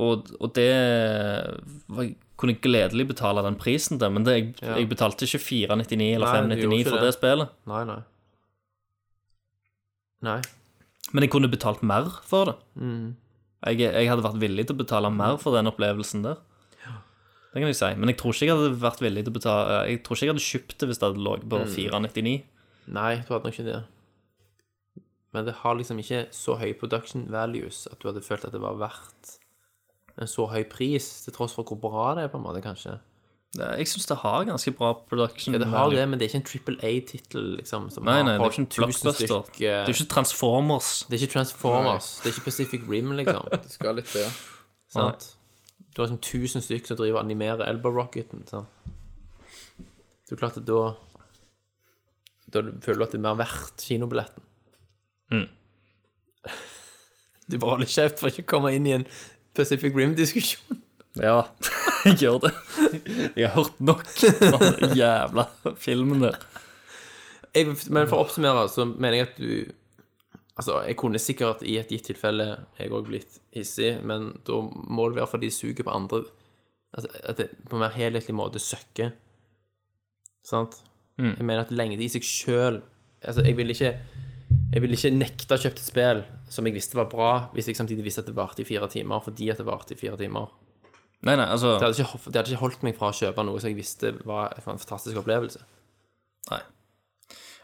og, og det var, kunne jeg gledelig betale den prisen til, men det, jeg, jeg betalte ikke 499 eller
Nei, du gjorde
599
ikke
for
det.
det spillet.
Nei, nei. Nei.
Men jeg kunne betalt mer for det.
Mm.
Jeg, jeg hadde vært villig til å betale mer for den opplevelsen der. Det kan jeg si. Men jeg tror ikke jeg hadde vært villig til å betale eh, Jeg tror ikke jeg hadde kjøpt det hvis det hadde ligget på
Mm.
499.
Nei, du hadde nok ikke det. Men det har liksom ikke så høy production values at du hadde følt at det var verdt en så høy pris, til tross for hvor bra det er, på en måte, kanskje.
Jeg syns det har ganske bra production.
Ja, det har
value.
det, men det er ikke en Triple A-tittel, liksom. Som
Nei,
har
nei, det er
holdt
ikke en
1000
blockbuster.
stykk,
Det
eh,
er ikke Transformers.
det er ikke Transformers, det er ikke Pacific Rim, liksom.
Det skal litt til.
sant? Du har liksom 1000 stykk som driver og animerer Elbow Rocketen, sant? Det er klart at da Da føler du at det er mer verdt kinobilletten.
Mm.
Du bare holder kjeft for ikke å komme inn i en Pacific Rim-diskusjon.
Ja, jeg gjør det. Jeg har hørt nok om den jævla filmen der.
Jeg- Men for å oppsummere, så mener jeg at du Altså, jeg kunne sikkert i et gitt tilfelle jeg òg blitt hissig, men da må det være fordi suget på andre altså, At det på en mer helhetlig måte søkker. Sant? Jeg mener at lengde i seg sjøl Altså, jeg vil ikke jeg ville ikke nekta kjøpt et spill som jeg visste var bra, hvis jeg samtidig visste at det varte i fire timer, fordi at det varte i fire timer.
Nei, nei, altså
Det hadde ikke, det hadde ikke holdt meg fra å kjøpe noe som jeg visste var en fantastisk opplevelse.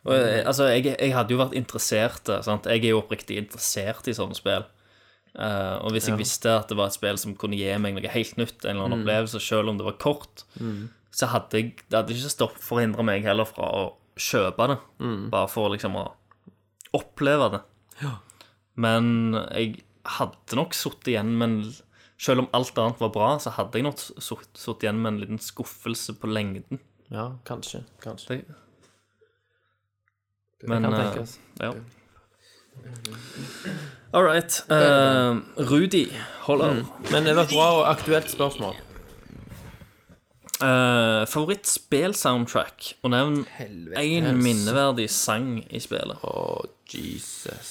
Og, eh, altså, jeg, jeg hadde jo vært interessert eh, sant? Jeg er jo oppriktig interessert i sånne spill. Eh, og hvis jeg visste at det var et spill som kunne gi meg noe helt nytt, en eller annen opplevelse, selv om det var kort, så hadde jeg, det hadde ikke stoppet for å hindre meg heller fra å kjøpe det. Bare for liksom å oppleve det. Men jeg hadde nok sittet igjen med en Selv om alt annet var bra, så hadde jeg nok sittet igjen med en liten skuffelse på lengden.
Ja, kanskje. Kanskje.
Det, men
kan
eh,
tenkes.
ja. All right. eh, Rudi Holler.
Men det var et bra og aktuelt spørsmål.
Uh, Favorittspill-soundtrack, og nevn én minneverdig sang i spillet.
Å, Jesus.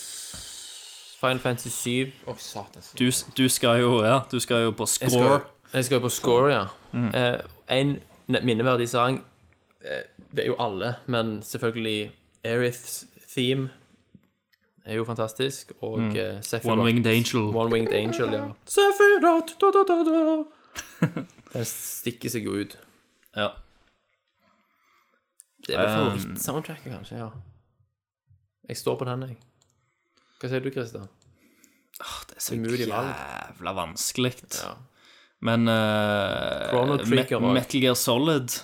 Final Fantasy 7.
Å, satan.
Du, du skal jo ja, du skal jo på
Jeg skal,
score.
jeg skal jo på score, ja. Eh, en ne- minneverdig sang eh, Det er jo alle, men selvfølgelig Aeriths theme er jo fantastisk. Og eh, Sephiroth.
Mm. One Winged Angel.
One Winged Angel, ja. Sephiroth, da, da, da, da. Den stikker seg jo ut.
Ja.
Det er vel
Um,
favorittsoundtracket, kanskje. ja Jeg står på den, jeg. Hva sier du, Christer?
Det er så
Umulig valg.
jævla vanskelig.
Ja.
Men eh,
Chrono Trigger
Me-
også.
Metal Gear Solid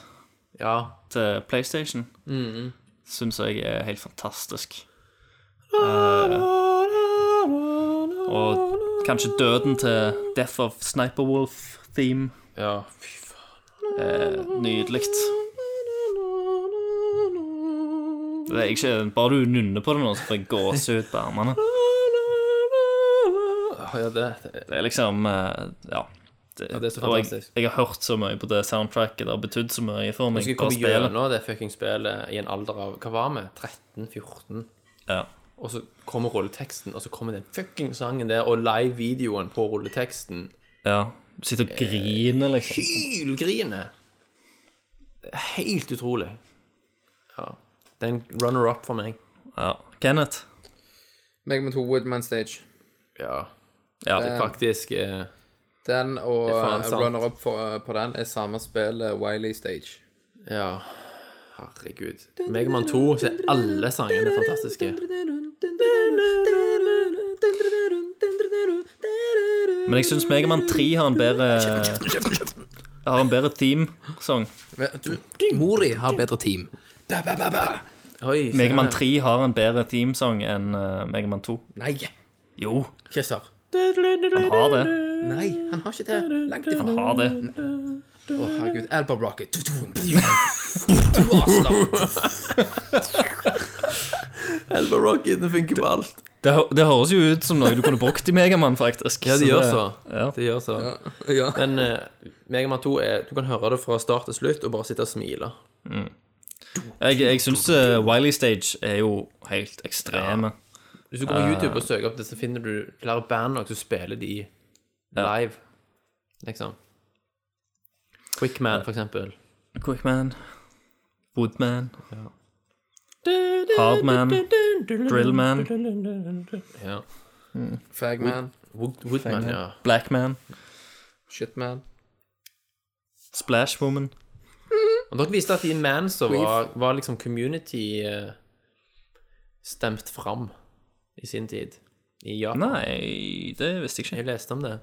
Ja.
til PlayStation mm.
Mm-hmm.
syns jeg er helt fantastisk. Eh, og kanskje døden til Death of Sniper Wolf-theme.
ja. Fy faen.
Nydelig. Det er ikke Bare du nynner på det nå, så får jeg gåsehud på armene.
Åh, Ja, det, det
Det er liksom eh, Ja.
Ja, det er så
og jeg,
fantastisk.
jeg har hørt så mye på det soundtracket. Det har betydd så mye for meg.
Jeg skal
Bare
komme
spillet.
gjennom det fuckings spillet i en alder av Hva var vi? 13-14?
Ja.
Og så kommer rulleteksten, og så kommer den fuckings sangen der, og live-videoen på rulleteksten.
ja. Sitter
Eh,
og griner, liksom.
Hylgriner! Det er Helt utrolig. Ja. Det er en runner-up for meg.
Ja. Kenneth.
Megaman 2 Woodman Stage.
Ja.
Ja.
Det er faktisk eh,
Den og
Det er faen
eh,
sant.
runner-up for- eh, på den er samme spill, eh, Wiley Stage.
Ja. Herregud. Megaman 2, så er alle sangene fantastiske.
Men jeg syns Megaman 3 har en bedre Har en bedre theme-sang.
Mor di har bedre team.
Oi, se
Megaman
her.
3 har en bedre theme-sang enn uh, Megaman 2.
Nei!
Jo,
Christer.
han har det.
Nei, han har ikke det. Langt ifra.
Han har det.
Å, herregud. Elba Rocket.
Elva Rocket, det funker på alt.
Det, hø- det høres jo ut som noe du kunne brukt i Megaman, faktisk.
Ja, det gjør så.
Ja.
Det gjør så.
ja.
Men uh, Megaman 2 er, du kan høre det fra start til slutt og bare sitte og smile.
Jeg, jeg syns Wiley Stage er jo helt ekstreme.
Hvis du går på YouTube og søker opp det, så finner du flere band også, så spiller de live. Liksom. Quickman, for eksempel.
Quickman, Woodman, Hardman, Drillman,
Ja.
Fagman.
Wood, Woodman, ja.
Blackman,
Shitman.
Splashwoman.
Og dere viste at de Mansa var, var liksom community eh, stemt fram i sin tid. I Japan.
Nei, det visste jeg ikke.
Jeg leste om det.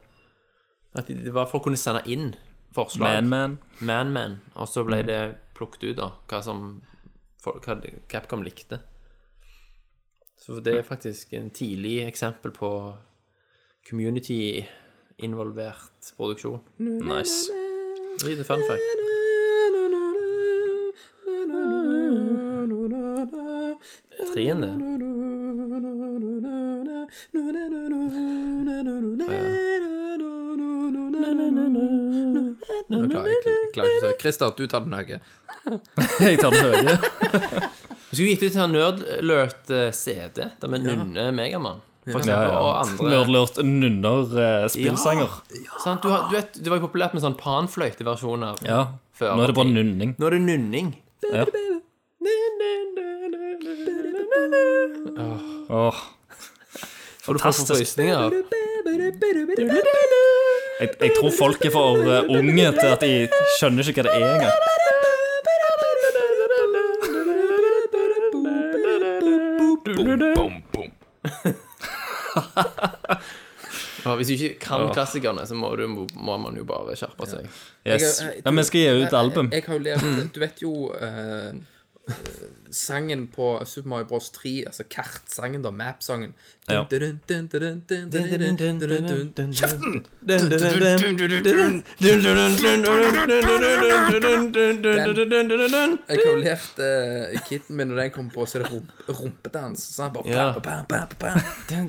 At de- det var for å kunne sende inn forslag.
Man-Man.
Man-Man. Og så
Mm.
ble det plukket ut, da, hva som folk, hva Capcom likte. Så det er faktisk en tidlig eksempel på community-involvert produksjon.
Nice.
Lite fun fact. Treende.
Nå klarer jeg, jeg klarer ikke å si Christer, du tar den høye.
Jeg tar den høye.
Vi skulle gitt ut her Nerdlert eh, CD, der vi nynner Megamann. For
Ja,
eksempel, og
ja.
andre.
Nerdlurt eh, nunner-spillsanger.
Sant? Du, har- du vet, det var jo populært med sånn panfløyteversjoner
Ja.
før.
Nå er det bare nunning.
Nå er det nynning.
Ja. Åh.
Og du får
Fantastisk.
forfrysninger.
Jeg, jeg tror folk er for eh, unge til at de skjønner ikke hva det er engang.
Ja, hvis du ikke kan klassikerne, så må, du, må man jo bare skjerpe seg.
Yes. Ja, Vi skal gi ut album.
Jeg, jeg har jo lært Du vet jo eh, sangen på Super Mario Bros. 3, altså kartsangen, da, map-sangen
Ja.
Kjeften! Jeg har jo lært eh, kiden min når den kom på, så er det rump rumpedans. Så han bare
Ja.
bam, bam, bam, bam,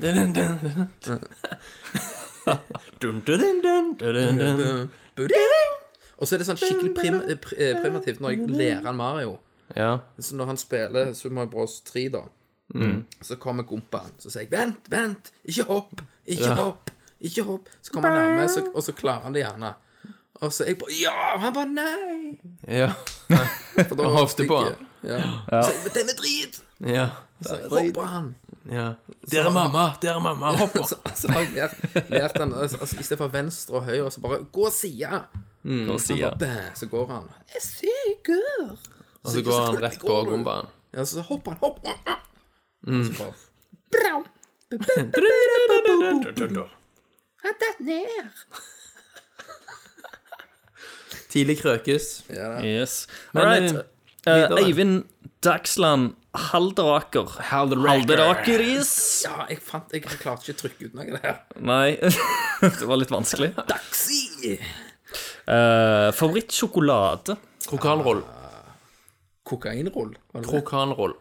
bam. Og så er det sånn skikkelig prim eh, pri- eh, primitivt når jeg lærer han Mario.
Ja.
Så når han spiller Super Mario Bros. 3, da, så kommer kompaen. Så sier jeg 'vent, vent, ikke hopp, ikke hopp', ikke hopp. Så kommer han nærme, så, og så klarer han det gjerne. Og så jeg bare 'ja', og han bare 'nei'.
Ja.
For da
Og hoppte på
stikker- Ja. Så jeg bare 'den er drit',
ja.
så hopper han.
ja. Der er mamma! Der er mamma! Hopp opp!
Så, så har jeg lært, lært han altså, altså, I stedet for venstre og høyre, så bare 'gå sida'.
Nå sier
Ja.
jeg.
Så går han. Jeg er sikker.
Og så går han rett på gombaen.
Ja, så hopper han. Hopp. Mm. Så bare,
Tidlig krøkes.
Yes.
Men,
Alright.
eh,
Eh,
videre.
Eivind Dagsland Halderaker. Halderakeris.
Ja, jeg fant Jeg klarte ikke å trykke ut noe av det her.
Nei, det var litt vanskelig.
Si!
Eh, Favorittsjokolade?
Krokanrull.
Kokainrull. var det det?
Krokanrull.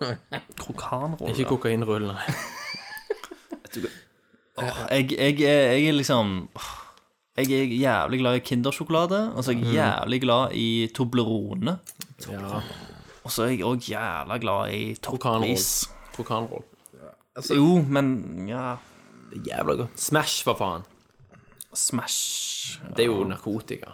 Krokanrolle.
Ikke kokainrull, nei.
jeg, jeg, er- jeg er liksom Jeg er jævlig glad i Kindersjokolade. Og så er jeg jævlig glad i Toblerone. Og så er jeg òg jævla glad i Toppis.
Krokanrull. Altså-
Jo, men ja
Jævla godt. Smash, for faen.
Smash
Det er jo narkotika.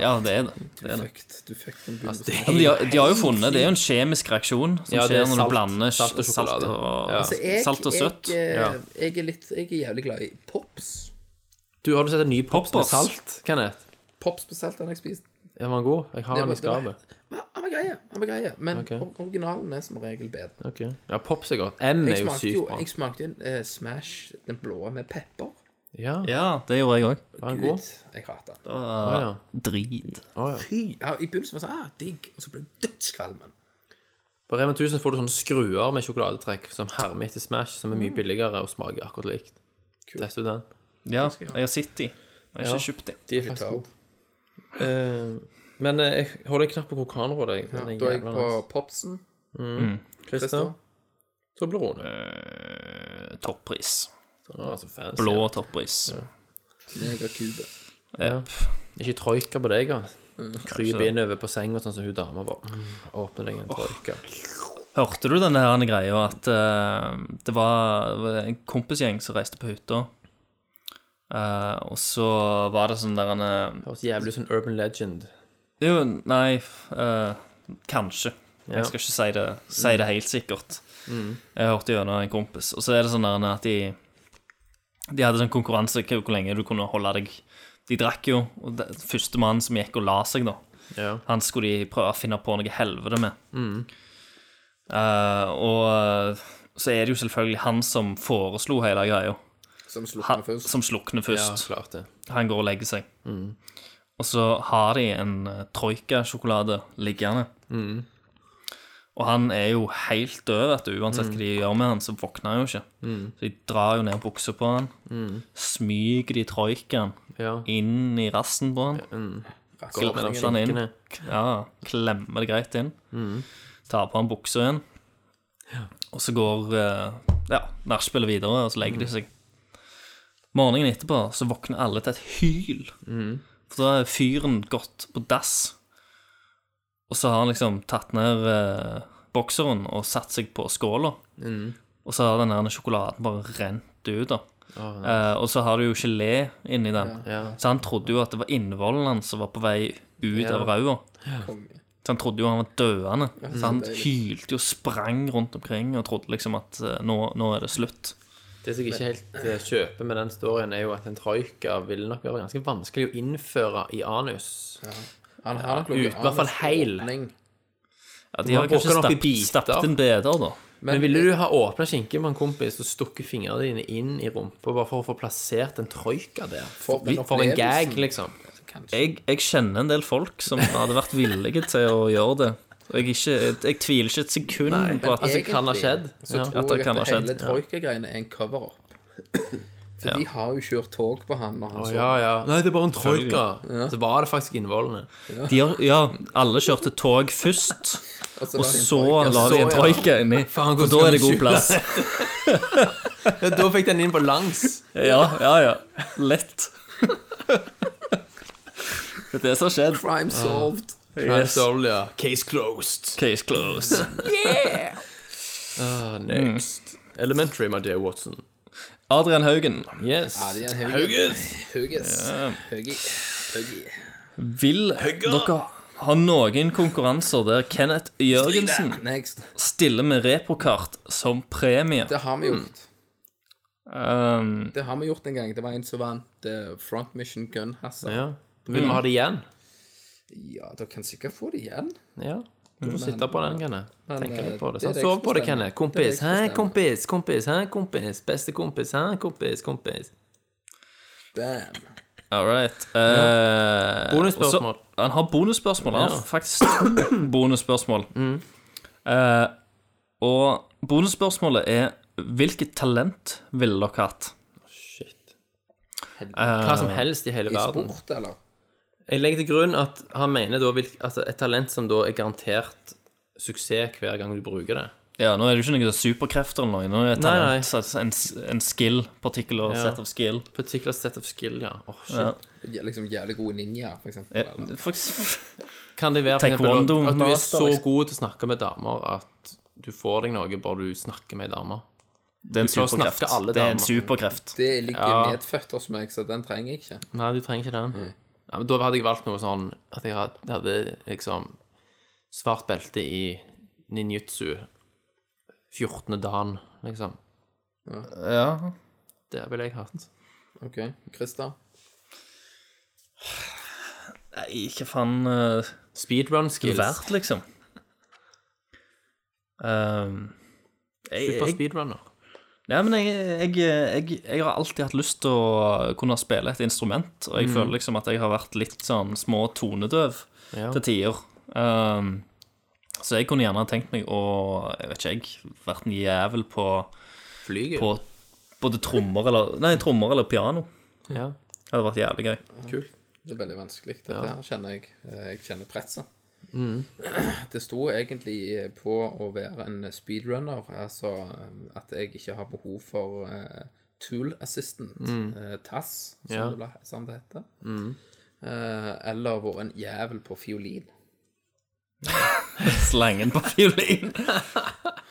Ja, det er det. det, er det.
Fucked. Du fikk den begynner
Altså, Det
å
Ja, men de, har, de har jo funnet Det er jo en kjemisk reaksjon som
Ja, det er
skjer når
salt-
du blander
salt og sjokolade.
og,
Ja.
Så jeg-
salt og søtt.
Jeg, eh,
Ja.
jeg er litt Jeg er jævlig glad i pops.
Du, har du sett en ny pops med
Poppers.
salt, Kenneth?
Pops på salt har jeg spist.
Den var god. Jeg har
Det
den
var-
i skapet.
Ja, Han var greie, han var greie. Men
Ok.
or- originalen er som regel bedre.
Ok. Ja, pops er godt. M er
Jeg
jo
smakte
sykt
jo,
bra.
jeg smakte en eh, Smash, den blå med pepper.
Ja,
Ja, det gjorde jeg òg.
var den
Gud,
god?
jeg hater den.
Å ja.
Drit.
Å, ja.
Fy, ja, I begynnelsen var det sånn ah, digg, og så ble jeg dødskvalmen.
På Rema 1000 får du sånne skruer med sjokoladetrekk som hermer etter Smash, som er
Mm.
mye billigere og smaker akkurat likt. Test ut den.
Ja, jeg har sett de. Jeg har ikke kjøpt de.
De er faktisk gode. Eh, men eh, jeg holder en knapp på kokanrådet. jeg.
Da
Den
er
er
jeg
jævla
på
nice.
popsen.
Christer. Toblerone.
Eh, Toppris.
Å, så fancy.
Blå toppris.
Megakube.
Ja.
Ikke troika på deg, altså. Kryper innover på senga sånn som hun dama var. Åpner deg en troika.
Hørte du den der greia at eh, det var en kompisgjeng som reiste på hytta, Eh, og så var det sånn der en eh,
Høres jævlig ut som en urban legend.
Jo, nei eh, Kanskje.
Ja.
Jeg skal ikke si det, si det helt sikkert. Jeg hørte gjennom en kompis, og så er det sånn der at de De hadde sånn konkurranse hvor hvor lenge du kunne holde deg De drakk jo, og det- første mann som gikk og la seg, da,
Ja.
han skulle de prøve å finne på noe helvete med. Eh, og så er det jo selvfølgelig han som foreslo hele greia.
Som
Han,
slukner først.
som slukner
Ja,
først.
klart det.
Han går og legger seg. Og så har de en eh, troika-sjokolade liggende. Og han er jo helt død, vet du. Uansett hva de gjør med han, så våkner han jo ikke. Så de drar jo ned buksa på han, smyger de troikaen
Ja.
inn i rassen på han.
Går mellom
Klemmer den inn.
skinkene.
Ja, klemmer det greit inn. Tar på han buksa igjen. Og så går eh, ja, nachspielet videre, og så legger de seg. Morgenen etterpå så våkner alle til et hyl. For da er fyren gått på dass. Og så har han liksom tatt ned eh, bokseren og satt seg på skåla. Og så har den der sjokoladen bare rent ut. da. Eh, og så har du jo gelé inni den. Så han trodde jo at det var innvollen hans som var på vei ut av rauda. Så han trodde jo han var døende. Så han hylte jo, sprang rundt omkring og trodde liksom at eh, nå, nå er det slutt.
Det som jeg ikke helt eh, kjøper med den storyen, er jo at en troika ville nok være ganske vanskelig å innføre i anus.
Han har nok
Ut, i hvert fall heil.
åpning.
Ja,
Du
De
må
har kanskje
bruke den opp i
stappet
biter.
stappet en bedre, da.
Men, ville du ha åpna skinke med en kompis og stukket fingrene dine inn i rumpa bare for å få plassert en troika der?
For-
Vi- for en gag, liksom.
Kanskje.
Jeg, jeg kjenner en del folk som hadde vært villige til å gjøre det. Og jeg, er ikke, jeg tviler ikke et sekund på at
altså, det kan ha skjedd.
Så
Ja.
At
tror
det
jeg
kan
at
ha
det
skjedd,
hele
ja.
troika-greiene er en cover-up. For de har jo kjørt tog på han når han
Å,
så
ja, ja. Nei, det er bare en troika. Så var det faktisk innvollene.
de har, Ja, alle kjørte tog først,
Og så,
og
var det en
så
troika.
la de
Så,
en
ja.
troika inni.
Faen,
For
hvordan
da
skal
er det
vi
god
skjule
plass.
Ja, da fikk den inn på langs.
Ja, ja, ja. Lett. Det er det som har skjedd. Ah.
Crime solved.
Yes.
Sol, ja. Case closed.
Case closed.
Ah, next. Elementary, my dear Watson.
Adrian Haugen.
Yes.
Ja, de er en Hauges. Hauges. Haugi. Haugi.
Vil dere ha noen konkurranser der Kenneth Jørgensen
Next.
stiller med reprokart som premie?
Det har vi
Mm.
gjort.
Um,
Det har vi gjort en gang. Det var en som vant eh, Front Mission Gun Hazard.
Ja. Vil vi ha det igjen?
Ja, dere kan sikkert få det igjen.
Ja. Du får sitte på den, Kenneth. Tenke
eh,
litt på det.
det
sant?
er det jeg
Sov på det,
bestemmer.
Kenneth.
Det er det
Kompis.
jeg
Hæ,
bestemmer.
kompis, kompis, hæ, kompis. Beste kompis, hæ, kompis, kompis.
Bam.
all right. Eh,
Bonusspørsmål.
og så- Han har bonusspørsmål. Han
Ja. Mm.
har faktisk to bonusspørsmål. Eh, og bonusspørsmålet er hvilket talent ville dere hatt?
Shit. Ah. Hva som helst i hele
I
verden.
sport, eller?
Jeg legger til grunn at han mener da vil- altså et talent som da er garantert suksess hver gang du bruker det.
Ja, Nå er det jo ikke noen superkrefter eller noe. Nå er det
Nei,
talent, så en, en skill. Particular
Ja.
set of skill.
Particular set of skill, ja. Åh, shit.
Ja.
Ja, Liksom jævlig gode ninja, for eksempel.
Ja,
eller?
for eks-
Kan det være for
Taekwondo
eksempel, at du er
master,
så
liksom.
god til å snakke med damer at du får deg noe bare du snakker med damer?
Det er en
klarer å snakke
superkreft.
alle
Det er
damer.
en superkreft.
Det ligger
Ja.
medfødt hos meg, så den trenger jeg ikke.
Nei, du trenger ikke den.
Mm.
Ja, men da hadde jeg valgt noe sånn at jeg hadde, hadde liksom svart belte i ninjutsu 14. dagen, liksom.
Ja.
Det ville jeg hatt.
Ok, Christer?
Nei, hva faen eh,
Speedrun
skulle
skills.
det vært, liksom? Ehm, jeg,
Super
jeg,
speedrunner.
nei, men jeg, jeg, jeg, jeg har alltid hatt lyst til å kunne spille et instrument, og jeg
Mm.
føler liksom at jeg har vært litt sånn små tonedøv
Ja.
til tider. Ehm, så jeg kunne gjerne tenkt meg å Jeg vet ikke, jeg. Vært en jævel på,
Flyger.
på både trommer eller Nei, trommer eller piano.
Ja.
Det hadde vært jævlig gøy.
Det er veldig vanskelig. Dette her kjenner jeg. Eh, Jeg kjenner presset.
Mm.
Det sto egentlig på å være en speedrunner, altså eh, at jeg ikke har behov for eh, tool assistant, eh, TAS,
Mm.
som,
Ja. Mm.
det, ble- som det heter. Eh, eller vært en jævel på fiolin.
Slangen på fiolin.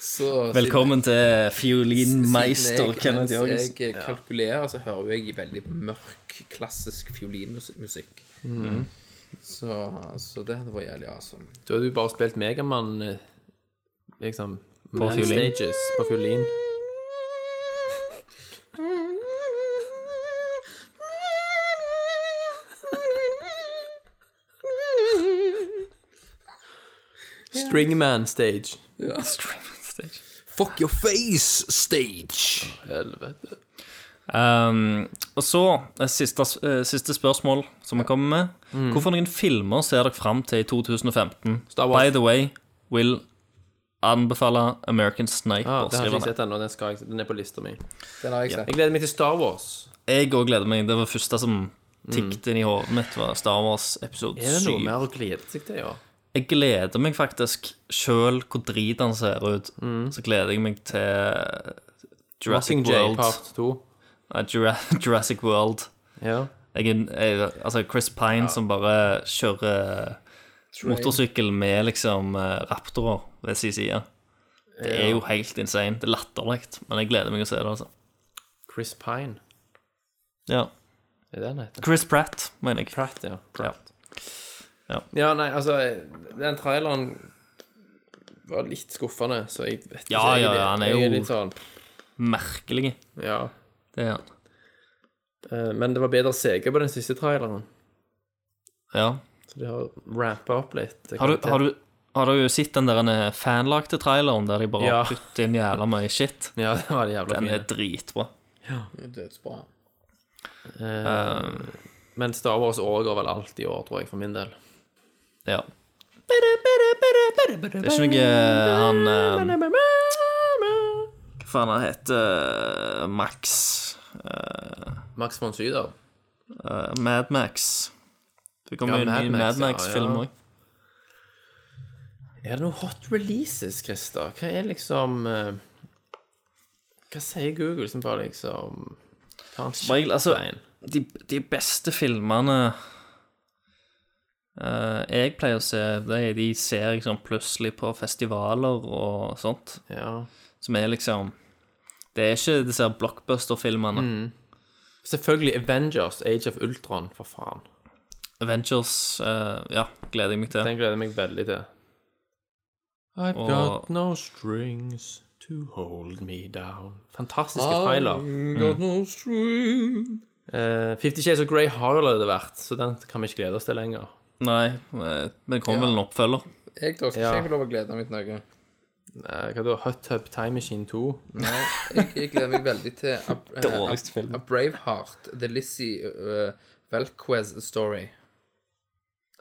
Så,
Velkommen til
Siden
fiolinmeister
jeg-
Kenneth Jørgensen.
Mens jeg kalkulerer, så hører jeg veldig mørk, klassisk fiolinmusikk. Så, så det hadde vært jævlig awesome.
Da har du bare spilt Megamann eh, liksom, på
fiolin.
Stages, på fiolin. Stringman stage.
Fuck your face stage!
Helvete.
Um, og så eh, siste, eh, siste spørsmål som vi kommer med. Hvorfor noen filmer ser dere fram til i 2015?
Mm. Star Wars.
By the way, will anbefale American
Ah,
Sniper.
den har ikke
skriver
jeg
han.
sett ennå. Den, skal jeg- den er på lista mi.
Den har jeg sett.
Jeg gleder meg til Star Wars.
jeg òg gleder meg. Det var første som tikket inn i hodet mitt, var Star Wars episode
Mm. Er det noe
7.
mer å glede seg til i år?
Jeg gleder meg faktisk sjøl hvor drit han ser ut. Så gleder jeg meg til Jurassic
Mm. Mockingjay
World.
Part 2.
Nei, Jura- Jurassic World.
Ja.
Jeg, er- jeg, altså Chris Pine som bare kjører motorsykkel med liksom eh, raptorer ved sin side. Det er jo helt insane. Det er latterlig, men jeg gleder meg å se det. altså
Chris Pine.
ja.
Er det den heter?
Chris Pratt, mener jeg.
Pratt, ja.
Pratt.
Ja, nei, altså Den traileren var litt skuffende, så jeg vet ikke
Ja,
jeg
ja, ja, han er
jeg
jo-
litt sånn,
Merkelig.
ja.
Det er han.
Eh, Men det var bedre CG på den siste traileren,
Ja.
så de har rampa opp litt.
Har du, har, du, har du sett den der eh, fanlagte traileren der de bare
Ja.
putter inn jævla mye shit?
Ja, det var det jævla
Den er
fint.
dritbra.
Dødsbra.
Eh,
Men Star Wars overgår vel alt i år, tror jeg, for min del.
Ja. Det er ikke noe han eh, Hva faen han heter? Max
Max von Sydow.
eh, Mad Max. Det kommer
Ja,
jo en ny Mad
Mad Max, ja,
Max-film
ja.
òg.
Er det noen hot releases, Christer? Hva er liksom eh, Hva sier Google som bare liksom tar en
Som regel, altså,
kjapp en?
de, de beste filmene eh, jeg pleier å se, de, de ser jeg sånn plutselig på festivaler og sånt.
ja.
Som er liksom Det er ikke disse her blockbuster-filmene.
Selvfølgelig Avengers, Age of Ultron, for faen.
Avengers eh, ja, gleder jeg meg til.
Den gleder jeg meg veldig til. I've
got
got no strings to hold me down. Fantastiske Mm. trailer. Eh, Fifty Shades of Grey har jo allerede vært, så den kan vi ikke glede oss til lenger.
Nei, eh, men det kommer vel en oppfølger.
Jeg da skal
Ja.
ikke jeg få lov å glede meg til noe.
Eh, hva da? Hot Tub Time Machine 2?
Nei, jeg, jeg gleder meg veldig til A, eh,
Dårligste film.
A Braveheart, The Lizzie eh, Velquez Story.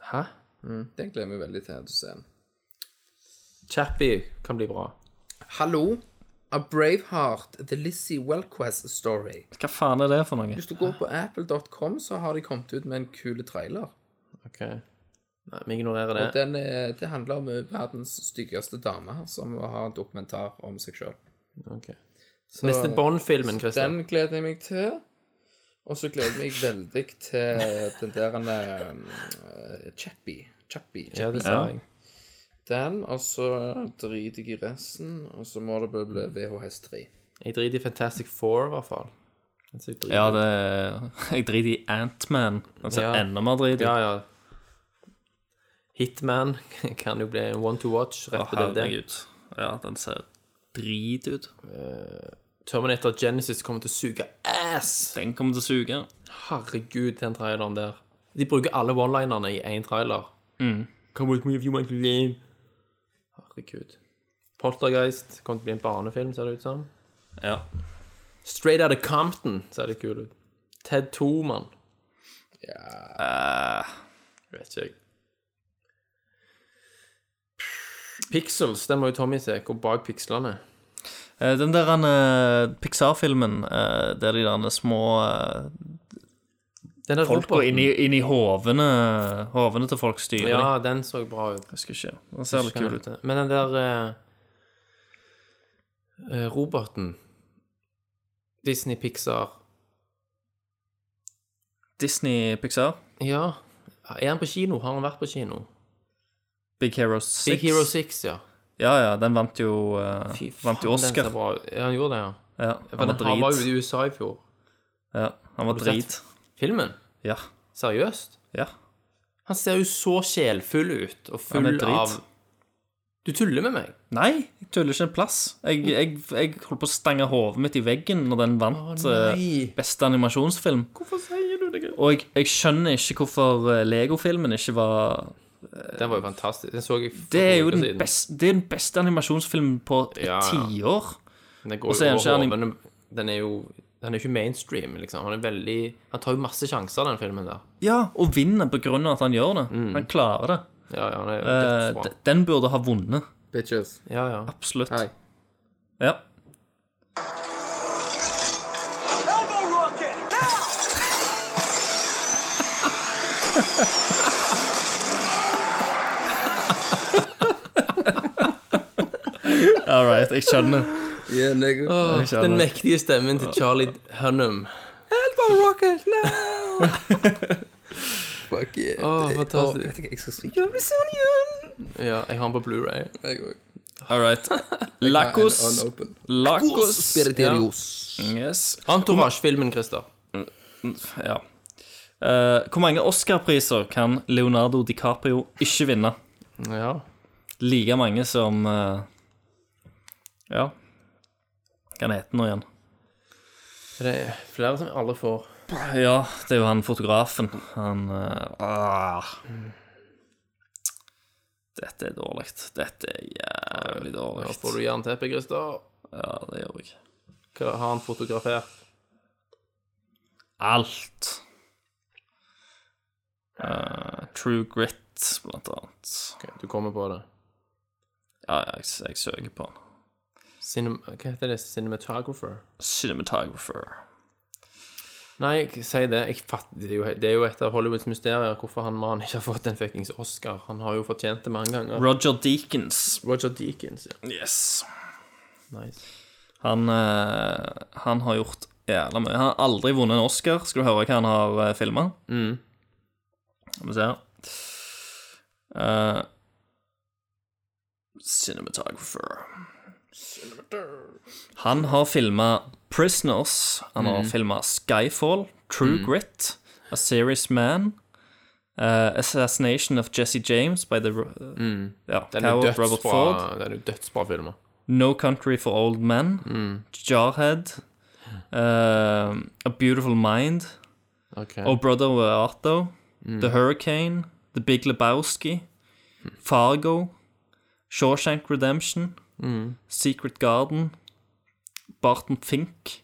Hæ?
Mm, Den gleder jeg meg veldig til å se.
Chappie kan bli bra.
Hallo? A Braveheart, The Lizzie Velquez Story.
Hva faen er det for noe?
Hvis du går på apple.com, så har de kommet ut med en kul trailer.
Ok. Nei, vi ignorerer
Og
det.
den, eh, det handler om eh, verdens styggeste dame som har en dokumentar om seg sjøl.
Ok. Neste Bond-filmen, Christian.
Den gleder jeg meg til. Og så gleder jeg meg veldig til den der eh, Chappie. Chappie.
Ja, det
Chappie.
sa jeg.
Den, og så driter jeg i resten, og så må det bare bli VHS3.
Jeg driter i Fantastic Four, i hvert fall. Den ser drit-
Ja, det Jeg driter i Antman. Den ser
Ja.
enda mer drit ut.
ja, ja. Hitman kan jo bli en one to watch rett
Å,
på DVD.
herregud. Ja, den ser drit ut.
Terminator Genesis kommer til å suge ass!
Den kommer til å suge.
Herregud, den traileren der. De bruker alle one-linerne i én trailer.
Mm.
Come with me if you want to live. Herregud. Poltergeist kommer til å bli en barnefilm, ser det ut som.
Ja.
Straight Outta Compton ser litt kul ut. Ted 2, mann.
Eh,
Ja Vet ikke jeg. Pixels, den må jo Tommy se. Hvor bak pikslene?
Eh, Den der eh, Pixar-filmen eh, der de der små eh,
Den der
Folk går inn i, inn i hovene, hovene til folk styrer.
Ja, den så bra ut.
Jeg husker ikke. Den ser litt kul ut.
Men den der eh, eh, roboten Disney Pixar
Disney Pixar.
Ja. Er han på kino? Har han vært på kino?
Big Hero 6.
Big Hero 6, ja.
Ja, ja, den vant jo, eh, vant jo
den ser
Oscar.
bra ut. Ja, han gjorde det, ja.
Ja,
Men
han var
han var jo i
drit.
USA i fjor.
Ja, han var
du sett-
drit.
Filmen?
Ja.
Seriøst?
ja.
Han ser jo så sjelfull ut, og
Han
full
er drit.
av Du tuller med meg?
Nei, jeg tuller ikke en plass. Jeg, jeg, jeg holdt på å stange hodet mitt i veggen når den vant
Å,
eh,
nei.
beste animasjonsfilm.
Hvorfor sier du det?
Og jeg, jeg skjønner ikke hvorfor eh, Lego-filmen ikke var
Den var jo fantastisk. Den så jeg for
Det er jo
noen uker
den
siden.
beste, det er den beste animasjonsfilmen på et
Ja, ja.
tiår.
Den
Og
går
så er
jo over
den ikke anim-
hodet, men den er jo den er jo ikke mainstream, liksom. Han er veldig Han tar jo masse sjanser, den filmen der.
Ja, og vinner på grunn av at han gjør det. Han klarer det.
Ja, ja, han er jo
Eh,
Mm. dødsbra.
de- den burde ha vunnet.
Bitches.
Ja, ja.
Absolutt.
Hei.
Ja. All right, jeg skjønner.
Yeah, nigga.
Jeg skjønner.
Den mektige stemmen til Charlie Hunnam.
Fuck yeah.
Å,
Det-
fantastisk.
Å, vet ikke, jeg skal skrike.
Ja, jeg har den på Blu-ray
Jeg òg.
All right. Lacos.
Unopen.
Lacos.
Spiriterios.
Yes. Ah,
Entourage-filmen, Christer.
Ja. Eh, hvor mange Oscar-priser kan Leonardo DiCaprio ikke vinne?
Ja.
Like mange som eh, Ja. Hva han heter han nå igjen?
Det er flere som jeg aldri får.
Ja, det er jo han fotografen. Han eh, ah. Dette er dårlig. Dette er jævlig
Da
dårlig.
får du jernteppe, Christer.
Ja, det gjør jeg.
Hva har han fotografert?
Alt. Eh, True Grit Light, blant annet.
Ok, Du kommer på det.
Ja, jeg, jeg søker på den.
Cinem Hva heter det? Cinematographer?
Cinematographer.
Nei, k- si det. Jeg fatter, det, er jo, he- det er jo et av Hollywoods mysterier hvorfor han mannen ikke har fått en fuckings Oscar. Han har jo fortjent det mange ganger.
Roger Deakins.
Roger Deakins, ja.
Yes.
Nice.
Han, eh, han har gjort jævla mye. Han har aldri vunnet en Oscar. Skal du høre hva han har uh, filma? Skal vi se her Eh, Cinematographer. Han har filma Prisoners. Han har filma Skyfall, True Grit, A Serious Man, eh, Assassination of Jesse James by the ja,
Den er
Coward Robert Ford.
dødsbra, den er jo dødsbra filmer.
No Country for Old Men,
Mm.
Jarhead, eh, A Beautiful Mind,
Ok.
Oh Brother Where Art Thou,
Mm.
The Hurricane, The Big Lebowski, Fargo, Shawshank Redemption,
Mm.
Secret Garden, Barton Fink.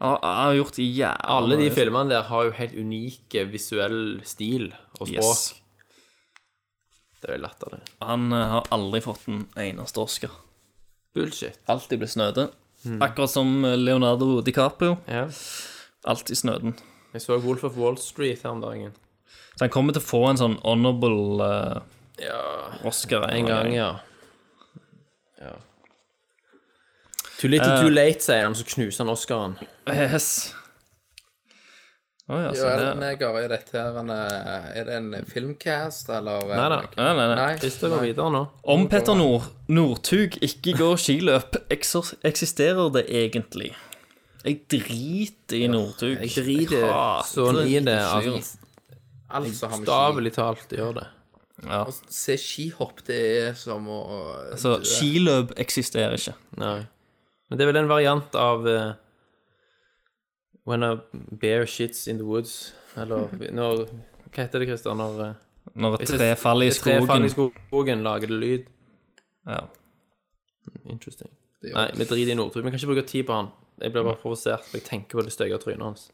Han har- han har gjort jævla
Alle de
mye.
filmene der har jo helt unike visuell stil og språk.
Yes.
Det er jo latterlig.
Han eh, har aldri fått en eneste Oscar.
Bullshit.
Alltid blitt snøde.
Mm.
Akkurat som eh, Leonardo DiCaprio.
Ja.
Alltid snøden.
Jeg så Wolf of Wall Street her om dagen.
Så han kommer til å få en sånn honorable eh, Oscar
En gang, ja. ja. Too little too late, sier han, så knuser han Oscaren.
Yes. Å ja, så
Jo, er,
det
det, nei, Gare, er, dette her en, eh, er det en filmcast, eller eh?
Nei da.
Nei, nei, nei.
Nei,
Christer går videre nå.
Om Petter Nord, Northug ikke går skiløp, eksos- eksisterer det egentlig? Jeg driter i Northug.
Jeg driter
hater
sånn i det at
fyren.
alt som altså, har med ski
stavelig talt gjør det.
Ja.
Se skihopp, det er som å
Så skiløp eksisterer ikke.
Nei. Men det er vel en variant av eh, When a bear shits in the woods, eller når Hva heter det, Christer? Når eh,
Når et tre faller i
et tre faller
skogen.
i skogen, lager det lyd?
Ja.
Interesting. Nei, vi driter i Nordtug. Vi kan ikke bruke tid på han. Jeg blir bare provosert. for Jeg tenker på det stygge trynet hans.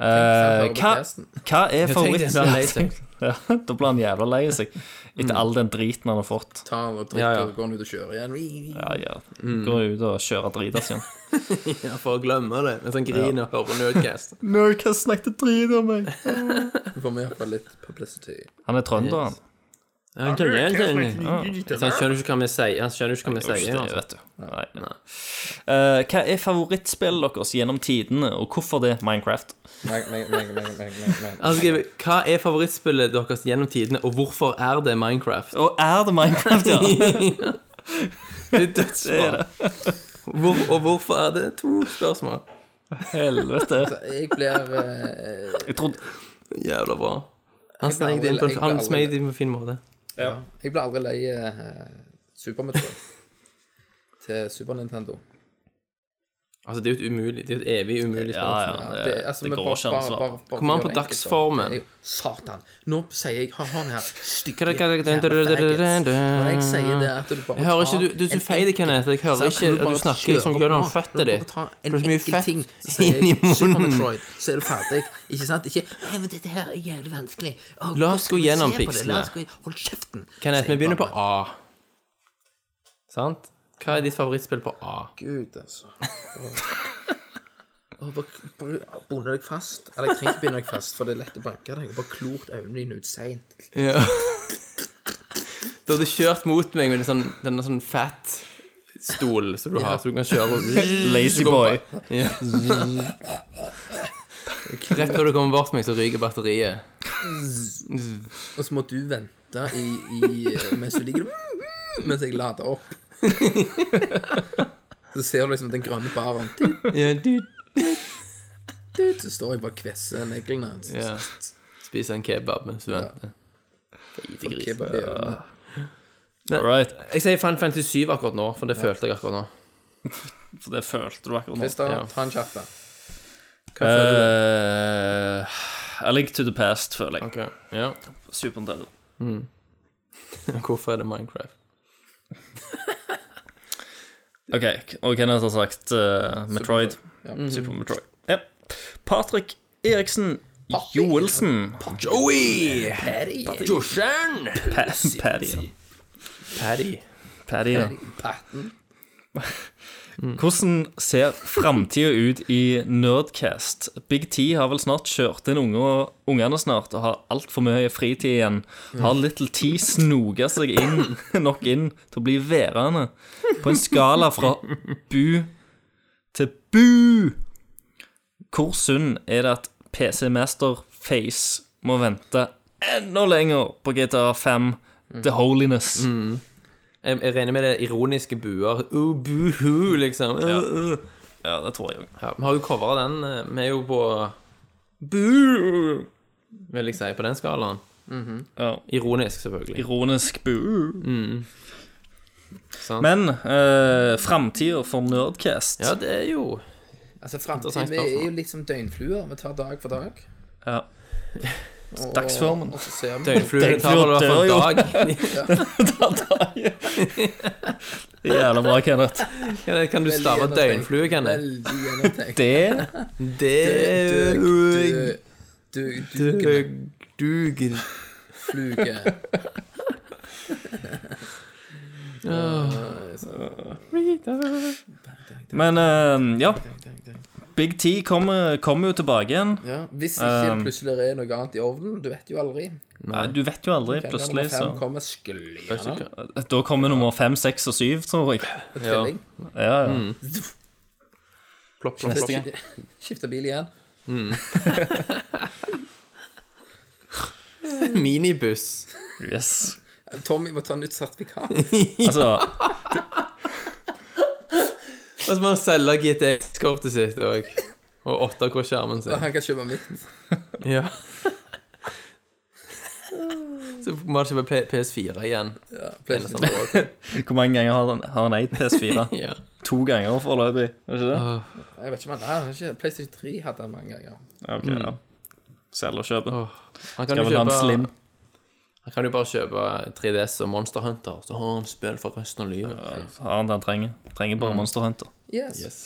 Eh,
Tenk,
hva,
sant,
hva er
tenk det, han er lei seg. Mm.
favoritten? Ja, da blir han jævla lei seg etter all den driten han har fått.
Ta den og drikker,
Ja, ja.
og går den ut og kjører igjen.
Ja, ja. Går ut og kjører drita si.
Ja, for å glemme det. Mens han griner og hører Nerdcast.
Norge snakket drit om meg.
Du får med iallfall litt publicity.
Han er trønder, han.
Han Altså, skjønner ikke hva vi sier. Han skjønner ikke hva vi
Uff, det
sier. altså.
vet du. Nei. Eh, hva er favorittspillet deres gjennom tidene, og hvorfor det? Minecraft.
Meg, meg, meg, meg, meg, meg, meg.
Han skriver Hva er favorittspillet deres gjennom tidene, og hvorfor er det Minecraft?
Og er det Minecraft, ja?
Det er dødsbra. Hvor, og hvorfor er det to spørsmål?
Helvete.
Jeg blir eh,
Jeg trodde
Jævla bra. Han smeg det inn på en, han smeg det inn på en fin måte.
Jeg ble aldri lei eh, Super Metroid til Super Nintendo.
Altså, det er jo et umulig Det er jo et evig umulig
Ja,
spørsmål.
ja. Det,
Det, altså,
det
vi
går
bare-
ikke an å
bare-
svare.
bare- bare
Kom an
gjør
på
enkelt, da.
dagsformen.
Jeg- Satan. Nå sier jeg ha han her.
Hva- hva-
Stygge
hva-
jævla faggots. Når jeg sier det at du bare
Jeg hører ikke,
tar
du, du er så
en
feil,
enkel-
Kenneth. Jeg hører
Sant?
ikke,
Når
og du
bare
snakker som
kjører
Gøran
på,
føtter
når du
ditt.
bare tar
Det
en
er så mye
enkel
fett
ting, så sier jeg,
inn i
Super
munnen.
Metroid, så er du ferdig. Ikke sant? Ikke Nei, men dette her er jævlig vanskelig. Å,
La oss gå
skal vi se
gjennom
på det? La oss
pikslene.
gå- Hold kjeften.
Kenneth, vi
sier jeg
begynner på
bare.
A. Sant? Hva er ditt favorittspill på A?
Gud, altså. Åh. Åh, bare bare bonde deg fast. Eller jeg trenger ikke binde deg fast, for det er lett å banke deg. Bare klort øynene dine ut seint.
Ja. Du hadde kjørt mot meg med en sånn, denne sånn fat stol som du har, så du kan kjøre og-
Lazy boy.
ja. Rett når du kommer bort til meg, så ryker batteriet.
Og så må du vente i, i, mens du ligger der mens jeg lader opp. Så ser du liksom den grønne baren. Tut,
Ja, du
tut, Så står jeg bare og kvesser neglene hans.
ja. Spiser en kebab mens du venter. Fitegris.
Kebab i øynene.
All right.
Jeg sier Fan Fantasy 7 akkurat nå, for det følte jeg akkurat nå.
For det følte du akkurat nå.
Christer, ta en kjapp, da.
Uh, A Link to the Past, føler jeg.
Ok, ja
Super Nintendo.
Hvorfor er det Minecraft?
Ok, og Kenneth har sagt eh, Metroid. Super Metroid. Ja. Patrick Mhm. Eriksen Joelsen.
Joey! Josjern!
Pa- Paddy. ja.
Paddy.
Paddy, ja. Hvordan ser framtida ut i Nerdcast? Big T har vel snart kjørt inn unge, ungene snart og har altfor mye fritid igjen. Har Little T snoga seg inn nok inn til å bli værende? På en skala fra bu til bu Hvor sunn er det at PC Master Face må vente enda lenger på GTA 5 The Holiness?
Mm. Jeg, jeg regner med det er ironiske buer. Uh, buhu, liksom. Uh, uh.
Ja, det tror jeg òg.
Ja, vi har jo covra den. eh, Vi er jo på Bu, vil jeg si, på den skalaen.
Ja.
Ironisk, selvfølgelig.
Ironisk bu.
Mm. Sant.
Men eh, framtida for Nerdcast
Ja, det er jo
Altså, fremtiden vi er jo litt som døgnfluer. Vi tar dag for dag.
Ja. Dagsformen.
Og så ser vi
Døgnfluen tar vel i hvert fall
dør jo.
dag.
Jævla bra, Kenneth.
Kan det- Kan du stave døgnflue, kan det?
veldig gjennomtenkt.
Det
Døg...
Døgnfluge.
Døg... Duger.
Men eh, ja. Big T kommer kommer jo tilbake igjen.
Ja, hvis ikke
Ehm.
plutselig er noe annet i ovnen, du vet jo aldri.
Nei, Du vet jo aldri,
Kjenner
plutselig,
nummer fem
så
kommer skliende.
Da kommer nummer fem, seks og syv, tror jeg.
Telling.
Ja, ja.
Plopp, plopp,
Neste gang.
plopp.
Skifte bil igjen.
Minibuss.
Yes.
Tommy må ta nytt sertifikat.
Altså,
Og så må han selge GTX-kortet sitt òg. Og 8K-skjermen sin.
Han kan kjøpe mitt.
Ja. Så må han kjøpe P- PS4 igjen.
Ja, PlayStation Pro.
hvor mange ganger har han, har han eid PS4?
Ja.
To ganger foreløpig, er det ikke det?
Jeg vet ikke om han har ikke PlayStation 3 hadde han mange ganger.
Ok, ja. Selg og kjøp.
Han kan
Skal
jo
vel ha en
kjøpe-
slim.
Han kan jo bare kjøpe 3DS og Monster Hunter, så har han spill for resten av livet.
Har han det han trenger. Trenger bare Monster Hunter.
Yes.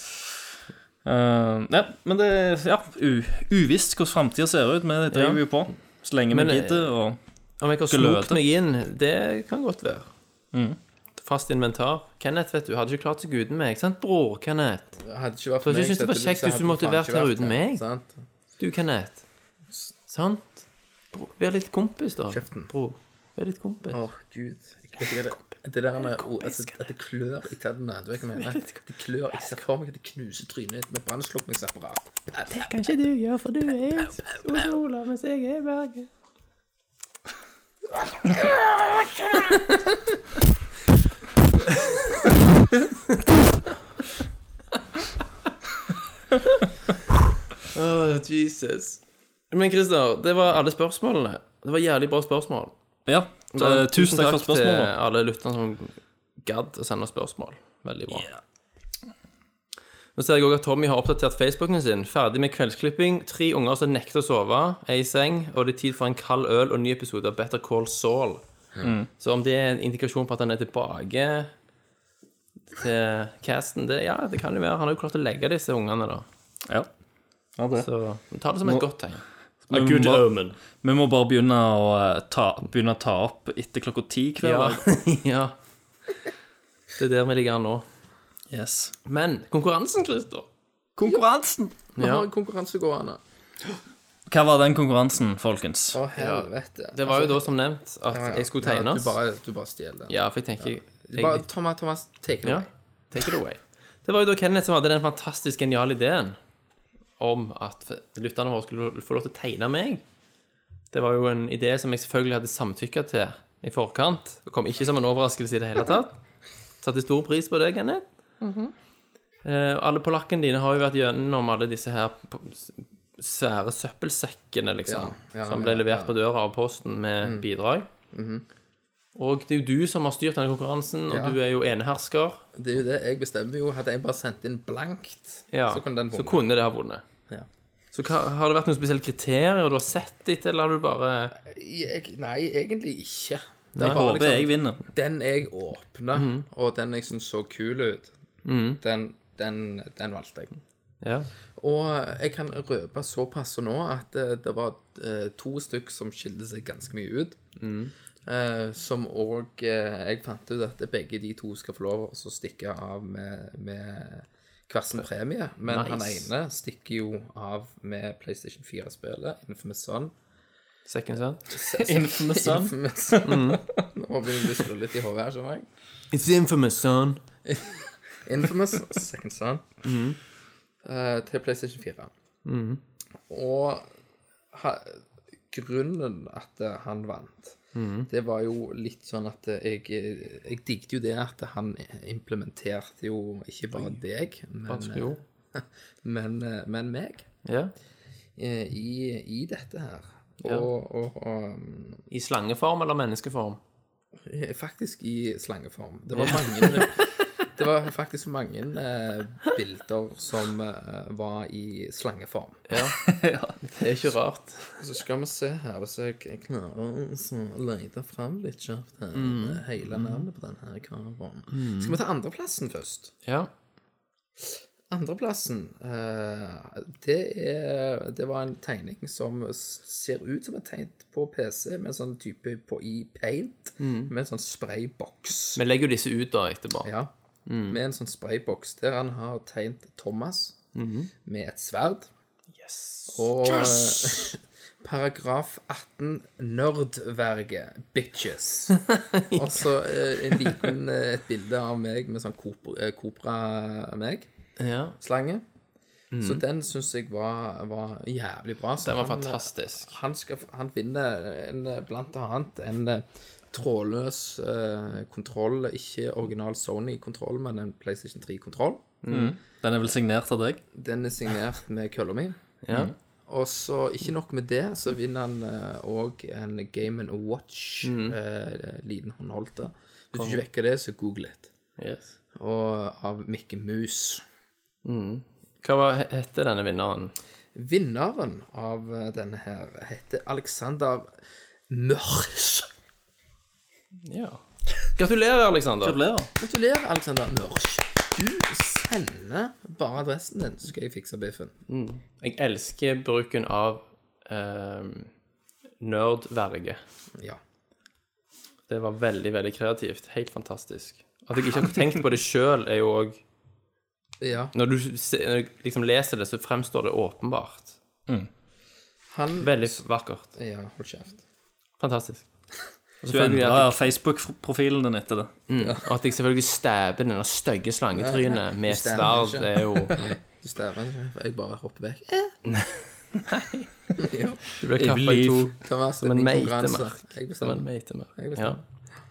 Eh, ja, men det er ja, u, uvisst hvordan framtida ser ut, men det driver vi jo på. Så lenge
Men,
vi gidder. Og,
Om jeg har
Gløte.
snokt meg inn, det kan godt være. Fast inventar. Kenneth, vet du, hadde ikke klart seg uten meg. Sant, bror? Kenneth?
Jeg Hadde ikke vært
Så jeg synes det var kjekt hvis du måtte vært her uten meg.
Sant?
Du, Kenneth. Sant? Bror, vær litt kompis, da.
Kjeften.
Bror, vær litt kompis.
Åh, gud. Jeg vet ikke hva Det det der med oh, altså, at det klør i tennene. Du vet hva jeg mener? Det klør. Jeg ser for meg at det knuser trynet ditt med brannslukningsapparat.
Kanskje du gjør, for du er Ola, mens jeg er Bergen. Jesus. Men Christer, det var alle spørsmålene. Det var jævlig bra spørsmål.
ja, så,
Så eh,
tusen takk for
til
spørsmålet.
alle lytterne som gadd å sende spørsmål. Veldig bra. Nå ser jeg også at Tommy har oppdatert Facebooken sin. Ferdig med kveldsklipping. Tre unger som nekter å sove. Ei seng. Og det er tid for en kald øl og ny episode av Better Call Saul.
Mm.
Så om det er en indikasjon på at han er tilbake til casten det, Ja, det kan jo være. Han har jo klart å legge disse ungene, da.
Ja. Ja, det.
Så ta det som et godt tegn.
A good
Mo-
omen.
Vi må bare begynne å eh, ta, begynne å ta opp etter klokka ti i kveld.
Ja.
da.
ja. Det er der vi ligger an nå.
Yes.
Men konkurransen, Christer
Konkurransen!
Vi
Ja.
har en konkurranse gående.
Hva var den konkurransen, folkens?
Å, helvete.
Det var jo
Altså,
da som nevnt at
ja, ja.
jeg skulle
Ja,
tegne oss.
Du bare, du bare stjeler den.
Ja, for jeg tenker
Du Bare,
jeg,
Thomas, Thomas, take it
Ja.
away.
Take it away. Det var jo da Kenneth som hadde den fantastisk geniale ideen om at lytterne våre skulle få lov til å tegne meg. Det var jo en idé som jeg selvfølgelig hadde samtykka til i forkant. Det kom ikke som en overraskelse i det hele tatt. Satte stor pris på det, Kenneth. Eh, alle polakkene dine har jo vært gjennom alle disse her p- s- svære søppelsekkene, liksom.
Ja, ja,
som ble
ja, Mm. Mm-hmm.
levert på døra av Posten med bidrag. Og det er jo du som har styrt denne konkurransen, og
Ja.
du er jo enehersker.
Det er jo det jeg bestemmer jo. Hadde jeg bare sendt inn blankt,
Ja,
så kunne den
så
vunnet.
kunne det ha vunnet.
Ja.
Så hva, har det vært noen spesielle kriterier du har sett etter, eller har du bare
Jeg- Nei, egentlig ikke. Det
Nei.
er bare
Håper jeg vinner.
den jeg åpna, og den jeg syntes så kul ut, den, den, den valgte jeg.
Ja.
Og jeg kan røpe såpass nå at eh, det var eh, to stykk som skilte seg ganske mye ut. Eh, som òg Jeg fant ut at begge de to skal få lov å stikke av med, med hver sin premie. Men han ene stikker jo av med PlayStation 4-spillet, Infamous Son.
Second son.
Infamous Son.
Infamous Son. Nå begynner det å slå litt i hodet her, skjønner jeg.
It's infamous, son.
Infamous Second Son eh, til PlayStation 4. Og ha, grunnen at eh, han vant, det var jo litt sånn at eh, jeg, jeg digget jo det at han implementerte jo ikke bare deg, men, eh, men, eh, men meg
Ja.
eh, i, i dette her. Og,
Ja.
og, og
I slangeform eller menneskeform?
Faktisk i slangeform. Det var mange Det var faktisk mange eh, bilder som eh, var i slangeform.
Det er ikke rart.
Så skal vi se her hvis jeg jeg klarer å så lete fram litt kjapt her, eh, hele navnet på denne karen. Skal vi ta andreplassen først?
Ja.
Andreplassen, eh, det, er, det var en tegning som s- ser ut som en tegn på PC, med sånn type på i paint, med en sånn sprayboks.
Vi legger jo disse ut da etterpå.
Ja. Med en sånn sprayboks der han har tegnet Thomas med et sverd. Og eh, paragraf 18 Nerdverge. Bitches. Og så eh, en liten, eh, et bilde av meg med sånn Copra-meg-slange.
Ja.
Så den syns jeg var, var jævlig bra. Så
Den var
han-
fantastisk.
han, skal, han vinner en, blant annet en eh, trådløs eh, kontroll, ikke original Sony-kontroll, men en PlayStation 3-kontroll.
Den er vel signert av deg?
Den er signert med kølla mi.
Ja.
Og så, ikke nok med det, så vinner han òg en Game and Watch, eh, liten håndholdte. Hvis du ikke vekker det, så google det.
Yes.
Og av Mikke Mus.
Hva var, heter denne vinneren?
Vinneren av eh, denne her heter Alexander Mørs.
Ja. Gratulerer, Alexander.
Gratulerer, Alexander Mørch. Du sender bare adressen din, så skal jeg fikse biffen.
Jeg elsker bruken av eh, nerdverge.
Ja.
Det var veldig, veldig kreativt. Helt fantastisk. At jeg ikke har tenkt på det sjøl, er jo òg
ja.
Når du se- når jeg liksom leser det, så fremstår det åpenbart.
Han
Veldig vakkert.
Ja, hold kjeft.
Fantastisk. Og
Du
selvfølgelig at,
endra Facebook-profilen din etter det.
Mm.
jeg- og at jeg selvfølgelig stabber denne stygge slangetrynet med
stemmer
sverd,
ikke.
det er jo
Du stæver. Jeg bare hopper vekk. Eh. Nei. jo.
Du blir kappa i to
Kan være
som en
konkurranse.
meitemark. Som
Jeg
en
bestemmer.
meitemark.
Jeg
Ja.
bestemmer.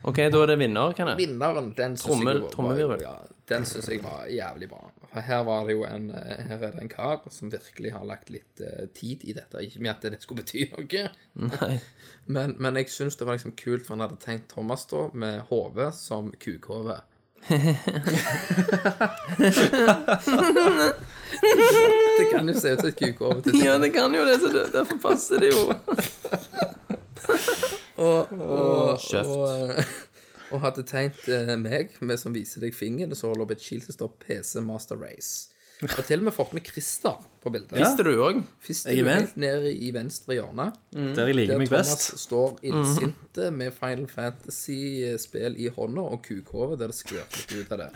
OK, da er det vinner, kan jeg?
Vinneren, den syns
Trommel-
jeg var-
trommevirvel.
Ja, den synes jeg var jævlig bra. For Her var det jo en eh, Her er det en kar som virkelig har lagt litt eh, tid i dette. Ikke med at det skulle bety noe.
Nei.
Men, men jeg syns det var liksom kult, for han hadde tenkt Thomas da med hodet som kukhode. det kan jo se ut som et kukhode. til tider.
Ja, det kan jo det, så det, derfor passer det jo. Kjeft.
Og, og hadde tegnet eh, meg, med som viser deg fingeren, og så holder opp et skilt som står PC Master Race. Og til og med fått med Christer på bildet.
Visste du òg?
Først
Jeg er med.
helt nede i venstre hjørne,
Der jeg liker
der
meg
Thomas
best.
står illsinte med Final Fantasy-spill i hånda og kukhove der det skvørter litt ut av det.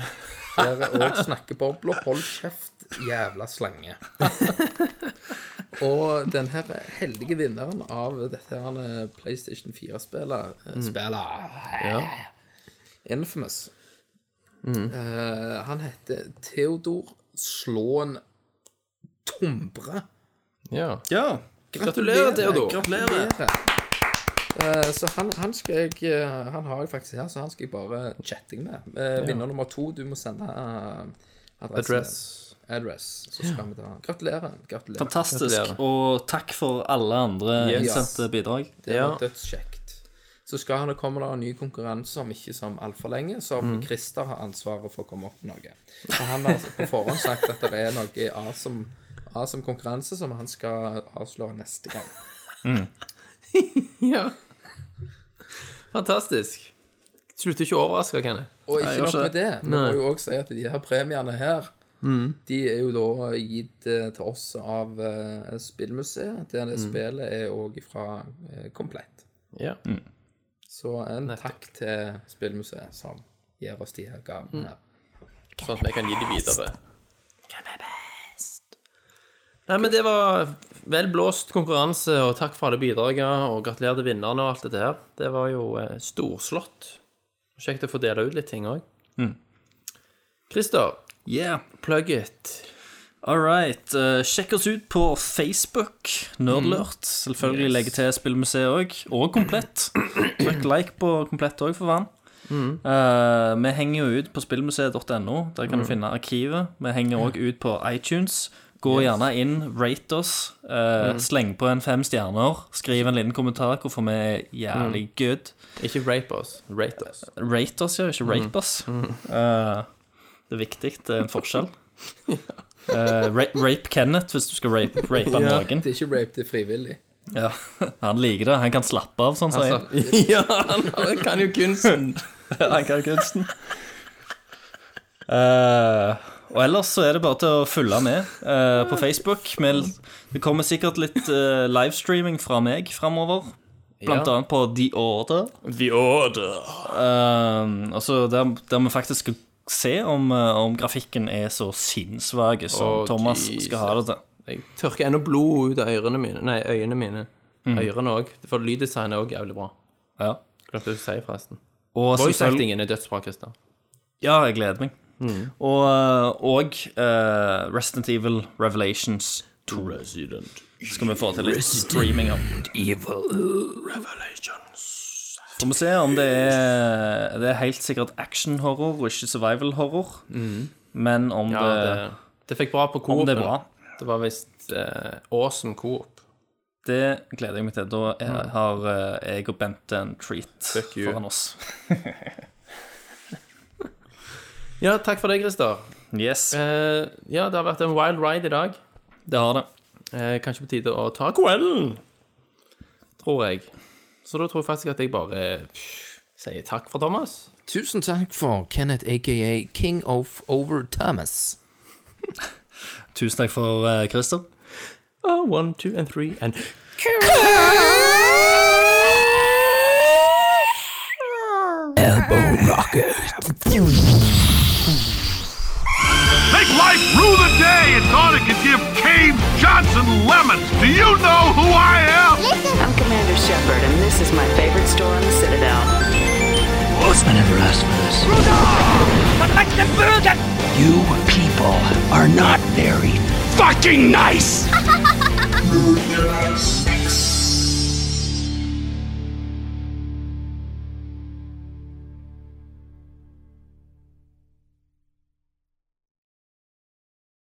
Der er òg snakkebobler. Hold kjeft, jævla slange. og den her heldige vinneren av dette her eh, PlayStation 4-spillet Spillet eh, Infamous. Eh, han heter Theodor Slåen Tombre.
Ja.
Ja.
Gratulerer, Theodor.
Gratulerer.
Eh, Så han, han skal jeg eh, Han har jeg faktisk her, så han skal jeg bare chatting med. Eh, Vinner nummer to, du må sende eh, adressen.
Address.
Address. Så skal vi ta Gratulerer. Gratulerer.
Fantastisk.
Gratulerer.
Og takk for alle andre
Yes.
innsendte bidrag.
Det var
Ja.
dødskjekt. Så skal han komme da en ny konkurranse om ikke som altfor lenge, som
Mm.
Christer har ansvaret for å komme opp med noe. For han har altså på forhånd sagt at det er noe awesome, awesome konkurranse som han skal avsløre neste gang.
Ja. Fantastisk. Slutter ikke å overraske, Kenneth.
Og ikke
gjør
nok
ikke
med det,
altså,
vi må
Nei. Mm.
jo òg si at de her premiene her
De er jo da gitt eh, til oss av eh, Spillmuseet, der det
Mm.
spillet er òg fra eh, Komplett.
Ja.
Så en takk til Spillmuseet, som gir oss de her gavene. her.
Sånn at vi kan gi de videre. Nei, men det var vel blåst konkurranse, og takk for alle bidragene, og gratulerer til vinnerne og alt dette her. Det var jo eh, storslått. Kjekt å få dele ut litt ting òg. Christer,
Yeah.
plug it.
All right. eh, sjekk oss ut på Facebook, Nerdlurt. Selvfølgelig legger til Spillmuseet òg. Og Komplett. Trykk like på Komplett òg, for faen. Eh, vi henger jo ut på spillmuseet.no. Der kan du finne arkivet. Vi henger òg ut på iTunes. Gå gjerne inn, rate oss. eh, Sleng på en fem stjerner. Skriv en liten kommentar hvorfor vi er jævlig good.
Ikke rape oss. Rate oss.
Rate oss, ja, ikke rape oss. Eh, det er viktig, det er en forskjell. Eh, ra rape Kenneth hvis du skal rape, rape han noen.
Det er ikke rape, det er frivillig.
Ja. Han liker det. Han kan slappe av, sånn som jeg.
ja, han kan jo kunsten.
Han kan kunsten. Eh, og ellers så er det bare til å følge med eh, på Facebook. Med, det kommer sikkert litt eh, livestreaming fra meg framover. Blant
Ja.
annet på The Order.
The order.
Eh, altså der, der vi faktisk skal se om, eh, om grafikken er så sinnssvak som
Å,
Thomas
Jesus.
skal ha det til.
Jeg tørker ennå blod ut av ørene mine. Nei, øynene mine. Ørene òg. For lyddesign er òg jævlig bra.
Ja.
Glemte å si, forresten.
Og selvfølgelig-
Voice-actingen er dødsbra, Christer.
Ja, jeg gleder meg. Og, og eh, Resident Evil Revelations 2 skal vi få til litt streaming av. Så må vi se om det er Det er helt sikkert action-horror og ikke survival-horror. Mm. Men om
Ja,
det,
det, det fikk bra på
om
coop.
det er bra,
Det var visst eh, awesome coop.
det gleder jeg meg til. Da er, har eh, jeg og Bente en treat
Fuck you.
foran oss.
Ja, takk for det, Christer.
Yes,
Eh, ja, det har vært en wild ride i dag.
det har det.
Eh, kanskje på tide å ta kvelden, tror jeg. Så da tror jeg faktisk at jeg bare eh, pff, sier takk for Thomas.
Tusen takk for Kenneth, aka King of Over Thomas.
Tusen takk for uh, Christer.
Oh, one, two, and three, and
Make life rue the day and thought it could give Cave Johnson lemons. Do you know who I am?
I'm Commander Shepard, and this is my favorite store on the Citadel.
Osman never asked for this. You people are not very fucking nice.